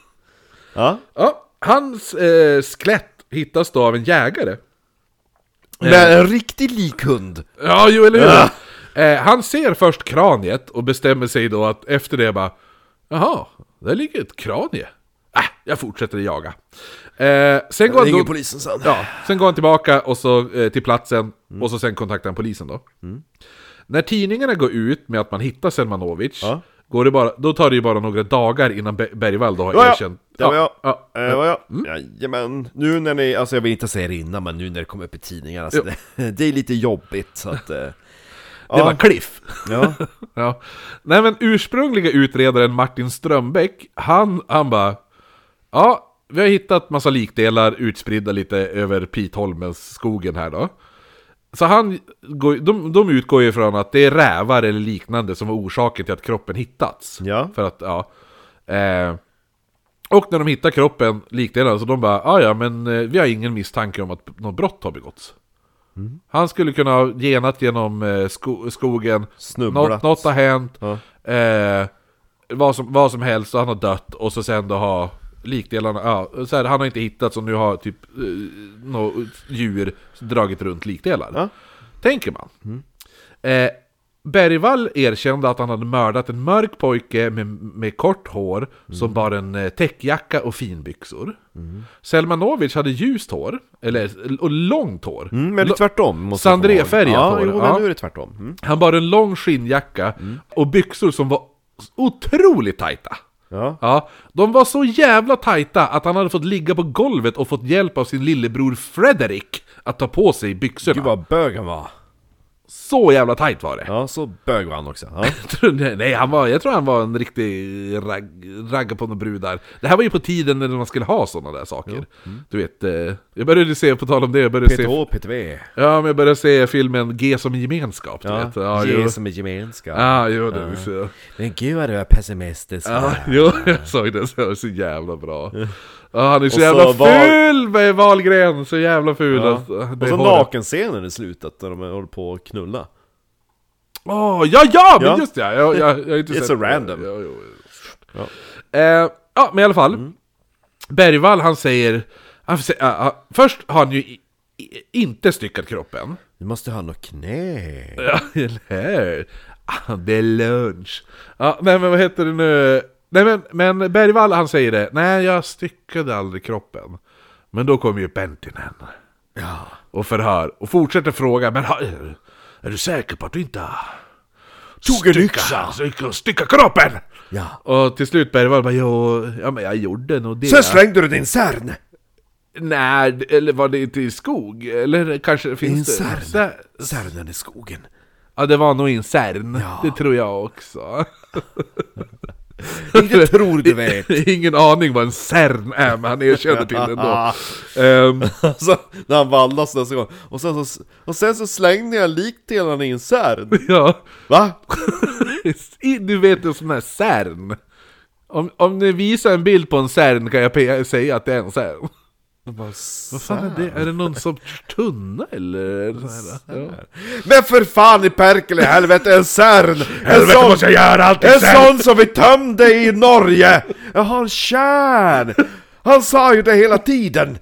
Speaker 1: Ja,
Speaker 2: Ja. Hans eh, skelett hittas då av en jägare.
Speaker 1: men en riktig likhund
Speaker 2: Ja, jo, eller hur?
Speaker 1: Ah.
Speaker 2: Eh, han ser först kraniet och bestämmer sig då att efter det bara Jaha, där ligger ett kranie. Äh, jag fortsätter jaga. Eh, sen, går han då,
Speaker 1: polisen sen
Speaker 2: ja, sen går han tillbaka och så, eh, till platsen
Speaker 1: Mm.
Speaker 2: och så sen kontaktar han polisen då. När tidningarna går ut med att man hittar Selmanovic,
Speaker 1: Ja.
Speaker 2: går det bara, då tar det ju bara några dagar innan Be- Bergvall då har
Speaker 1: Ja, ja.
Speaker 2: erkänt.
Speaker 1: Det var jag.
Speaker 2: ja. Mm.
Speaker 1: Eh, Det var jag. Jajamän. Nu när ni, alltså jag vill inte säga det innan, men nu när det kommer upp i tidningarna, alltså det, [LAUGHS] det är lite jobbigt så att... eh,
Speaker 2: Det var en cliff.
Speaker 1: ja.
Speaker 2: [LAUGHS] Ja. Nej men ursprungliga utredaren Martin Strömbäck, han, han bara Ja, vi har hittat massa likdelar utspridda lite över Pitholmens skogen här då. Så han, går- de, de utgår ju ifrån att det är rävar eller liknande som var orsaken till att kroppen hittats.
Speaker 1: Ja.
Speaker 2: För att, ja. Eh, och när de hittar kroppen, likdelarna, så de bara "Ah, ja men eh, vi har ingen misstanke om att något brott har begåtts. Han skulle kunna ha genat genom eh, sko- skogen,
Speaker 1: Snubblat.
Speaker 2: Nå- något har hänt,
Speaker 1: Ja.
Speaker 2: eh, vad, som, vad som helst, och han har dött och så sen då har likdelarna, ja, så här, han har inte hittats och nu har typ eh, något djur dragit runt likdelar.
Speaker 1: Ja. Mm.
Speaker 2: Tänker man. Eh, Bergvall erkände att han hade mördat en mörk pojke med, med kort hår
Speaker 1: Mm.
Speaker 2: som bar en eh, täckjacka och finbyxor. Selmanovic hade ljust hår, eller, och långt hår.
Speaker 1: Mm, men det är tvärtom måste jag komma ihåg.
Speaker 2: Sandré-färgat
Speaker 1: Ja,
Speaker 2: hår,
Speaker 1: jo, men
Speaker 2: ja.
Speaker 1: nu är det tvärtom mm.
Speaker 2: Han bar en lång skinnjacka och byxor som var otroligt tajta.
Speaker 1: Ja,
Speaker 2: Ja, de var så jävla tajta att han hade fått ligga på golvet och fått hjälp av sin lillebror Frederick att ta på sig byxorna.
Speaker 1: gud vad bög han var
Speaker 2: Så jävla tajt var det.
Speaker 1: Ja, så bög var han också ja.
Speaker 2: [LAUGHS] Tror ni- Nej, han var, jag tror han var en riktig ragg, ragga på några brudar. Det här var ju på tiden när man skulle ha sådana där saker.
Speaker 1: Mm.
Speaker 2: Du vet, eh, jag började se, på tal om det, jag började se,
Speaker 1: PTH, PTV
Speaker 2: ja, men jag började se filmen G som gemenskap. Du vet.
Speaker 1: Ja,
Speaker 2: jo.
Speaker 1: ge som är gemenskap
Speaker 2: Ja, jo, det är så.
Speaker 1: Men gud vad du är pessimistisk
Speaker 2: Ja, jo, jag såg den, så det var så jävla bra. Ja, han är så
Speaker 1: Och så
Speaker 2: jävla
Speaker 1: Wahl-
Speaker 2: ful med Wahlgren, så jävla ful.
Speaker 1: Ja.
Speaker 2: Alltså, det
Speaker 1: Och så
Speaker 2: håret.
Speaker 1: nakenscenen i slutet när de håller på att knulla
Speaker 2: Åh, ja, ja, men
Speaker 1: Ja.
Speaker 2: just ja! Jag, jag, jag har inte
Speaker 1: It's
Speaker 2: sett
Speaker 1: a random.
Speaker 2: Ja, jo, jo. Eh, ja, men i alla fall.
Speaker 1: Mm.
Speaker 2: Bergvall, han säger... Han, får säga- ah, ah, först har han ju i, i, inte styckat kroppen.
Speaker 1: Du måste ha något knä [LAUGHS]
Speaker 2: Ja, [LAUGHS] eller hur? Ah, Det är lunch. Ja, nej, men vad heter det nu? Nej, men, men Bergvall, han säger det. Nej, jag styckade aldrig kroppen. Men då kom ju Pentinen.
Speaker 1: Ja
Speaker 2: och förhör och fortsätter fråga men har, är du säker på att du inte
Speaker 1: Tog en
Speaker 2: stycka-
Speaker 1: yxa?
Speaker 2: stycka, stycka kroppen?
Speaker 1: Ja.
Speaker 2: Och till slut Bergvall bara jo, ja men jag gjorde nog det.
Speaker 1: Sen slängde du din cern!
Speaker 2: Nej, eller var det inte i skog? Eller kanske finns det?
Speaker 1: Incern.
Speaker 2: Sä-
Speaker 1: Cernen i skogen.
Speaker 2: Ja det var nog i en cern,
Speaker 1: Ja.
Speaker 2: det tror jag [LAUGHS] också.
Speaker 1: Inte tror
Speaker 2: [LAUGHS]
Speaker 1: du vet.
Speaker 2: Ingen aning vad en cern är, men han erkänner till det ändå. Ehm, [LAUGHS]
Speaker 1: Alltså, när han vallas nästa gång. Och sen så, och sen så slängde jag likdelarna i en cern.
Speaker 2: ja.
Speaker 1: Va?
Speaker 2: I- Du vet en sån här cern. Om, om ni visar en bild på en cern kan jag pe- säga att det är en cern. Vad fan är det? Är det någon sorts tunna eller? Sån här? Ja.
Speaker 1: Men för fan i Perkele, helvete, en cern! En
Speaker 2: Helvete
Speaker 1: sån,
Speaker 2: måste jag göra allt i
Speaker 1: en
Speaker 2: cern!
Speaker 1: sån som vi tömde i Norge! Jaha, en kärn! Han sa ju det hela tiden!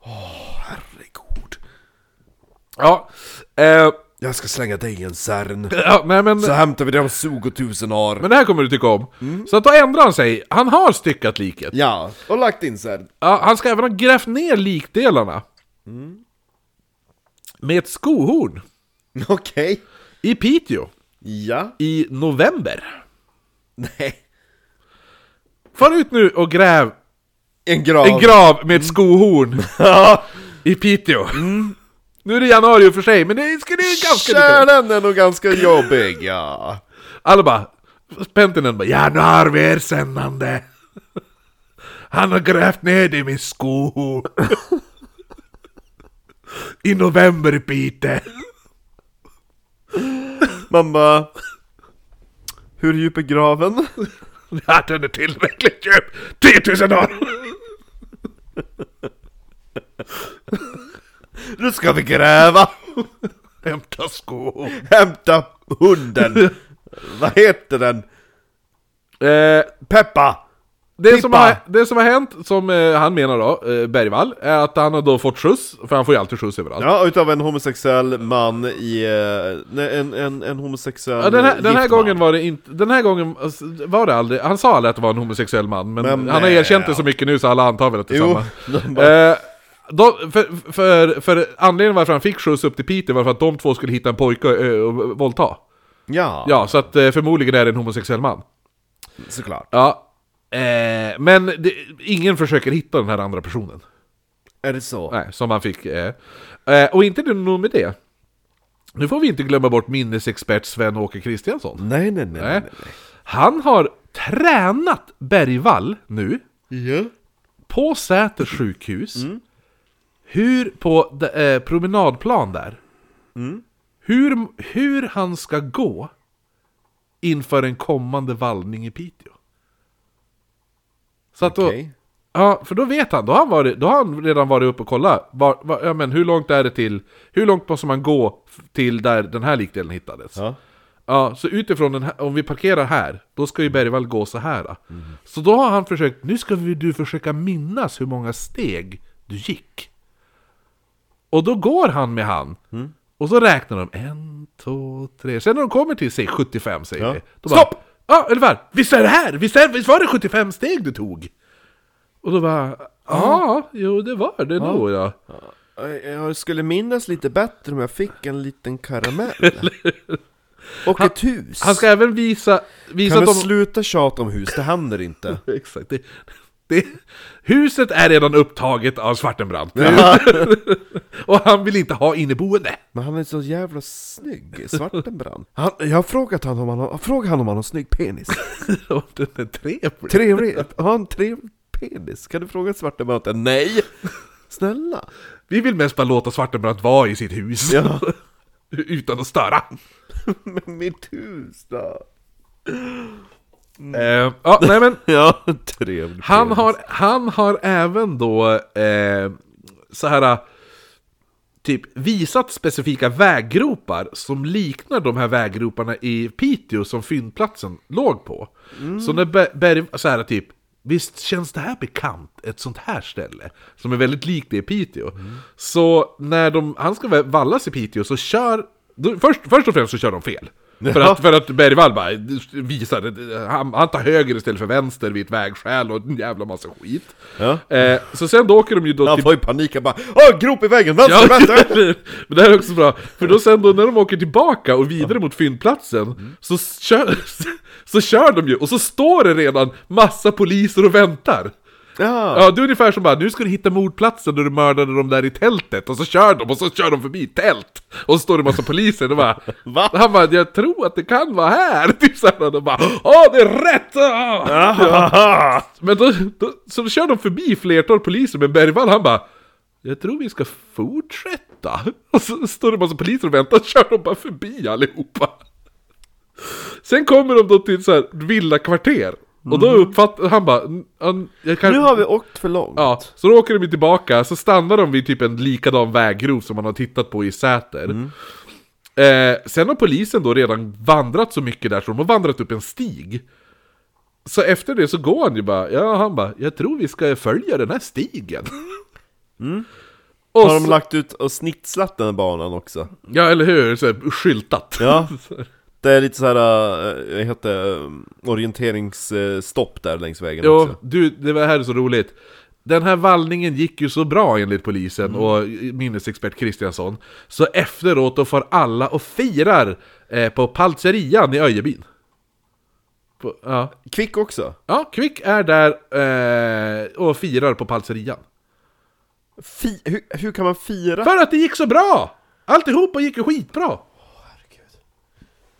Speaker 1: Åh, herregud.
Speaker 2: Ja, eh,
Speaker 1: Jag ska slänga dig i en cern.
Speaker 2: ja nej, men...
Speaker 1: Så hämtar vi det om 20 tusen år.
Speaker 2: Men det här kommer du tycka om. Så att då ändrar han sig. Han har styckat liket.
Speaker 1: Mm. Ja, och lagt in cern.
Speaker 2: Ja, han ska även ha grävt ner likdelarna.
Speaker 1: Mm.
Speaker 2: Med ett skohorn.
Speaker 1: [LAUGHS] Okej.
Speaker 2: I Piteå.
Speaker 1: Ja.
Speaker 2: I november.
Speaker 1: Nej.
Speaker 2: Far ut nu och gräv
Speaker 1: En grav. Mm.
Speaker 2: en grav med ett skohorn.
Speaker 1: [LAUGHS] Ja. Mm.
Speaker 2: I Piteå. Nu är det januari i och för sig, men det skulle ju ganska lika.
Speaker 1: Kärnan är nog ganska jobbig, ja.
Speaker 2: Alla bara... Pentinen bara 'Januari erkännande' Han har grävt ner det i min skohorn. I november i Piteå.
Speaker 1: Man bara... Hur djup är graven?
Speaker 2: Ja, den är tillräckligt djup. 10 000 år!
Speaker 1: Nu ska vi gräva!
Speaker 2: Hämta skor.
Speaker 1: Hämta hunden! Vad heter den?
Speaker 2: Eh,
Speaker 1: Peppa!
Speaker 2: det, som
Speaker 1: Pippa.
Speaker 2: har, det som har hänt, som eh, han menar då, eh, Bergvall, är att han har då fått skjuts, för han får ju alltid skjuts överallt.
Speaker 1: Ja, utav en homosexuell man i... eh, Nej, en, en, en homosexuell
Speaker 2: Ja, den, här, den här
Speaker 1: gift
Speaker 2: gången
Speaker 1: man.
Speaker 2: var det inte, den här gången alltså, var det aldrig, han sa aldrig att det var en homosexuell man, men,
Speaker 1: Men
Speaker 2: han har
Speaker 1: nej.
Speaker 2: erkänt det så mycket nu så alla antar väl att det är
Speaker 1: Jo, [LAUGHS]
Speaker 2: samma. Eh, då, för, för, för anledningen varför han fick skjuts upp till Peter var för att de två skulle hitta en pojke och, eh, och våldta.
Speaker 1: Ja,
Speaker 2: Ja, så att eh, förmodligen är det en homosexuell man.
Speaker 1: såklart.
Speaker 2: Ja. Eh, men det, ingen försöker hitta den här andra personen.
Speaker 1: Är det så?
Speaker 2: Nej, som han fick. Eh. Eh, och inte det nog med det. Nu får vi inte glömma bort minnesexpert Sven-Åke Kristiansson.
Speaker 1: Nej, nej, nej.
Speaker 2: Nej.
Speaker 1: nej.
Speaker 2: Eh, Han har tränat Bergvall nu på Säters sjukhus.
Speaker 1: Mm.
Speaker 2: Hur, på de- eh, promenadplan där.
Speaker 1: Mm.
Speaker 2: Hur, hur han ska gå inför en kommande vallning i Piteå. Så att då,
Speaker 1: Okej.
Speaker 2: Ja, för då vet han. Då har han, varit, då har han redan varit uppe och kollat. Var, var, ja, men hur långt är det till... Hur långt måste man gå f- till där den här likdelen hittades?
Speaker 1: Ja.
Speaker 2: Ja, så utifrån den här, om vi parkerar här, då ska ju Bergvall gå så här. då.
Speaker 1: Mhm.
Speaker 2: Så då har han försökt, nu ska vi, du försöka minnas hur många steg du gick. Och då går han med han.
Speaker 1: Mm.
Speaker 2: Och så räknar de en, två, tre. Sen när de kommer till, säg 75 säger
Speaker 1: Ja.
Speaker 2: vi. Då
Speaker 1: Stopp!
Speaker 2: Bara, ja, ungefär. Visst är det här? Visst, är, visst var det 75 steg du tog? Och då bara, ja, jo det var det nog ja.
Speaker 1: Jag- Eh, Jag skulle minnas lite bättre om jag fick en liten
Speaker 2: [LAUGHS]
Speaker 1: karamell. Och ett hus.
Speaker 2: Han ska även visa, visa
Speaker 1: kan
Speaker 2: att
Speaker 1: du
Speaker 2: de...
Speaker 1: sluta tjata om hus? Det händer inte.
Speaker 2: [LAUGHS] Exakt. Det, det, huset är redan upptaget av Svartenbrandt. [LAUGHS] och han vill inte ha inneboende. [LAUGHS]
Speaker 1: Men han är så jävla snygg, Svartenbrand. Han, jag har frågat honom om han har, frågat honom om han har snygg penis.
Speaker 2: Och Den är trevlig.
Speaker 1: Trevlig, har han trevlig penis? Kan du fråga Svartenbrand? Nej! Snälla!
Speaker 2: Vi vill mest bara låta Svartenbrandt vara i sitt hus.
Speaker 1: Ja.
Speaker 2: [LAUGHS] Utan att störa.
Speaker 1: Men mitt hus då?
Speaker 2: Eh, ja, nej men,
Speaker 1: Ja, trevlig
Speaker 2: han,
Speaker 1: penis.
Speaker 2: har, han har även då eh, så här typ visat specifika väggropar som liknar de här väggroparna i Piteå som fyndplatsen låg på. Så när Be- Berg, så här typ, visst känns det här bekant? Ett sånt här ställe som är väldigt likt det i Piteå. Så när de, han ska vallas i Piteå så kör, då, först, först och främst så kör de fel. För att, för att Bergvall bara visar, han, han tar höger istället för vänster vid ett vägskäl och en jävla massa skit.
Speaker 1: Ja.
Speaker 2: Eh, så sen då åker de ju då
Speaker 1: Han
Speaker 2: till-
Speaker 1: får ju panik, han bara Åh, grop i väggen! Vänster, vänster!
Speaker 2: [LAUGHS] men det här är också bra, för då sen då när de åker tillbaka och vidare mot fyndplatsen så kör, [LAUGHS] så kör de ju, och så står det redan massa poliser och väntar!
Speaker 1: Ja.
Speaker 2: Ja, det är ungefär som bara, nu ska du hitta mordplatsen när du mördade dem där i tältet, och så kör de, och så kör de förbi tält! Och så står det massa poliser, och bara,
Speaker 1: Va?
Speaker 2: Han bara, jag tror att det kan vara här! [LAUGHS] Typ såhär, och de bara, åh det är rätt! Ah!
Speaker 1: Ahaha.
Speaker 2: Men då, då, så då kör de förbi flertal poliser, men Bergvall han bara Jag tror vi ska fortsätta. [LAUGHS] Och så står det en massa poliser och väntar, [LAUGHS] och kör de bara förbi allihopa. Sen kommer de då till så här villakvarter. Och då uppfattar han bara, "N- jag kan,
Speaker 1: Nu har vi åkt för långt.
Speaker 2: Ja, så då åker de ju tillbaka, så stannar de vid typ en likadan väggrov som man har tittat på i Säter. Eh, sen har polisen då redan vandrat så mycket där så de har vandrat upp en stig. Så efter det så går han ju bara, ja han bara, jag tror vi ska följa den här stigen. Och
Speaker 1: Har de
Speaker 2: så-
Speaker 1: lagt ut och snitslat den här banan också?
Speaker 2: Ja eller hur, så här, skyltat.
Speaker 1: Ja. Det är lite såhär, äh, jag heter eh, orienteringsstopp där längs vägen
Speaker 2: Jo,
Speaker 1: också
Speaker 2: du, det var här så roligt. Den här vallningen gick ju så bra enligt polisen
Speaker 1: Mm.
Speaker 2: och minnesexpert Kristiansson. Så efteråt då får alla och firar eh, på Paltserian i Öjebyn. På, ja.
Speaker 1: Kvick också!
Speaker 2: ja, Kvick är där eh, och firar på Paltserian.
Speaker 1: Fi hur, hur kan man fira?
Speaker 2: För att det gick så bra! Alltihopa gick ju skitbra!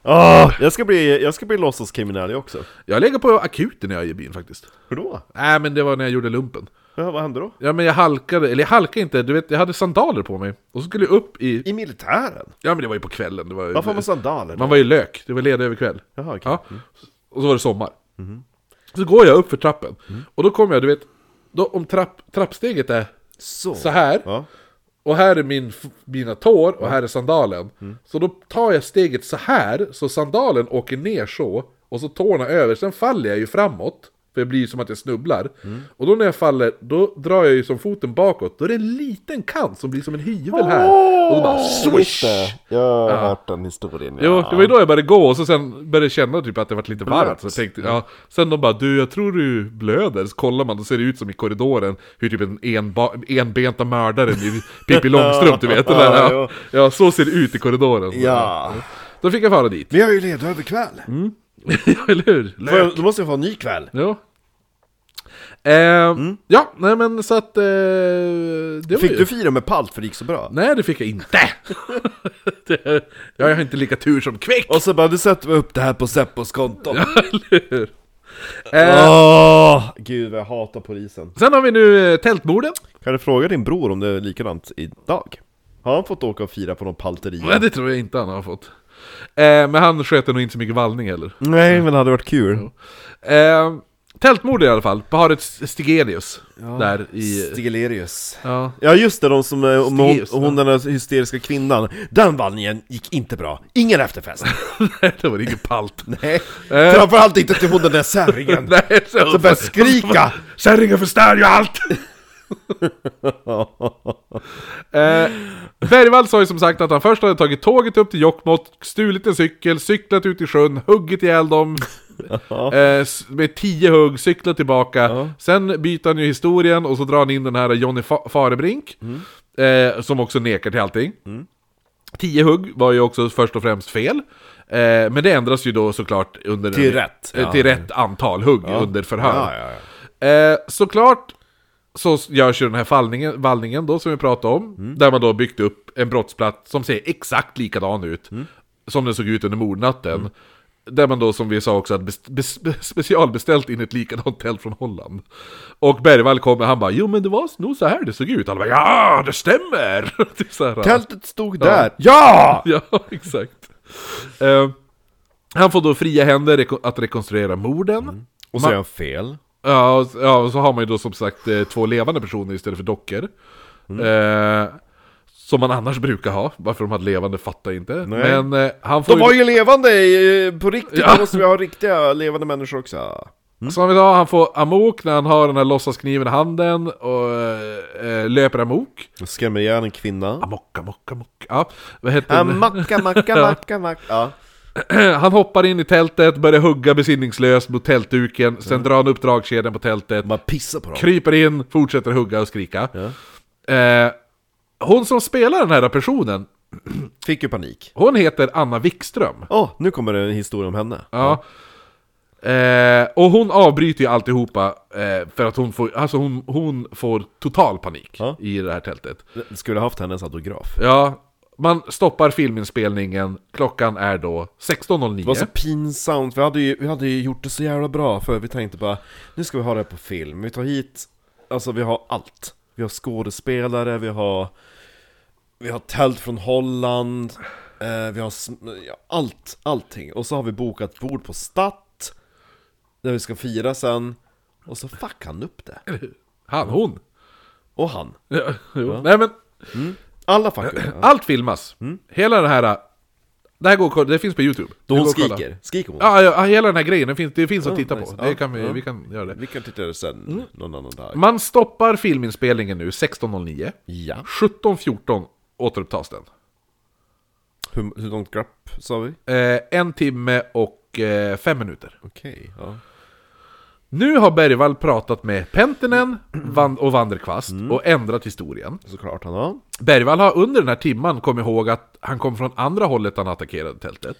Speaker 1: Ah, jag ska bli, jag ska bli låtsaskriminell också
Speaker 2: Jag lägger på akuten i Öjebyn faktiskt.
Speaker 1: Hur då?
Speaker 2: Nej, men det var när jag gjorde lumpen.
Speaker 1: Ja, vad hände då?
Speaker 2: Ja, men jag halkade, eller jag halkade inte, du vet, jag hade sandaler på mig. Och så skulle jag upp i...
Speaker 1: I militären?
Speaker 2: Ja, men det var ju på kvällen. Det var ju...
Speaker 1: Varför har man sandaler?
Speaker 2: Man var ju lök, det var ledig över kväll.
Speaker 1: Jaha, okej. Mm. Mm-hmm.
Speaker 2: ja. Och så var det sommar. Så går jag upp för trappen,
Speaker 1: Mm.
Speaker 2: och då kommer jag, du vet, då om trapp, trappsteget är
Speaker 1: Så.
Speaker 2: så här,
Speaker 1: Ja.
Speaker 2: och här är min, f- mina tår, och här är sandalen.
Speaker 1: Mm.
Speaker 2: Så då tar jag steget så här, så sandalen åker ner så, och så tårna över, sen faller jag ju framåt. För det blir ju som att jag snubblar.
Speaker 1: Mm.
Speaker 2: Och då när jag faller, då drar jag ju som foten bakåt. Då är det en liten kant som blir som en hyvel här. Och då bara swish!
Speaker 1: Jag har hört den historien
Speaker 2: Jo, det var ju då jag började gå och så sen började jag känna typ att det var lite varmt. Så jag tänkte, ja. Sen de bara, du jag tror du blöder. Så kollar man, då ser det ut som i korridoren hur typ en enba- enbenta mördaren i
Speaker 1: [LAUGHS]
Speaker 2: Pippi Långstrump, du vet. Eller,
Speaker 1: Ja,
Speaker 2: ja. ja, så ser det ut i korridoren.
Speaker 1: Ja.
Speaker 2: Då fick jag fara dit.
Speaker 1: [LAUGHS] Vi har ju ledigt över kväll!
Speaker 2: ja, eller hur?
Speaker 1: Får jag- Då måste jag få en ny kväll!
Speaker 2: Ja. Eh, Ja, nej men så att... Eh, det var ju...
Speaker 1: Mm. Fick du fira med palt för det gick så bra?
Speaker 2: Nej, det fick
Speaker 1: [LAUGHS]
Speaker 2: jag inte! [LAUGHS] det, jag har inte lika tur som Kvick!
Speaker 1: Och så bara, du sätter vi upp det här på Seppos konto! [LAUGHS]
Speaker 2: eller hur? Eh,
Speaker 1: Åh! Gud vad jag hatar polisen
Speaker 2: Sen har vi nu eh, tältmorden.
Speaker 1: Kan du fråga din bror om det är likadant idag? Har han fått åka och fira på någon
Speaker 2: Nej,
Speaker 1: palteria?
Speaker 2: det tror jag inte han har fått. Eh, men han sköter nog inte så mycket vallning heller.
Speaker 1: Nej men det hade varit kul
Speaker 2: Eh, tältmord i alla fall, på Haret Stigelius. Där i...
Speaker 1: Stiglerius
Speaker 2: ja.
Speaker 1: Ja just det, de som, eh, om hon,
Speaker 2: Stiglerius,
Speaker 1: hon den där hysteriska kvinnan Den vallningen gick inte bra, ingen [LAUGHS] efterfest
Speaker 2: Nej, [LAUGHS] det var ingen palt.
Speaker 1: [LAUGHS] Nej,
Speaker 2: [LAUGHS]
Speaker 1: framförallt inte till hon den där särringen
Speaker 2: Nej, [LAUGHS] så,
Speaker 1: Som började skrika!
Speaker 2: Kärringen förstör ju allt! eh, Bergvall sa ju som sagt att han först hade tagit tåget upp till Jokkmokk, stulit en cykel, cyklat ut i sjön, huggit ihjäl dem eh, s- med tio hugg, cyklat tillbaka. Sen byter han ju historien och så drar han in den här Johnny Fa- Farebrink,
Speaker 1: Mm.
Speaker 2: eh, som också nekar till allting. Tio hugg var ju också först och främst fel. Eh, men det ändras ju då såklart under...
Speaker 1: Till rätt,
Speaker 2: eh,
Speaker 1: ja.
Speaker 2: Till rätt antal hugg under förhör.
Speaker 1: Ja, ja, ja.
Speaker 2: Eh, såklart så görs ju den här fallningen, vallningen då som vi pratade om. Där man då byggt upp en brottsplats som ser exakt likadan ut. Som den såg ut under mordnatten. Där man då som vi sa också hade bes- bes- bes- [LAUGHS] specialbeställt in ett likadant tält från Holland. Och Bergvall kommer, han bara 'Jo men det var nog så här det såg ut' Alla bara 'Ja, det stämmer!' [LAUGHS] typ så här.
Speaker 1: Tältet stod där, ja!
Speaker 2: Ja, exakt. Eh, han får då fria händer reko- att rekonstruera morden.
Speaker 1: Och så är han fel
Speaker 2: Ja, och- ja, och så har man ju då som sagt eh, två levande personer istället för dockor.
Speaker 1: Mm.
Speaker 2: Eh, som man annars brukar ha. Varför de hade levande fattar jag inte. Men eh, han får
Speaker 1: De var ju levande eh, på riktigt,
Speaker 2: Ja.
Speaker 1: då måste vi ha riktiga levande människor också
Speaker 2: Som vi sa, han får amok när han har den här låtsaskniven i handen och eh, löper amok.
Speaker 1: Skrämmer ihjäl en kvinna
Speaker 2: Amok, amok, amok. Ja, vad heter
Speaker 1: Ah,
Speaker 2: den?
Speaker 1: Macka, macka, macka, macka. Ja.
Speaker 2: [CLEARS THROAT] Han hoppar in i tältet, börjar hugga besinningslöst mot tältduken,
Speaker 1: Mm.
Speaker 2: sen drar han upp dragkedjan på tältet,
Speaker 1: Man pissar på dem.
Speaker 2: kryper in, fortsätter hugga och skrika. Eh, hon som spelar den här personen,
Speaker 1: Fick ju panik.
Speaker 2: hon heter Anna Wikström.
Speaker 1: Åh, nu kommer det en historia om henne.
Speaker 2: Ja. Eh, och hon avbryter ju alltihopa eh, för att hon får, alltså hon, hon får total panik
Speaker 1: Ja.
Speaker 2: i det här tältet.
Speaker 1: Skulle haft hennes autograf.
Speaker 2: Ja, man stoppar filminspelningen, klockan är då
Speaker 1: Det var
Speaker 2: 16.09.
Speaker 1: så pinsamt, vi hade, ju, vi hade ju gjort det så jävla bra för vi tänkte bara Nu ska vi ha det här på film, vi tar hit Alltså vi har allt Vi har skådespelare, vi har Vi har tält från Holland eh, Vi har sm- ja, allt, allting Och så har vi bokat bord på Statt Där vi ska fira sen Och så fuck han upp det
Speaker 2: Han, hon.
Speaker 1: Och han
Speaker 2: Ja, jo. Nej men,
Speaker 1: Alla fuck upp det.
Speaker 2: allt filmas. Hela den här... äh, Det här går att kolla- det finns på YouTube.
Speaker 1: Mm. Då
Speaker 2: Det
Speaker 1: hon
Speaker 2: går att kolla.
Speaker 1: skriker, skriker hon?
Speaker 2: Ja, ja, hela den här grejen, det finns, det finns att titta
Speaker 1: nice.
Speaker 2: på. Det
Speaker 1: Ja,
Speaker 2: kan vi,
Speaker 1: ja.
Speaker 2: vi kan göra det.
Speaker 1: Vi kan titta det sen
Speaker 2: Mm.
Speaker 1: någon annan dag
Speaker 2: Man stoppar filminspelningen nu, 16.09.
Speaker 1: Ja,
Speaker 2: 17.14 återupptas den.
Speaker 1: hur, hur långt glapp sa vi?
Speaker 2: Eh, en timme och eh, fem minuter.
Speaker 1: Okej, ja
Speaker 2: Nu har Bergvall pratat med Pentinen Van och Vanderkvast
Speaker 1: Mm.
Speaker 2: och ändrat historien.
Speaker 1: Såklart han har.
Speaker 2: Bergvall har under den här timman kommit ihåg att han kom från andra hållet han attackerade tältet.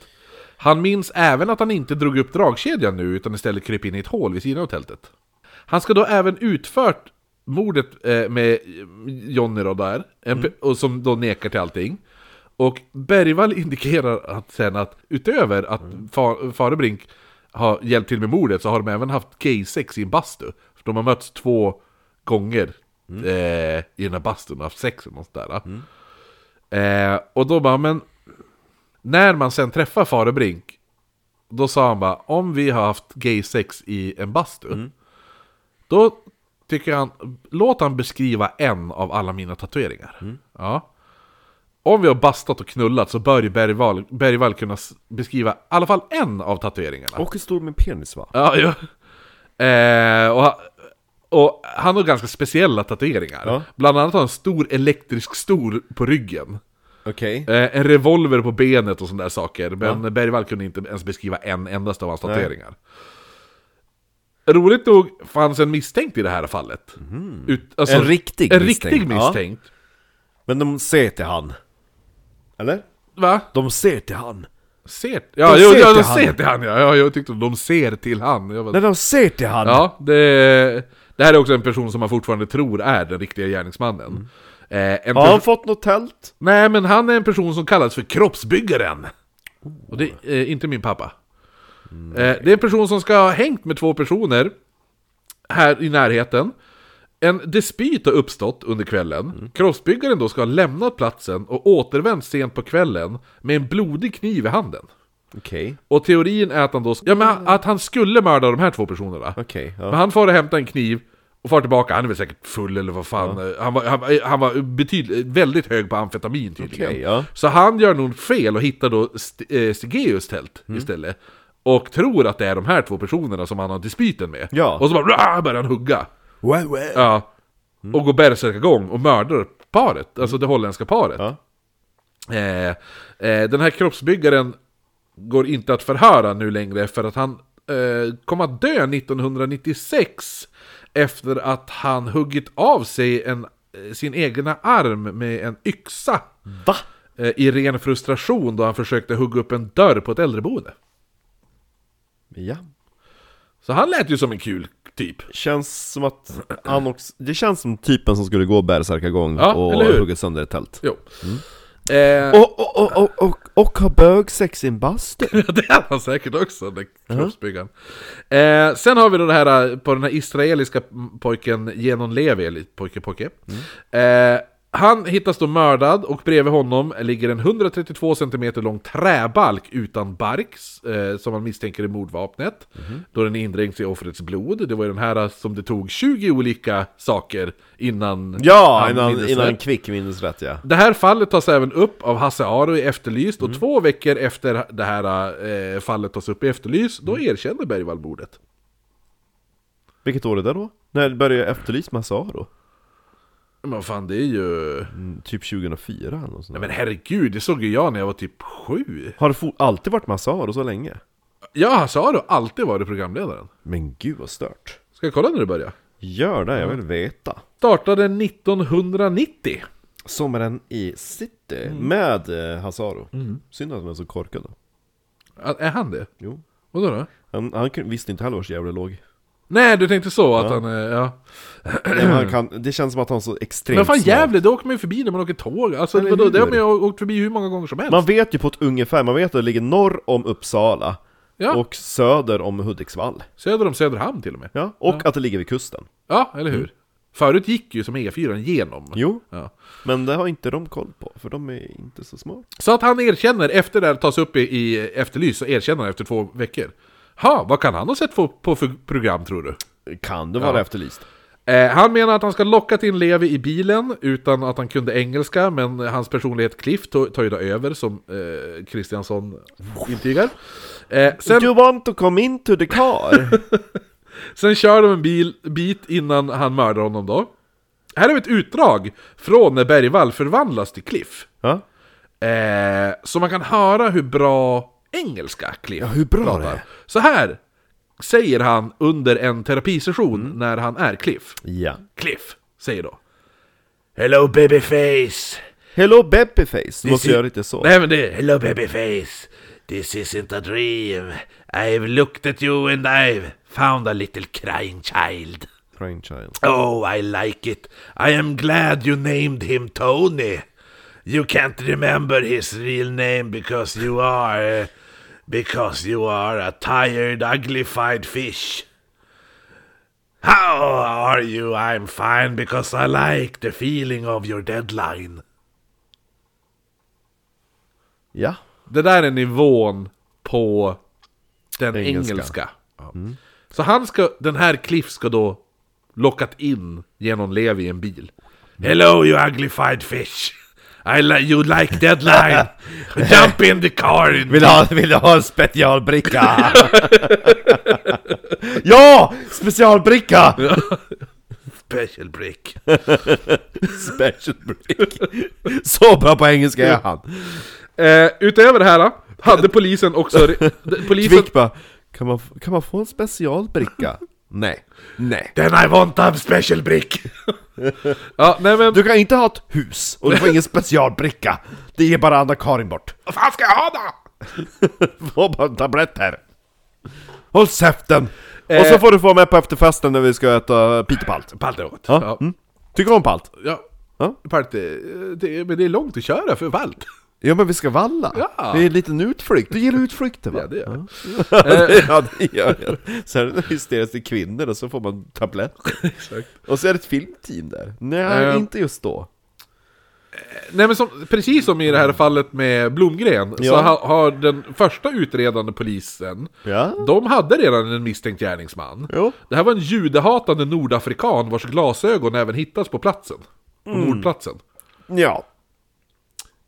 Speaker 2: Han minns även att han inte drog upp dragkedjan nu utan istället kryp in i ett hål vid sidan av tältet. Han ska då även utfört mordet eh, med Jonny då där, en, pe- och som då nekar till allting. Och Bergvall [LAUGHS] indikerar att sen att utöver att Fa- Farebrink har hjälpt till med mordet så har de även haft gay-sex i en bastu. För de har mötts två gånger eh, i den här bastun och haft sex och något sådär. Eh, och då bara, men när man sen träffar Farebrink då sa han bara, om vi har haft gay-sex i en bastu då tycker han, låt han beskriva en av alla mina tatueringar.
Speaker 1: Mm.
Speaker 2: Ja. Om vi har bastat och knullat så bör ju Bergvall, Bergvall kunna s- beskriva i alla fall en av tatueringarna.
Speaker 1: Och en stor med penis va?
Speaker 2: Ja, ja. Eh, och, ha- och han har ganska speciella tatueringar.
Speaker 1: Ja.
Speaker 2: Bland annat har han en stor elektrisk stol på ryggen.
Speaker 1: Okej.
Speaker 2: Eh, en revolver på benet och sådana där saker. Men Bergvall kunde inte ens beskriva en endast av hans tatueringar. Roligt nog fanns en misstänkt i det här fallet. Ut, alltså,
Speaker 1: Mhm. En riktig
Speaker 2: en
Speaker 1: misstänkt,
Speaker 2: riktig
Speaker 1: ja.
Speaker 2: misstänkt.
Speaker 1: [LAUGHS] Men de ser till han. Eller?
Speaker 2: Va?
Speaker 1: De ser till han.
Speaker 2: Ser, ja,
Speaker 1: De
Speaker 2: jo,
Speaker 1: ser
Speaker 2: ja, de
Speaker 1: till han.
Speaker 2: ser till han ja. ja. Jag tyckte de ser till han. Jag bara,
Speaker 1: Nej, de ser till han.
Speaker 2: Ja, det, det här är också en person som man fortfarande tror är den riktiga gärningsmannen. Eh, en
Speaker 1: Har han
Speaker 2: pers-
Speaker 1: fått något tält?
Speaker 2: Nej, men han är en person som kallas för kroppsbyggaren. Och det är eh, inte min pappa. Eh, det är en person som ska ha hängt med två personer här i närheten. En dispyt har uppstått under kvällen. Kroppsbyggaren då ska ha lämnat platsen och återvänt sent på kvällen med en blodig kniv i handen.
Speaker 1: Okej.
Speaker 2: Och teorin är att han då... Ja, men att han skulle mörda de här två personerna.
Speaker 1: Okej, ja.
Speaker 2: Men han får och hämtar en kniv och far tillbaka. Han är väl säkert full eller vad fan. Han var, han, var- han var betyd, väldigt hög på amfetamin tydligen.
Speaker 1: Okej, ja.
Speaker 2: Så han gör nog fel och hittar då St- eh, Stigeus tält
Speaker 1: Mm.
Speaker 2: istället. Och tror att det är de här två personerna som han har dispyten med.
Speaker 1: Ja.
Speaker 2: Och så bara "Rah!" börjar han hugga.
Speaker 1: Well, well.
Speaker 2: Ja.
Speaker 1: Mm.
Speaker 2: Och går bärsärkagång och mördar paret, alltså det holländska paret.
Speaker 1: Ja.
Speaker 2: Eh, eh, den här kroppsbyggaren går inte att förhöra nu längre för att han eh, kom att dö 1996 efter att han huggit av sig en, eh, sin egna arm med en yxa
Speaker 1: Va?
Speaker 2: eh, i ren frustration då han försökte hugga upp en dörr på ett äldreboende.
Speaker 1: Ja.
Speaker 2: Så han lät ju som en kul typ.
Speaker 1: Känns som att han också... Det känns som typen som skulle gå bärsärkagång
Speaker 2: Ja, eller
Speaker 1: och
Speaker 2: hur?
Speaker 1: hugga sönder ett tält.
Speaker 2: Jo. Eh,
Speaker 1: Och, och, och, och, och, och ha bögsex i en bastu?
Speaker 2: Ja, [LAUGHS] det hade han säkert också, den kroppsbyggaren. Eh, sen har vi då det här eh, på den här israeliska mm, pojken Genon Levi, eller pojke pojke. Eh, han hittas då mördad och bredvid honom ligger en 132 cm lång träbalk utan bark eh, som man misstänker är mordvapnet. Då den är indränkt i offrets blod. Det var ju den här eh, som det tog 20 olika saker innan
Speaker 1: Ja,
Speaker 2: han
Speaker 1: innan,
Speaker 2: mindes
Speaker 1: innan en
Speaker 2: rätt.
Speaker 1: kvick minns rätt ja.
Speaker 2: Det här fallet tas även upp av Hasse Aro i Efterlyst
Speaker 1: Mm.
Speaker 2: och två veckor efter det här eh, fallet tas upp i Efterlyst, då
Speaker 1: Mm.
Speaker 2: erkänner Bergvall mordet.
Speaker 1: Vilket år är det då? När började jag efterlysa massa då?
Speaker 2: Men fan det är ju...
Speaker 1: Mm, Typ 2004 eller något sånt.
Speaker 2: Nej men herregud, det såg ju jag när jag var typ sju.
Speaker 1: Har det fo- alltid varit Masaru så länge?
Speaker 2: Ja, Hasaru har alltid varit programledaren.
Speaker 1: Men gud vad stört.
Speaker 2: Ska jag kolla när du börjar?
Speaker 1: Gör det, jag vill veta.
Speaker 2: Startade 1990.
Speaker 1: Sommaren i city med eh, Hasaru. Synd att de är så korkade.
Speaker 2: Ä- Är han det?
Speaker 1: Jo.
Speaker 2: Vadå då?
Speaker 1: Han, han kun- visste inte heller var så jävla [CLEARS THROAT] låg.
Speaker 2: Nej, du tänkte så att han... eh, Ja.
Speaker 1: Nej, men han kan, det känns som att han är så extremt
Speaker 2: Men fan
Speaker 1: snabb.
Speaker 2: Gävle, det åker man ju förbi när man åker tåg. Alltså
Speaker 1: Eller
Speaker 2: vadå, det har
Speaker 1: hur?
Speaker 2: man ju åkt förbi hur många gånger som helst.
Speaker 1: Man vet ju på ett ungefär, man vet att det ligger norr om Uppsala
Speaker 2: Ja.
Speaker 1: och söder om Hudiksvall.
Speaker 2: Söder om Söderhamn till och med.
Speaker 1: Ja, och att det ligger vid kusten.
Speaker 2: Ja, eller hur? Förut gick ju som E4 genom.
Speaker 1: Jo,
Speaker 2: Ja.
Speaker 1: men det har inte de koll på, för de är inte så smarta.
Speaker 2: Så att han erkänner, efter det här tas upp i, i Efterlyst, så erkänner han efter två veckor. Ha, vad kan han ha sett på, på för program tror du?
Speaker 1: Kan det vara
Speaker 2: Ja.
Speaker 1: efterlyst?
Speaker 2: Eh, han menar att han ska lockat in Levi i bilen utan att han kunde engelska, men hans personlighet Cliff to- tar ju då över som eh, Kristiansson intygar. Eh, sen,
Speaker 1: Do you want to come into the car?
Speaker 2: sen kör de en bil, bit innan han mördar honom då. Här är ett utdrag från när Bergvall förvandlas till Cliff.
Speaker 1: ja?
Speaker 2: Eh, så man kan höra hur bra engelska Cliff ja,
Speaker 1: hur bra det är.
Speaker 2: Så här säger han under en terapisession
Speaker 1: Mm.
Speaker 2: när han är Cliff.
Speaker 1: [LAUGHS] ja.
Speaker 2: Cliff säger då. Hello babyface!
Speaker 1: Hello Beppyface, du måste
Speaker 2: is-
Speaker 1: göra lite så.
Speaker 2: Nej men det är Hello babyface! This isn't a dream! I've looked at you and I've found a little crying child.
Speaker 1: Crying Child.
Speaker 2: Oh, I like it. I am glad you named him Tony. You can't remember his real name because you are... uh, Because you are a tired, uglified fish. How are you? I'm fine because I like the feeling of your deadline.
Speaker 1: Ja. [LAUGHS]
Speaker 2: Det där är nivån på den
Speaker 1: Engelska.
Speaker 2: engelska. Mm. Så han ska, den här Cliff ska då lockat in genom Levi i en bil. Hello you uglified fish! I li- you like [LAUGHS] deadline! Jump in the car! In
Speaker 1: Vill du ha, vill du ha en [LAUGHS]
Speaker 2: [LAUGHS]
Speaker 1: specialbricka? ja! Specialbricka!
Speaker 2: special break.
Speaker 1: Specialbrick. Så bra på engelska är han.
Speaker 2: Eh, utöver det här då, hade polisen också... polisen,
Speaker 1: Kvick bara, kan man, f- kan man få en specialbricka? nej. Nej.
Speaker 2: Then I want a special break! [LAUGHS] ja, nej men...
Speaker 1: Du kan inte ha ett hus och du får ingen specialbricka. Det ger bara Anna-Karin bort. [LAUGHS]
Speaker 2: Vad fan ska jag ha då?
Speaker 1: Få bara en tablett här. Håll käften! Och så får du få med på efterfesten när vi ska äta pitepalt.
Speaker 2: Palt jag åt.
Speaker 1: Ja. Mm. Tycker du om palt?
Speaker 2: ja.
Speaker 1: Ja.
Speaker 2: Palt, eh, det, men det är långt att köra för Valt.
Speaker 1: Ja men vi ska valla!
Speaker 2: Ja.
Speaker 1: Det är en liten utflykt, du gillar utflykter va?
Speaker 2: Ja, det gör Eh,
Speaker 1: ja, det gör jag. Sen är det hysteriskt till kvinnor och så får man tabletter.
Speaker 2: Exakt.
Speaker 1: Och så är det ett filmteam där. Nej,
Speaker 2: Eh.
Speaker 1: inte just då.
Speaker 2: Nej men som, precis som i det här fallet med Blomgren, så
Speaker 1: Ja.
Speaker 2: ha, har den första utredande polisen,
Speaker 1: Ja.
Speaker 2: de hade redan en misstänkt gärningsman.
Speaker 1: Jo.
Speaker 2: Det här var en judehatande nordafrikan vars glasögon även hittas på platsen. På
Speaker 1: Mm.
Speaker 2: mordplatsen.
Speaker 1: Ja.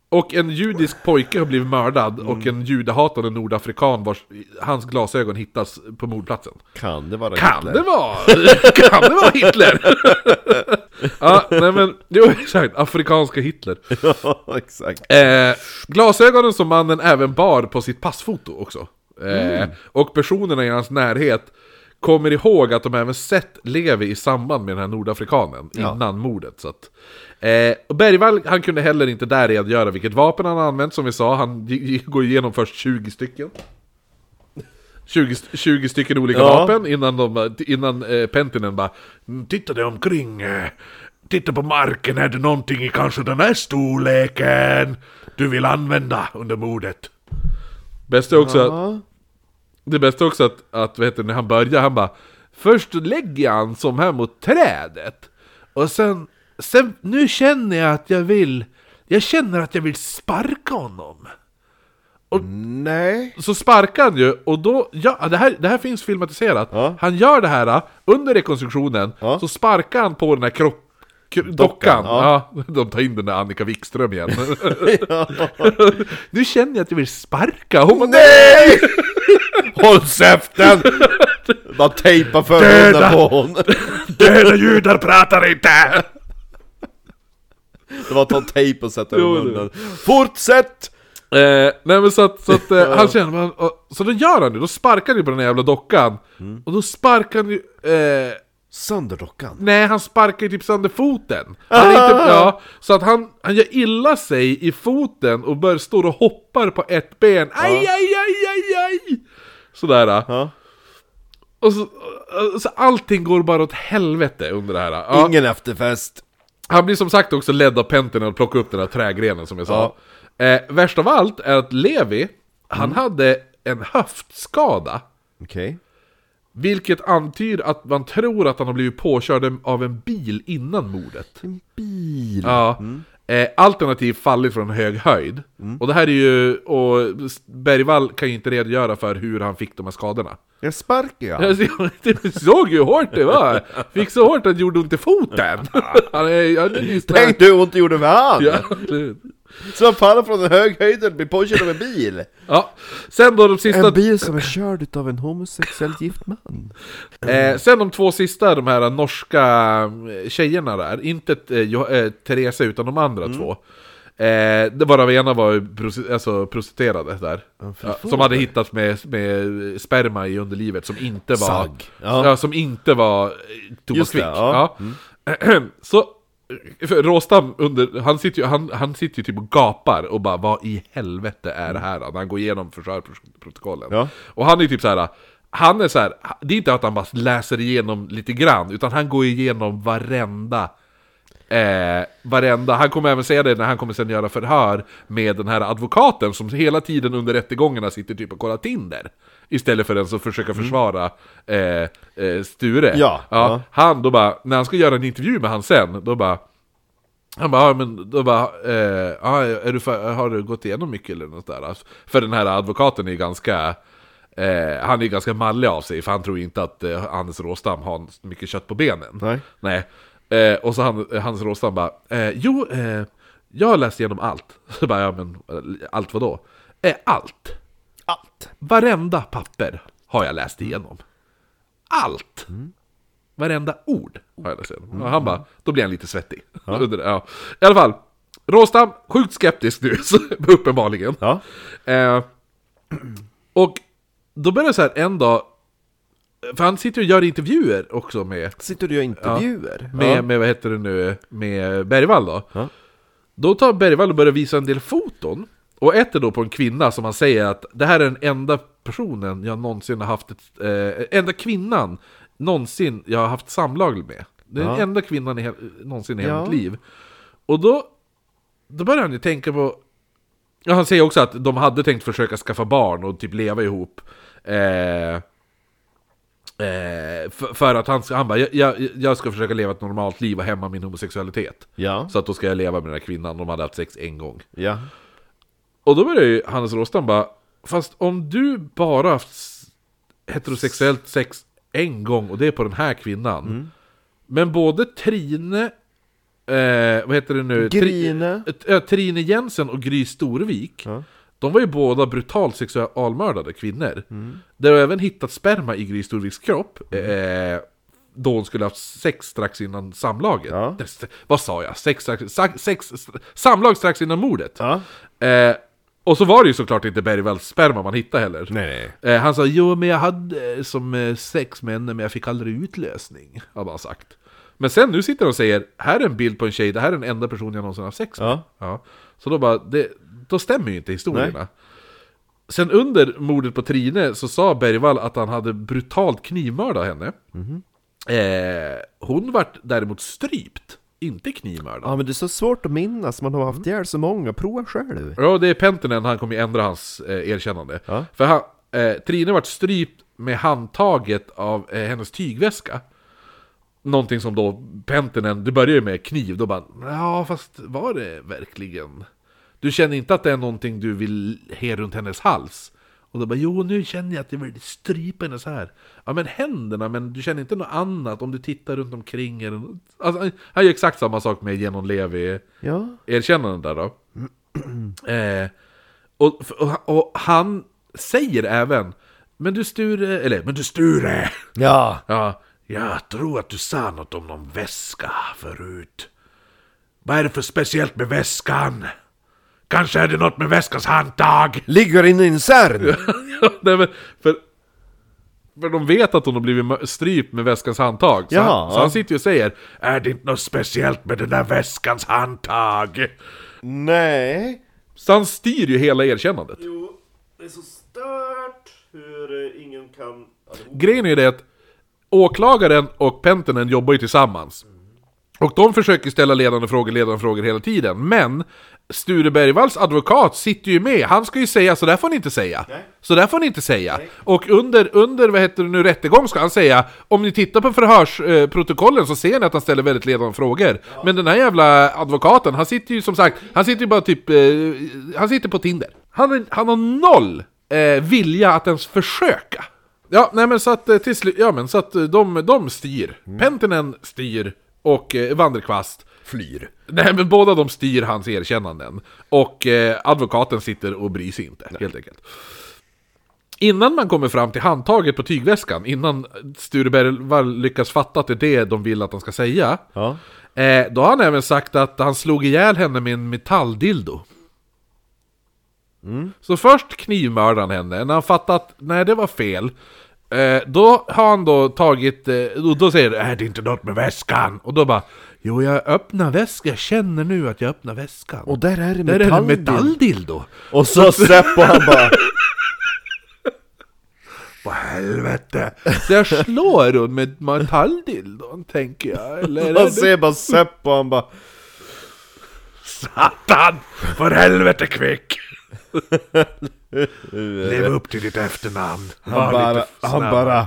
Speaker 2: Och en judisk pojke har blivit mördad
Speaker 1: Mm.
Speaker 2: och en judehatande nordafrikan vars hans glasögon hittas på mordplatsen.
Speaker 1: Kan det vara
Speaker 2: Kan
Speaker 1: Hitler?
Speaker 2: det vara? [LAUGHS] Kan det vara Hitler? [LAUGHS] ja, nej men, jo exakt, afrikanska Hitler.
Speaker 1: [LAUGHS] Ja, exakt.
Speaker 2: Eh, glasögonen som mannen även bar på sitt passfoto också. Eh, Och personerna i hans närhet kommer ihåg att de även sett Levi i samband med den här nordafrikanen innan mordet. Så att, eh, och Bergvall han kunde heller inte där redogöra vilket vapen han använt som vi sa. Han g- g- går igenom först 20 stycken. 20, st- 20 stycken olika
Speaker 1: Ja.
Speaker 2: vapen innan, de, innan eh, Pentinen bara "Mm, Titta dig omkring, eh, titta på marken, är det någonting i kanske den här storleken du vill använda under mordet? Bästa är också att
Speaker 1: Ja.
Speaker 2: det bästa också att, att vet du, när han börjar, han bara Först lägger jag han som här mot trädet Och sen, sen, nu känner jag att jag vill Jag känner att jag vill sparka honom
Speaker 1: Nej.
Speaker 2: Så sparkar han ju, och då, ja, det här, det här finns filmatiserat
Speaker 1: Ja.
Speaker 2: Han gör det här äh, under rekonstruktionen,
Speaker 1: Ja.
Speaker 2: så sparkar han på den här kropp k- Dockan,
Speaker 1: ja.
Speaker 2: ja. [LAUGHS] De tar in den där Annika
Speaker 1: [LAUGHS]
Speaker 2: Wikström igen [LAUGHS] Nu känner jag att jag vill sparka honom
Speaker 1: Nej! Håll käften! Bara tejpa för
Speaker 2: Döda! [LAUGHS]
Speaker 1: munnen på hon.
Speaker 2: Döda judar pratar inte!
Speaker 1: Det var att ta tejp och sätta
Speaker 2: Jo,
Speaker 1: över
Speaker 2: det-
Speaker 1: munnen. Fortsätt!
Speaker 2: Eh, nej men så att, så att eh, han känner, man, och, så då gör han det, då sparkar han ju på den här jävla dockan.
Speaker 1: Mm.
Speaker 2: Och då sparkar han ju, eh,
Speaker 1: Sönder dockan.
Speaker 2: nej han sparkar ju typ sönder foten. Han är inte, ja, så att han, han gör illa sig i foten och börjar stå och hoppar på ett ben. Aj, aj, aj, aj, aj! Sådär.
Speaker 1: Ja.
Speaker 2: Och så, och så allting går bara åt helvete under det här. Ja.
Speaker 1: Ingen efterfest.
Speaker 2: Han blir som sagt också ledd av Pentinen att plocka upp den här trägrenen som jag sa. Eh, värst av allt är att Levi, han hade en höftskada.
Speaker 1: Okej.
Speaker 2: Vilket antyder att man tror att han har blivit påkörd av en bil innan mordet.
Speaker 1: En bil. Mm.
Speaker 2: Ja. Eh, alternativt fallit från hög höjd. Och det här är ju... Och Bergvall kan ju inte redogöra för hur han fick de här skadorna.
Speaker 1: Jag sparkar ja.
Speaker 2: [LAUGHS] Jag såg- jag såg ju hur hårt det var! Fick så hårt att det gjorde ont i foten!
Speaker 1: [LAUGHS]
Speaker 2: Han är, han är ju
Speaker 1: Tänk du ont det gjorde med han!
Speaker 2: Ja, absolut.
Speaker 1: Som faller från en hög höjd och blir påkörd av en bil!
Speaker 2: Ja, sen då de sista...
Speaker 1: bil som är körd utav en homosexuell gift man.
Speaker 2: Eh, sen de två sista, de här norska eh, tjejerna där, inte eh, Jo- eh, Therese utan de andra två. Eh, det var av ena var ju prosti- alltså, prostituerade där. Ja, som hade hittats med, med sperma i underlivet som inte var...
Speaker 1: Sagg. Ja.
Speaker 2: Ja. som inte var eh, Thomas
Speaker 1: Just det,
Speaker 2: Quick.
Speaker 1: ja.
Speaker 2: ja. Mm. [CLEARS THROAT] Så... För Råstam, under, han, sitter ju, han, han sitter ju typ och gapar och bara Vad i helvete är det här? När han går igenom försörjningsprotokollen
Speaker 1: Ja.
Speaker 2: Och han är ju typ så här. Han är så här, det är inte att han bara läser igenom lite grann Utan han går igenom varenda Eh, varenda, han kommer även säga det när han kommer sen göra förhör med den här advokaten som hela tiden under rättegångarna sitter typ och kollar Tinder. Istället för den som försöker försvara eh, eh, Sture.
Speaker 1: Mm. Ja, ja.
Speaker 2: Han då bara, när han ska göra en intervju med han sen, då bara han bara, ja, men då bara, eh, ja, är du för, har du gått igenom mycket eller något där? Alltså, För den här advokaten är ju ganska, eh, han är ju ganska mallig av sig, för han tror ju inte att eh, Anders Råstam har mycket kött på benen.
Speaker 1: Nej.
Speaker 2: Nej. Eh, och så han, eh, Hans Råstam bara, eh, jo, eh, jag har läst igenom allt. [LAUGHS] Så bara, ja men, eh, allt vadå? Eh, allt.
Speaker 1: Allt!
Speaker 2: Varenda papper har jag läst igenom. Allt!
Speaker 1: Mm.
Speaker 2: Varenda ord har jag läst igenom. Och han bara, då blir han lite svettig. [LAUGHS] Under det, ja. I alla fall, Råstam, sjukt skeptisk nu, [LAUGHS] så- uppenbarligen.
Speaker 1: Ja.
Speaker 2: Eh, och då börjar det så här en dag, för han sitter och gör intervjuer också med
Speaker 1: Sitter du och gör intervjuer?
Speaker 2: med,
Speaker 1: Ja.
Speaker 2: med vad heter det nu, med Bergvall då.
Speaker 1: Ja.
Speaker 2: Då tar Bergvall och börjar visa en del foton. Och ett är då på en kvinna som han säger att det här är den enda personen jag någonsin har haft ett, eh, enda kvinnan någonsin jag har haft samlag med. Det är
Speaker 1: Ja.
Speaker 2: den enda kvinnan i, he- någonsin i hela
Speaker 1: Ja.
Speaker 2: mitt liv. Och då, då börjar han ju tänka på Ja, han säger också att de hade tänkt försöka skaffa barn och typ leva ihop. Eh, eh, för, för att han, han bara, jag, jag, jag ska försöka leva ett normalt liv och hämma min homosexualitet.
Speaker 1: Ja.
Speaker 2: Så att då ska jag leva med den här kvinnan, de hade haft sex en gång.
Speaker 1: ja.
Speaker 2: Och då börjar ju Hannes Råstam bara, fast om du bara haft s- heterosexuellt sex en gång och det är på den här kvinnan. Men både Trine, eh, vad heter det nu? Tri-
Speaker 1: Grine.
Speaker 2: Eh, T- ja, Trine Jensen och Gry Storvik De var ju båda brutalt sexualmördade kvinnor
Speaker 1: Mm.
Speaker 2: Det har även hittat sperma i Gry Storviks kropp
Speaker 1: Mm.
Speaker 2: eh, Då hon skulle ha haft sex strax innan samlaget
Speaker 1: Ja.
Speaker 2: Det- Vad sa jag? Sex, strax, sa- sex, samlag strax innan mordet
Speaker 1: Ja.
Speaker 2: eh, Och så var det ju såklart inte Bergvalls sperma man hittade heller
Speaker 1: Nej.
Speaker 2: Eh, han sa jo men jag hade eh, som eh, sex med henne men jag fick aldrig utlösning. Har han sagt. Men sen nu sitter de och säger här är en bild på en tjej, det här är den enda person jag någonsin haft sex med.
Speaker 1: Ja.
Speaker 2: Så då bara, det, då stämmer ju inte historierna. Sen under mordet på Trine så sa Bergvall att han hade brutalt knivmördat henne. Eh, hon vart däremot strypt, inte knivmördad.
Speaker 1: Ja men det är så svårt att minnas, man har haft ihjäl så många, prova själv!
Speaker 2: Ja, det är Pentinen, han kommer ju ändra hans eh, erkännande.
Speaker 1: Ja.
Speaker 2: För han, eh, Trine vart strypt med handtaget av eh, hennes tygväska. Någonting som då Pentinen, det börjar ju med kniv, då bara ja fast var det verkligen? Du känner inte att det är någonting du vill he runt hennes hals? Och då bara jo nu känner jag att jag vill strypa henne så här. Ja men händerna, men du känner inte något annat om du tittar runt omkring eller något. Alltså, han- han gör exakt samma sak med Genon Levi
Speaker 1: Ja.
Speaker 2: erkännande där då. Eh, och, och, och han säger även Men du Sture, eller men du Sture! [LAUGHS]
Speaker 1: Ja!
Speaker 2: Ja, jag tror att du sa något om någon väska förut. Vad är det för speciellt med väskan? Kanske är det något med väskans handtag? [LAUGHS]
Speaker 1: Ligger inne i en CERN!
Speaker 2: Nej men, för, för de vet att hon har blivit mö- strypt med väskans handtag. Så,
Speaker 1: Jaha,
Speaker 2: han, så
Speaker 1: ja.
Speaker 2: han sitter ju och säger Är det inte något speciellt med den där väskans handtag?
Speaker 1: [LAUGHS] Nej.
Speaker 2: Så han styr ju hela erkännandet.
Speaker 4: Jo, det är så stört hur eh, ingen kan... Allihop.
Speaker 2: Grejen är ju det att åklagaren och Pentinen jobbar ju tillsammans. Och de försöker ställa ledande frågor, ledande frågor hela tiden. Men Sture Bergvalls advokat sitter ju med. Han ska ju säga så där får ni inte säga. Så där får ni inte säga. Och under, under vad heter det nu, rättegång ska han säga om ni tittar på förhörsprotokollen så ser ni att han ställer väldigt ledande frågor. Men den här jävla advokaten, han sitter ju som sagt, han sitter ju bara typ, eh, han sitter på Tinder. Han, är- han har noll eh, vilja att ens försöka. Ja, nej men så att eh, till slut, ja men så att eh, de, de styr. Pentinen styr och eh, Vanderkvast flyr. Nej men båda de styr hans erkännanden. Och eh, advokaten sitter och bryr sig inte, helt enkelt. Innan man kommer fram till handtaget på tygväskan, innan Sture Bergvall lyckas fatta att det är det de vill att han ska säga.
Speaker 1: Ja.
Speaker 2: Eh, då har han även sagt att han slog ihjäl henne med en metalldildo. Så först knivmördade han henne, när han fattat att nej det var fel. Eh, då har han då tagit, eh, och då säger han är det inte något med väskan? Och då bara Jo jag öppnar väskan, jag känner nu att jag öppnar väskan.
Speaker 1: Och där är det
Speaker 2: där är det en
Speaker 1: metalldildo.
Speaker 2: metalldildo!
Speaker 1: Och så Seppo han [LAUGHS] bara...
Speaker 2: På helvete! Där slår hon med metalldildon tänker jag, eller? är
Speaker 1: Man
Speaker 2: det-
Speaker 1: ser bara Seppo han bara...
Speaker 2: Satan! För helvete kvick! [LAUGHS] Lev upp till ditt efternamn.
Speaker 1: Han bara... Han bara...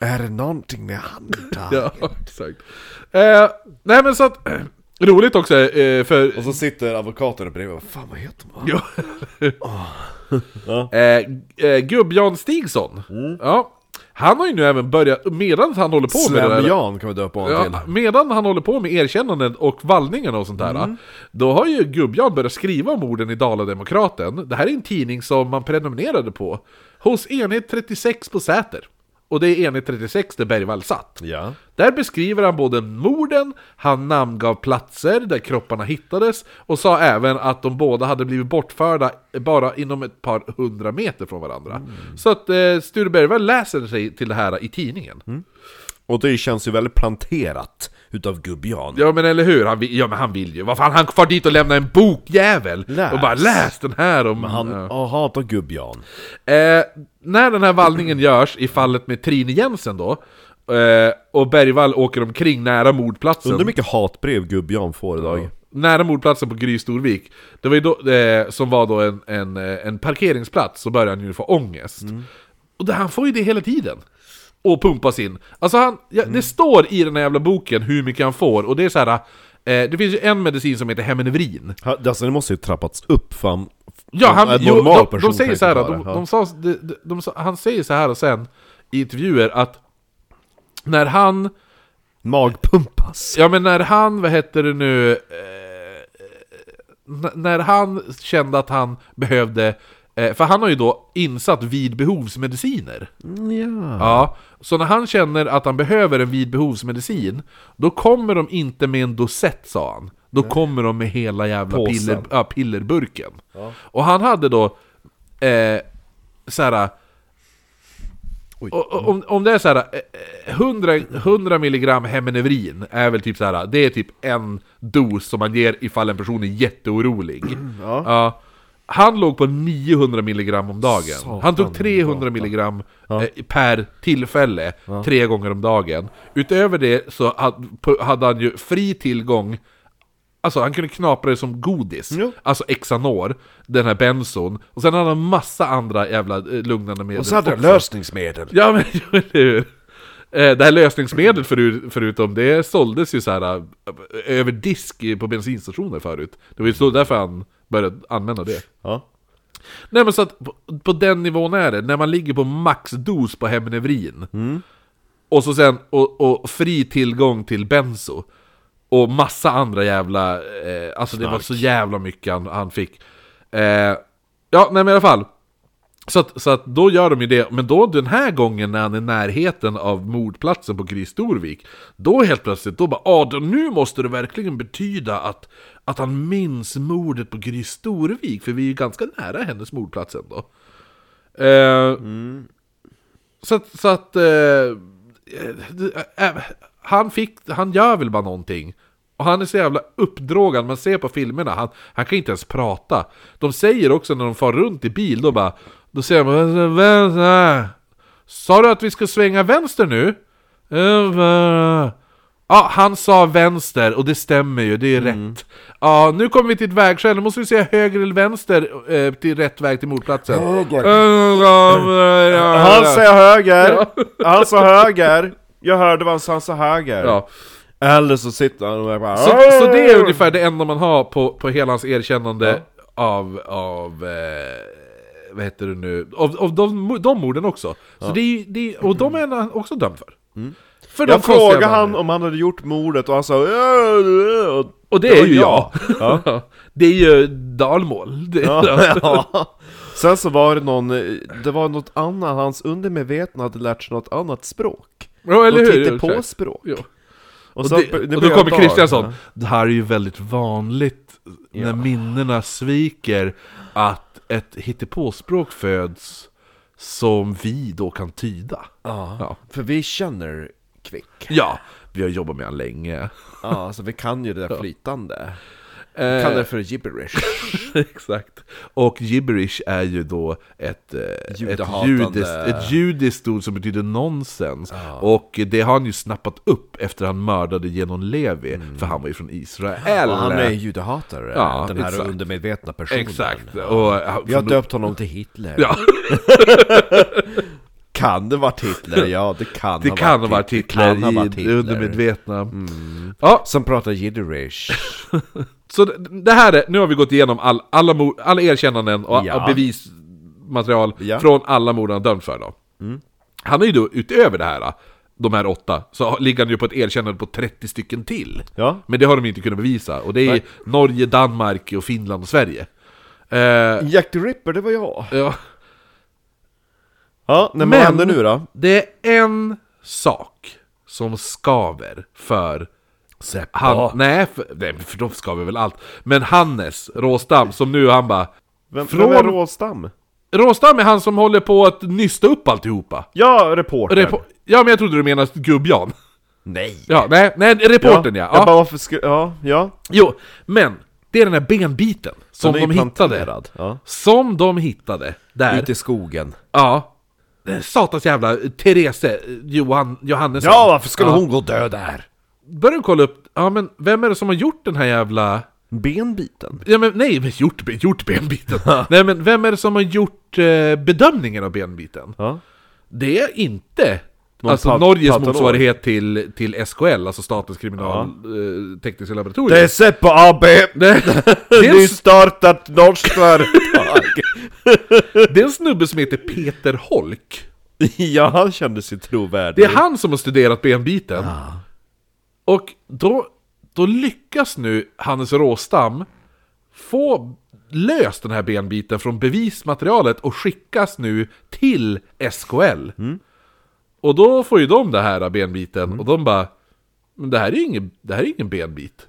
Speaker 1: Är det någonting med handtag?
Speaker 2: [LAUGHS] Ja, exakt. Eh, nej men så att... [CLEARS THROAT] Roligt också eh, för...
Speaker 1: Och så sitter advokaten bredvid och bara, Fan vad heter man?
Speaker 2: Ja. eh, eh, Gubb-Jan Stigson. Ja. Han har ju nu även börjat, medan han håller på med det där...
Speaker 1: Slemjan kan vi döpa honom
Speaker 2: Ja,
Speaker 1: till.
Speaker 2: medan han håller på med erkännandet och vallningen och sånt där Då har ju Gubbjan börjat skriva om orden i Dala-Demokraten Det här är en tidning som man prenumererade på Hos enhet 36 på Säter Och det är enhet 36 där Bergvall satt
Speaker 1: Ja.
Speaker 2: Där beskriver han både morden, han namngav platser där kropparna hittades och sa även att de båda hade blivit bortförda bara inom ett par hundra meter från varandra.
Speaker 1: Mm.
Speaker 2: Så att eh, Sture Bergvall läser sig till det här i tidningen.
Speaker 1: Mm. Och det känns ju väldigt planterat utav Gubbjan.
Speaker 2: Ja men eller hur, han vill, ja, men han vill ju. Vad fan, han far dit och lämnar en bokjävel!
Speaker 1: Läs.
Speaker 2: Och bara läs den här om...
Speaker 1: Han
Speaker 2: Ja.
Speaker 1: ja. hatar Gubbjan.
Speaker 2: Eh, när den här vallningen görs i fallet med Trine Jensen då, eh, och Bergvall åker omkring nära mordplatsen.
Speaker 1: Undrar hur mycket hatbrev Gubbjan får idag.
Speaker 2: Nära mordplatsen på Gry Storvik Det var ju då, eh, som var då en, en, eh, en parkeringsplats Så började han ju få ångest Och det, han får ju det hela tiden Och pumpas in Alltså han, ja, det står i den här jävla boken hur mycket han får Och det är så här. Eh, det finns ju en medicin som heter Hemenevrin
Speaker 1: Ha- Alltså det måste ju trappats upp för han...
Speaker 2: Ja, han,
Speaker 1: en
Speaker 2: jo,
Speaker 1: normal
Speaker 2: de,
Speaker 1: person
Speaker 2: de säger
Speaker 1: kan
Speaker 2: så här,
Speaker 1: inte
Speaker 2: de,
Speaker 1: vara.
Speaker 2: de sa, de, de, de, sa- han säger så här och sen i intervjuer att när han,
Speaker 1: Magpumpas.
Speaker 2: ja men när han, vad heter det nu, eh, n- när han kände att han behövde, eh, för han har ju då insatt vidbehovsmediciner.
Speaker 1: Ja.
Speaker 2: Ja, så när han känner att han behöver en vidbehovsmedicin, då kommer de inte med en dosett sa han. Då kommer de med hela jävla
Speaker 1: Påsen.
Speaker 2: piller, ja, pillerburken. Och han hade då, eh, såhär, och- och- om, om det är såhär, eh, eh, 100, 100 milligram hemenevrin är väl typ såhär, det är typ en dos som man ger ifall en person
Speaker 1: [CLEARS THROAT]
Speaker 2: är jätteorolig. Ja. han låg på 900 milligram om dagen. han tog 300 milligram eh, per tillfälle, tre gånger om dagen. Utöver det så hade, hade han ju fri tillgång Alltså han kunde knapra det som godis,
Speaker 1: Jo.
Speaker 2: alltså Xanor, den här benson Och sen hade han massa andra jävla eh, lugnande medel
Speaker 1: Och så hade han
Speaker 2: också.
Speaker 1: lösningsmedel.
Speaker 2: Ja men [LAUGHS] jo, eller hur? Eh, Det här lösningsmedlet förut, förutom det såldes ju så här eh, över disk i- på bensinstationer förut. Det var ju så därför han började använda det.
Speaker 1: Ja.
Speaker 2: Nej men så att på, på den nivån är det, när man ligger på maxdos på Hemnevrin Och så sen, och, och fri tillgång till benzo Och massa andra jävla, eh, alltså det var så jävla mycket han, han fick eh, Ja nej men i alla fall Så att, så att då gör de ju det, men då den här gången när han är i närheten av mordplatsen på Chris Storvik Då helt plötsligt, då bara ah, då nu måste det verkligen betyda att, att han minns mordet på Chris Storvik För vi är ju ganska nära hennes mordplats ändå eh, Så att, så att eh, det- eh, han, fick, han gör väl bara någonting och han är så jävla uppdrogad, man ser på filmerna, han, han kan inte ens prata. De säger också när de far runt i bil, då bara... Då säger man vänster. Sa du att vi ska svänga vänster nu? Eh, va- Ja, han sa vänster och det stämmer ju, det är
Speaker 1: Mm.
Speaker 2: rätt. Ja, nu kommer vi till ett vägskäl, nu måste vi säga höger eller vänster eh, till rätt väg till mordplatsen. Eh,
Speaker 1: Han
Speaker 2: Höger.
Speaker 1: sa höger, han sa höger, jag hörde vad han sa, han sa höger.
Speaker 2: Ja.
Speaker 1: Eller så sitter han och bara
Speaker 2: Så, så det
Speaker 1: Ah!
Speaker 2: är ungefär det enda man har på, på hela hans erkännande av, av eh, vad heter det nu, av, av de, de morden också. Så det är, ju- det är, och de är han också dömd för. för de
Speaker 1: Mm. Jag
Speaker 2: konstiga
Speaker 1: frågade han
Speaker 2: morden.
Speaker 1: om han hade gjort mordet och han sa "Äh, äh",
Speaker 2: Och
Speaker 1: det
Speaker 2: det, är
Speaker 1: var
Speaker 2: ju jag.
Speaker 1: jag.
Speaker 2: [LAUGHS] det är ju dalmål. Det,
Speaker 1: Ja, ja. Sen så var det någon, eh, det var något annat, hans undermedvetna hade lärt sig något annat språk.
Speaker 2: [LAUGHS] Ja, eller
Speaker 1: Något
Speaker 2: hur?
Speaker 1: hittepåspråk.
Speaker 2: Exakt. Ja.
Speaker 1: Och,
Speaker 2: Och,
Speaker 1: sen-
Speaker 2: det, och då
Speaker 1: blev
Speaker 2: kommer
Speaker 1: jag
Speaker 2: Kristiansson.
Speaker 1: galen.
Speaker 2: Det här är ju väldigt vanligt när minnena sviker att ett hittepåspråk föds som vi då kan tyda.
Speaker 1: Ja.
Speaker 2: Ja.
Speaker 1: För vi känner kvick.
Speaker 2: Ja, vi har jobbat med han länge.
Speaker 1: Ja, alltså vi kan ju det där flytande.
Speaker 2: Eh,
Speaker 1: Kan det för gibberish.
Speaker 2: [LAUGHS] Exakt. Och gibberish är ju då ett, eh, ett,
Speaker 1: Judehatande.
Speaker 2: judiskt, ett judiskt ord som betyder nonsens. Och det har han ju snappat upp efter han mördade Genon Levi, för han var ju från Israel.
Speaker 1: Och Mm. han är judehatare,
Speaker 2: Ja,
Speaker 1: eh, den här
Speaker 2: exakt.
Speaker 1: undermedvetna personen.
Speaker 2: Exakt. Och,
Speaker 1: Vi har döpt honom till Hitler.
Speaker 2: Ja.
Speaker 1: [LAUGHS] Kan det varit Hitler? Ja, det kan
Speaker 2: Det kan ha varit
Speaker 1: Det kan ha
Speaker 2: titlar i
Speaker 1: varit Mm.
Speaker 2: det
Speaker 1: Hitler.
Speaker 2: undermedvetna. Ja,
Speaker 1: Som pratar gibberish.
Speaker 2: så det- det här är, nu har vi gått igenom all, alla, mor- alla erkännanden och,
Speaker 1: Ja.
Speaker 2: och bevismaterial
Speaker 1: Ja. Mm.
Speaker 2: från alla mord han dömts för då. Han är ju då utöver det här, de här åtta, så ligger han ju på ett erkännande på 30 stycken till.
Speaker 1: Ja.
Speaker 2: Men det har de inte kunnat bevisa, och det är
Speaker 1: Nej.
Speaker 2: Norge, Danmark, och Finland och Sverige. Eh,
Speaker 1: Jack the Ripper, det var jag.
Speaker 2: ja.
Speaker 1: Ja, nej, men, vad händer nu då?
Speaker 2: det är en sak som skaver för
Speaker 1: Seppo.
Speaker 2: han, nej, för, nej, för de skaver väl allt. Men Hannes Råstam, som nu han bara...
Speaker 1: Vem,
Speaker 2: Från-
Speaker 1: från... vem är Råstam?
Speaker 2: Råstam är han som håller på att nysta upp alltihopa.
Speaker 1: Ja, reporter.
Speaker 2: Repo- ja, men jag trodde du menade gubb-Jan.
Speaker 1: [LAUGHS] Nej.
Speaker 2: Ja, nej, nej, reportern ja.
Speaker 1: Jag
Speaker 2: ja.
Speaker 1: bara, varför ska... Ja, ja.
Speaker 2: Jo, men det är den här benbiten som
Speaker 1: Den är
Speaker 2: de hittade.
Speaker 1: planterad, ja.
Speaker 2: Som de hittade där.
Speaker 1: i skogen.
Speaker 2: Ja. Satans jävla Therese eh, Johan, Johannesson.
Speaker 1: liksom. Ja, varför skulle hon gå död där?
Speaker 2: Börjar du kolla upp, ja men vem är det som har gjort den här jävla...
Speaker 1: Benbiten?
Speaker 2: Ja men nej, men gjort, ben- gjort benbiten. nej men vem är det som har gjort eh, bedömningen av benbiten?
Speaker 1: Ja.
Speaker 2: Det är inte
Speaker 1: Någon
Speaker 2: alltså
Speaker 1: pat-
Speaker 2: Norges
Speaker 1: patolog.
Speaker 2: motsvarighet till, till SKL, alltså Statens kriminaltekniska laboratorium.
Speaker 1: Det är Seppo AB! [LAUGHS]
Speaker 2: [LAUGHS] det, det, är en,
Speaker 1: Nystartat norskt företag!
Speaker 2: det är en snubbe som heter Peter Holk.
Speaker 1: [LAUGHS] ja, han kände sig trovärdig.
Speaker 2: Det är han som har studerat benbiten. Och då, då lyckas nu Hannes Råstam få löst den här benbiten från bevismaterialet och skickas nu till SKL. Och då får ju de det här benbiten och de bara Men det här är ju ingen, det här är ingen benbit.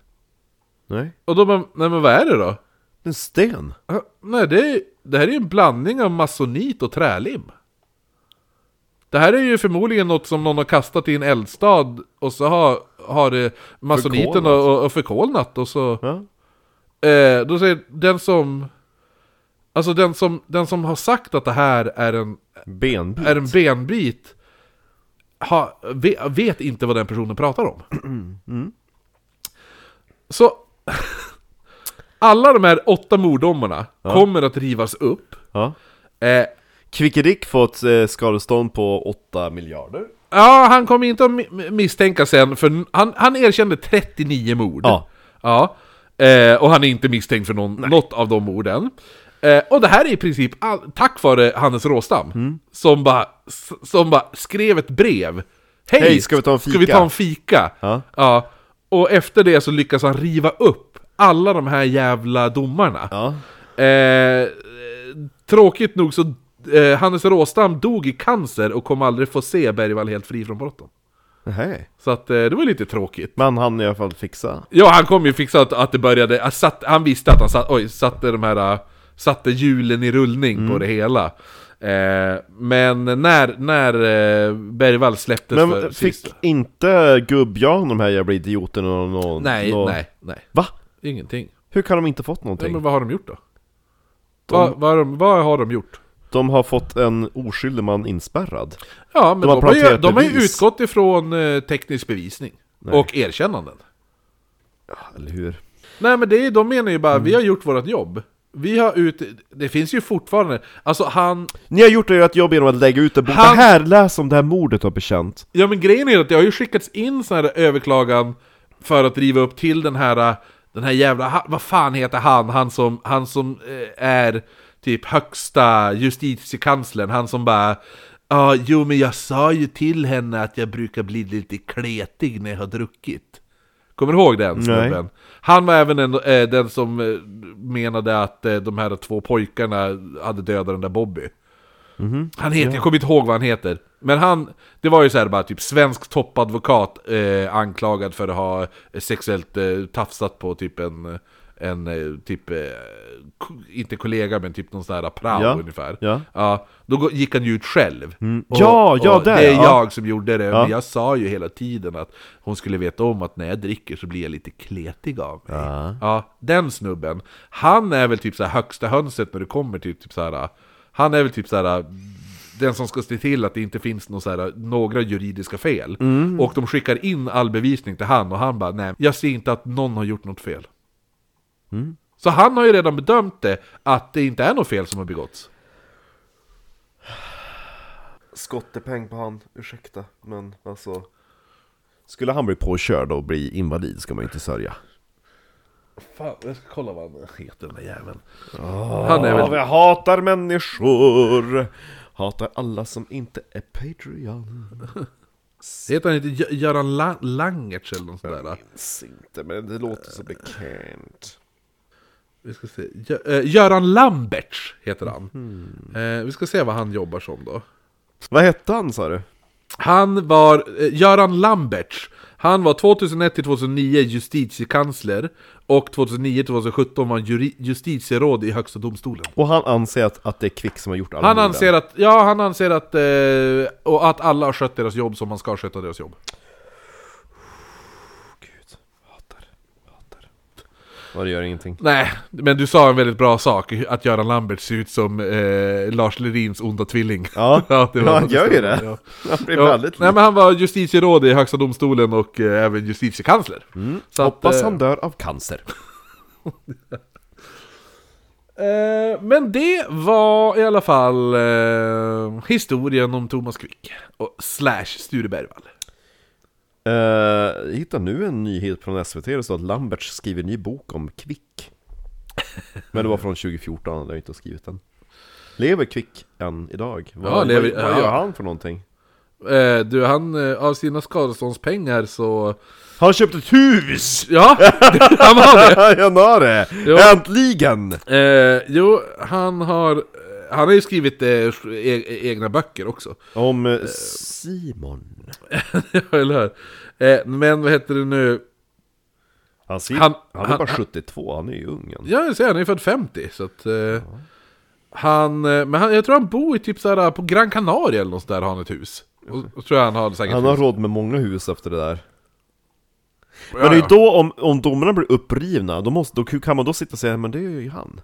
Speaker 1: Nej.
Speaker 2: Och de bara, nej men vad är det då?
Speaker 1: En sten?
Speaker 2: "Ja, Nej det, är, det här är ju en blandning av masonit och trälim. Det här är ju förmodligen något som någon har kastat i en eldstad och så har, har det masoniten
Speaker 1: Förkolnat.
Speaker 2: och, och, och förkolnat och så...
Speaker 1: Ja.
Speaker 2: Eh, då säger den som... Alltså den som, den som har sagt att det här är en,
Speaker 1: Benbit?
Speaker 2: är en benbit ha, ve, vet inte vad den personen pratar om. Så [LAUGHS] alla de här åtta morddomarna kommer att rivas upp.
Speaker 1: Ja.
Speaker 2: Eh,
Speaker 1: Kvickedick fått eh, skadestånd på 8 miljarder.
Speaker 2: ja, han kommer inte att mi- misstänka sen, för han, han erkände 39 mord.
Speaker 1: Ja.
Speaker 2: Ja. Eh, och han är inte misstänkt för någon, något av de morden. Eh, och det här är i princip all, tack vare Hannes Råstam,
Speaker 1: Mm.
Speaker 2: som, bara, s- som bara skrev ett brev. Hej,
Speaker 1: Hej, ska vi ta en
Speaker 2: Ska vi
Speaker 1: fika?"
Speaker 2: ta en fika?
Speaker 1: Ja.
Speaker 2: Och efter det så lyckas han riva upp alla de här jävla domarna.
Speaker 1: Ja.
Speaker 2: Eh, tråkigt nog så eh, Hannes Råstam dog i cancer och kom aldrig få se Bergvall helt fri från brotten.
Speaker 1: Nej.
Speaker 2: Så att, eh, det var lite tråkigt.
Speaker 1: Men han i alla fall fixa.
Speaker 2: Ja, han kom ju fixa att, att det började, att satt, han visste att han satt, oj, satte de här, äh, satte hjulen i rullning
Speaker 1: Mm.
Speaker 2: på det hela. Eh, men när, när eh, Bergvall släpptes för
Speaker 1: Men fick
Speaker 2: sist...
Speaker 1: inte gubb-Jan de här jävla idioterna någon... någon
Speaker 2: Nej,
Speaker 1: någon...
Speaker 2: nej, nej.
Speaker 1: Va?
Speaker 2: Ingenting.
Speaker 1: Hur kan de inte fått
Speaker 2: Ja,
Speaker 1: någonting?
Speaker 2: men vad har de gjort då? Vad, vad, har de, vad har de gjort?
Speaker 1: De har fått en oskyldig man inspärrad.
Speaker 2: Ja, men de
Speaker 1: har
Speaker 2: har, de har, ju,
Speaker 1: planterat
Speaker 2: de har ju
Speaker 1: bevis.
Speaker 2: utgått ifrån eh, teknisk bevisning. Och erkännanden.
Speaker 1: Eller hur?
Speaker 2: Nej men det är, de menar ju bara,
Speaker 1: Mm.
Speaker 2: vi har gjort vårt jobb. Vi har ut... Det finns ju fortfarande... Alltså han...
Speaker 1: Ni har gjort ert jobb genom att lägga ut en bok.
Speaker 2: Han-
Speaker 1: Det här, läs om det här mordet har bekänt.
Speaker 2: Ja men grejen är att det har ju skickats in sån här överklagan för att driva upp till den här, äh, den här jävla, ha- vad fan heter han, han som, han som eh, är typ högsta justitiekanslern, han som bara Ja, jo men jag sa ju till henne att jag brukar bli lite kletig när jag har druckit. Kommer du ihåg den snubben? Han var även en, eh, den som eh, menade att eh, de här två pojkarna hade dödat den där Bobby. Han heter, jag kommer inte ihåg vad han heter. Men han, det var ju så här bara typ svensk toppadvokat eh, anklagad för att ha sexuellt eh, tafsat på typ en, en eh, typ, eh, ko- inte kollega men typ någon sån här prao
Speaker 1: Ja.
Speaker 2: ungefär.
Speaker 1: Ja. Mm.
Speaker 2: då gå- gick han ju ut själv.
Speaker 1: Ja, ja, där,
Speaker 2: det är
Speaker 1: ja.
Speaker 2: jag som gjorde det.
Speaker 1: Ja.
Speaker 2: Men jag sa ju hela tiden att hon skulle veta om att när jag dricker så blir jag lite kletig av mig. Ja. den snubben. Han är väl typ så här högsta hönset när det kommer till typ så här. Han är väl typ så här. Den som ska se till att det inte finns någon så här, några juridiska fel.
Speaker 1: Mm.
Speaker 2: Och de skickar in all bevisning till han och han bara nej, jag ser inte att någon har gjort något fel.
Speaker 1: Mm.
Speaker 2: Så han har ju redan bedömt det, att det inte är något fel som har begåtts.
Speaker 1: Skottepeng på han, ursäkta, men alltså... Skulle han bli påkörd och bli invalid ska man ju inte sörja.
Speaker 2: Fan, jag ska kolla vad han heter den där jäveln. Han är väl...
Speaker 1: jag hatar människor! Hatar alla som inte är Patreon.
Speaker 2: Heter han inte Gö- Göran La- Langertz eller något sånt där?
Speaker 1: Minns inte, men det låter så bekant.
Speaker 2: Vi ska se. Gö- eh, Göran Lamberts heter han. Eh, vi ska se vad han jobbar som då.
Speaker 1: Vad hette han sa du?
Speaker 2: Han var, eh, Göran Lamberts, han var 2001-2009 justitiekansler och 2009-2017 var han juri- justitieråd i Högsta domstolen.
Speaker 1: Och han anser att, att det är Kvick som har gjort alla
Speaker 2: Han
Speaker 1: morden.
Speaker 2: anser att, ja han anser att, eh, och att alla har skött deras jobb som man ska sköta deras jobb.
Speaker 1: Gud, hatar, hatar. Och det gör ingenting.
Speaker 2: Nej, men du sa en väldigt bra sak, att Göran Lambert ser ut som eh, Lars Lerins onda tvilling. [LAUGHS]
Speaker 1: Ja, ja, han gör ju det.
Speaker 2: Ja.
Speaker 1: [LAUGHS] Han blir
Speaker 2: Ja,
Speaker 1: väldigt
Speaker 2: nej men han var justitieråd i högsta domstolen och eh, även justitiekansler. Så att,
Speaker 1: Mm. Hoppas
Speaker 2: eh,
Speaker 1: han dör av cancer.
Speaker 2: eh, men det var i alla fall eh, historien om Thomas Quick, och, slash Sture Bergwall.
Speaker 1: Uh, hittar nu en nyhet från SVT, det står att Lamberts skriver ny bok om Kvick. Men det var från 2014, han har inte skrivit den. Lever Kvick än idag? Vad,
Speaker 2: Ja, lever-
Speaker 1: vad, vad
Speaker 2: ja.
Speaker 1: gör han för någonting?
Speaker 2: Eh, du, han, eh, av sina skadeståndspengar så...
Speaker 1: Han köpte ett [LAUGHS] hus!
Speaker 2: Ja, han var det!
Speaker 1: I Januari! Äntligen!
Speaker 2: Eh, jo, han har, eh, han har ju skrivit eh, e- egna böcker också.
Speaker 1: Om eh, Simon.
Speaker 2: [LAUGHS] Eller hur? Eh, men vad heter det nu?
Speaker 1: Han, ser, han,
Speaker 2: Han-
Speaker 1: är
Speaker 2: han-
Speaker 1: bara 72, han är ju ung än.
Speaker 2: Ja, jag ser, han är född 50. Så att, eh, han, eh, men han, jag tror han bor i typ såhär, på Gran Canaria eller något sånt där har han ett hus. Och, och tror jag han har säkert
Speaker 1: Han har
Speaker 2: hus.
Speaker 1: råd med många hus efter det där.
Speaker 2: Ja,
Speaker 1: Men det är ju
Speaker 2: ja.
Speaker 1: då om, om domarna blir upprivna, då, måste, då kan man då sitta och säga men det är ju han.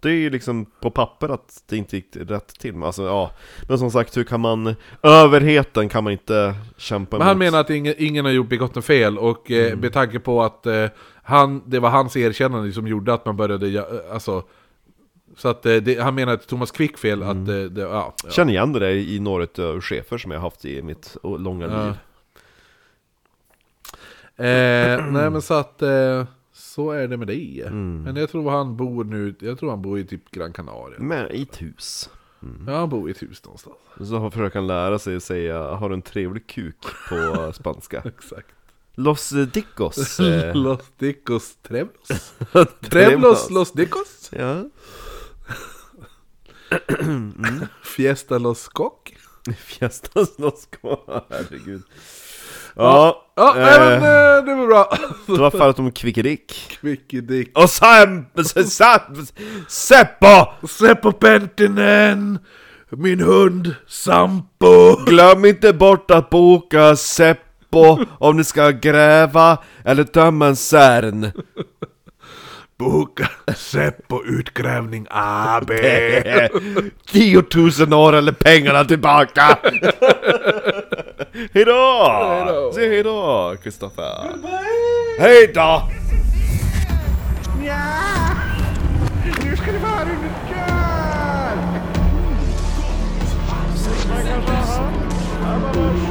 Speaker 1: Det är ju liksom på papper att det inte gick rätt till, men alltså ja. Men som sagt, hur kan man, överheten kan man inte kämpa
Speaker 2: Men han
Speaker 1: emot.
Speaker 2: menar att ingen, ingen har gjort begått något fel och eh,
Speaker 1: Mm.
Speaker 2: med tanke på att eh, han, det var hans erkännande som gjorde att man började, ja, eh, alltså så att eh, det, han menar att Thomas Quick fel att
Speaker 1: Mm.
Speaker 2: eh, det, ja, ja.
Speaker 1: Känner igen det där i några av chefer som jag haft i mitt långa liv.
Speaker 2: Eh, nej men så att eh, så är det med det.
Speaker 1: Mm.
Speaker 2: Men jag tror han bor nu, jag tror han bor i typ Gran Canaria.
Speaker 1: Men i ett hus.
Speaker 2: Ja han bor i ett hus någonstans.
Speaker 1: Så har- försöker han lära sig att säga, har du en trevlig kuk på
Speaker 2: [LAUGHS]
Speaker 1: spanska?
Speaker 2: Exakt.
Speaker 1: Los Dicos.
Speaker 2: [LAUGHS]
Speaker 1: eh,
Speaker 2: Los Dicos Trevlos. Trevlos Los Dicos.
Speaker 1: Ja.
Speaker 2: Fiesta Los Cock.
Speaker 1: Fjästas Nosko, herregud. Ja,
Speaker 2: Ja,
Speaker 1: eh,
Speaker 2: nej, men eh, det var bra. [LAUGHS]
Speaker 1: det var fallet om Kvickedick.
Speaker 2: Kvickedick.
Speaker 1: Och Sam... Sam... Seppo!
Speaker 2: Seppo Pentinen! Min hund Sampo!
Speaker 1: Glöm inte bort att boka Seppo om ni ska gräva eller tömma en särn.
Speaker 2: Boka Seppo Utgrävning [LAUGHS] AB!
Speaker 1: 10 000 år eller pengarna tillbaka! hejdå!
Speaker 2: Hejdå.
Speaker 1: Säg hejdå, Kristoffer! Hejdå!
Speaker 3: Nu ska det vara runt kör! Man kanske har hört. Ja, man har hört.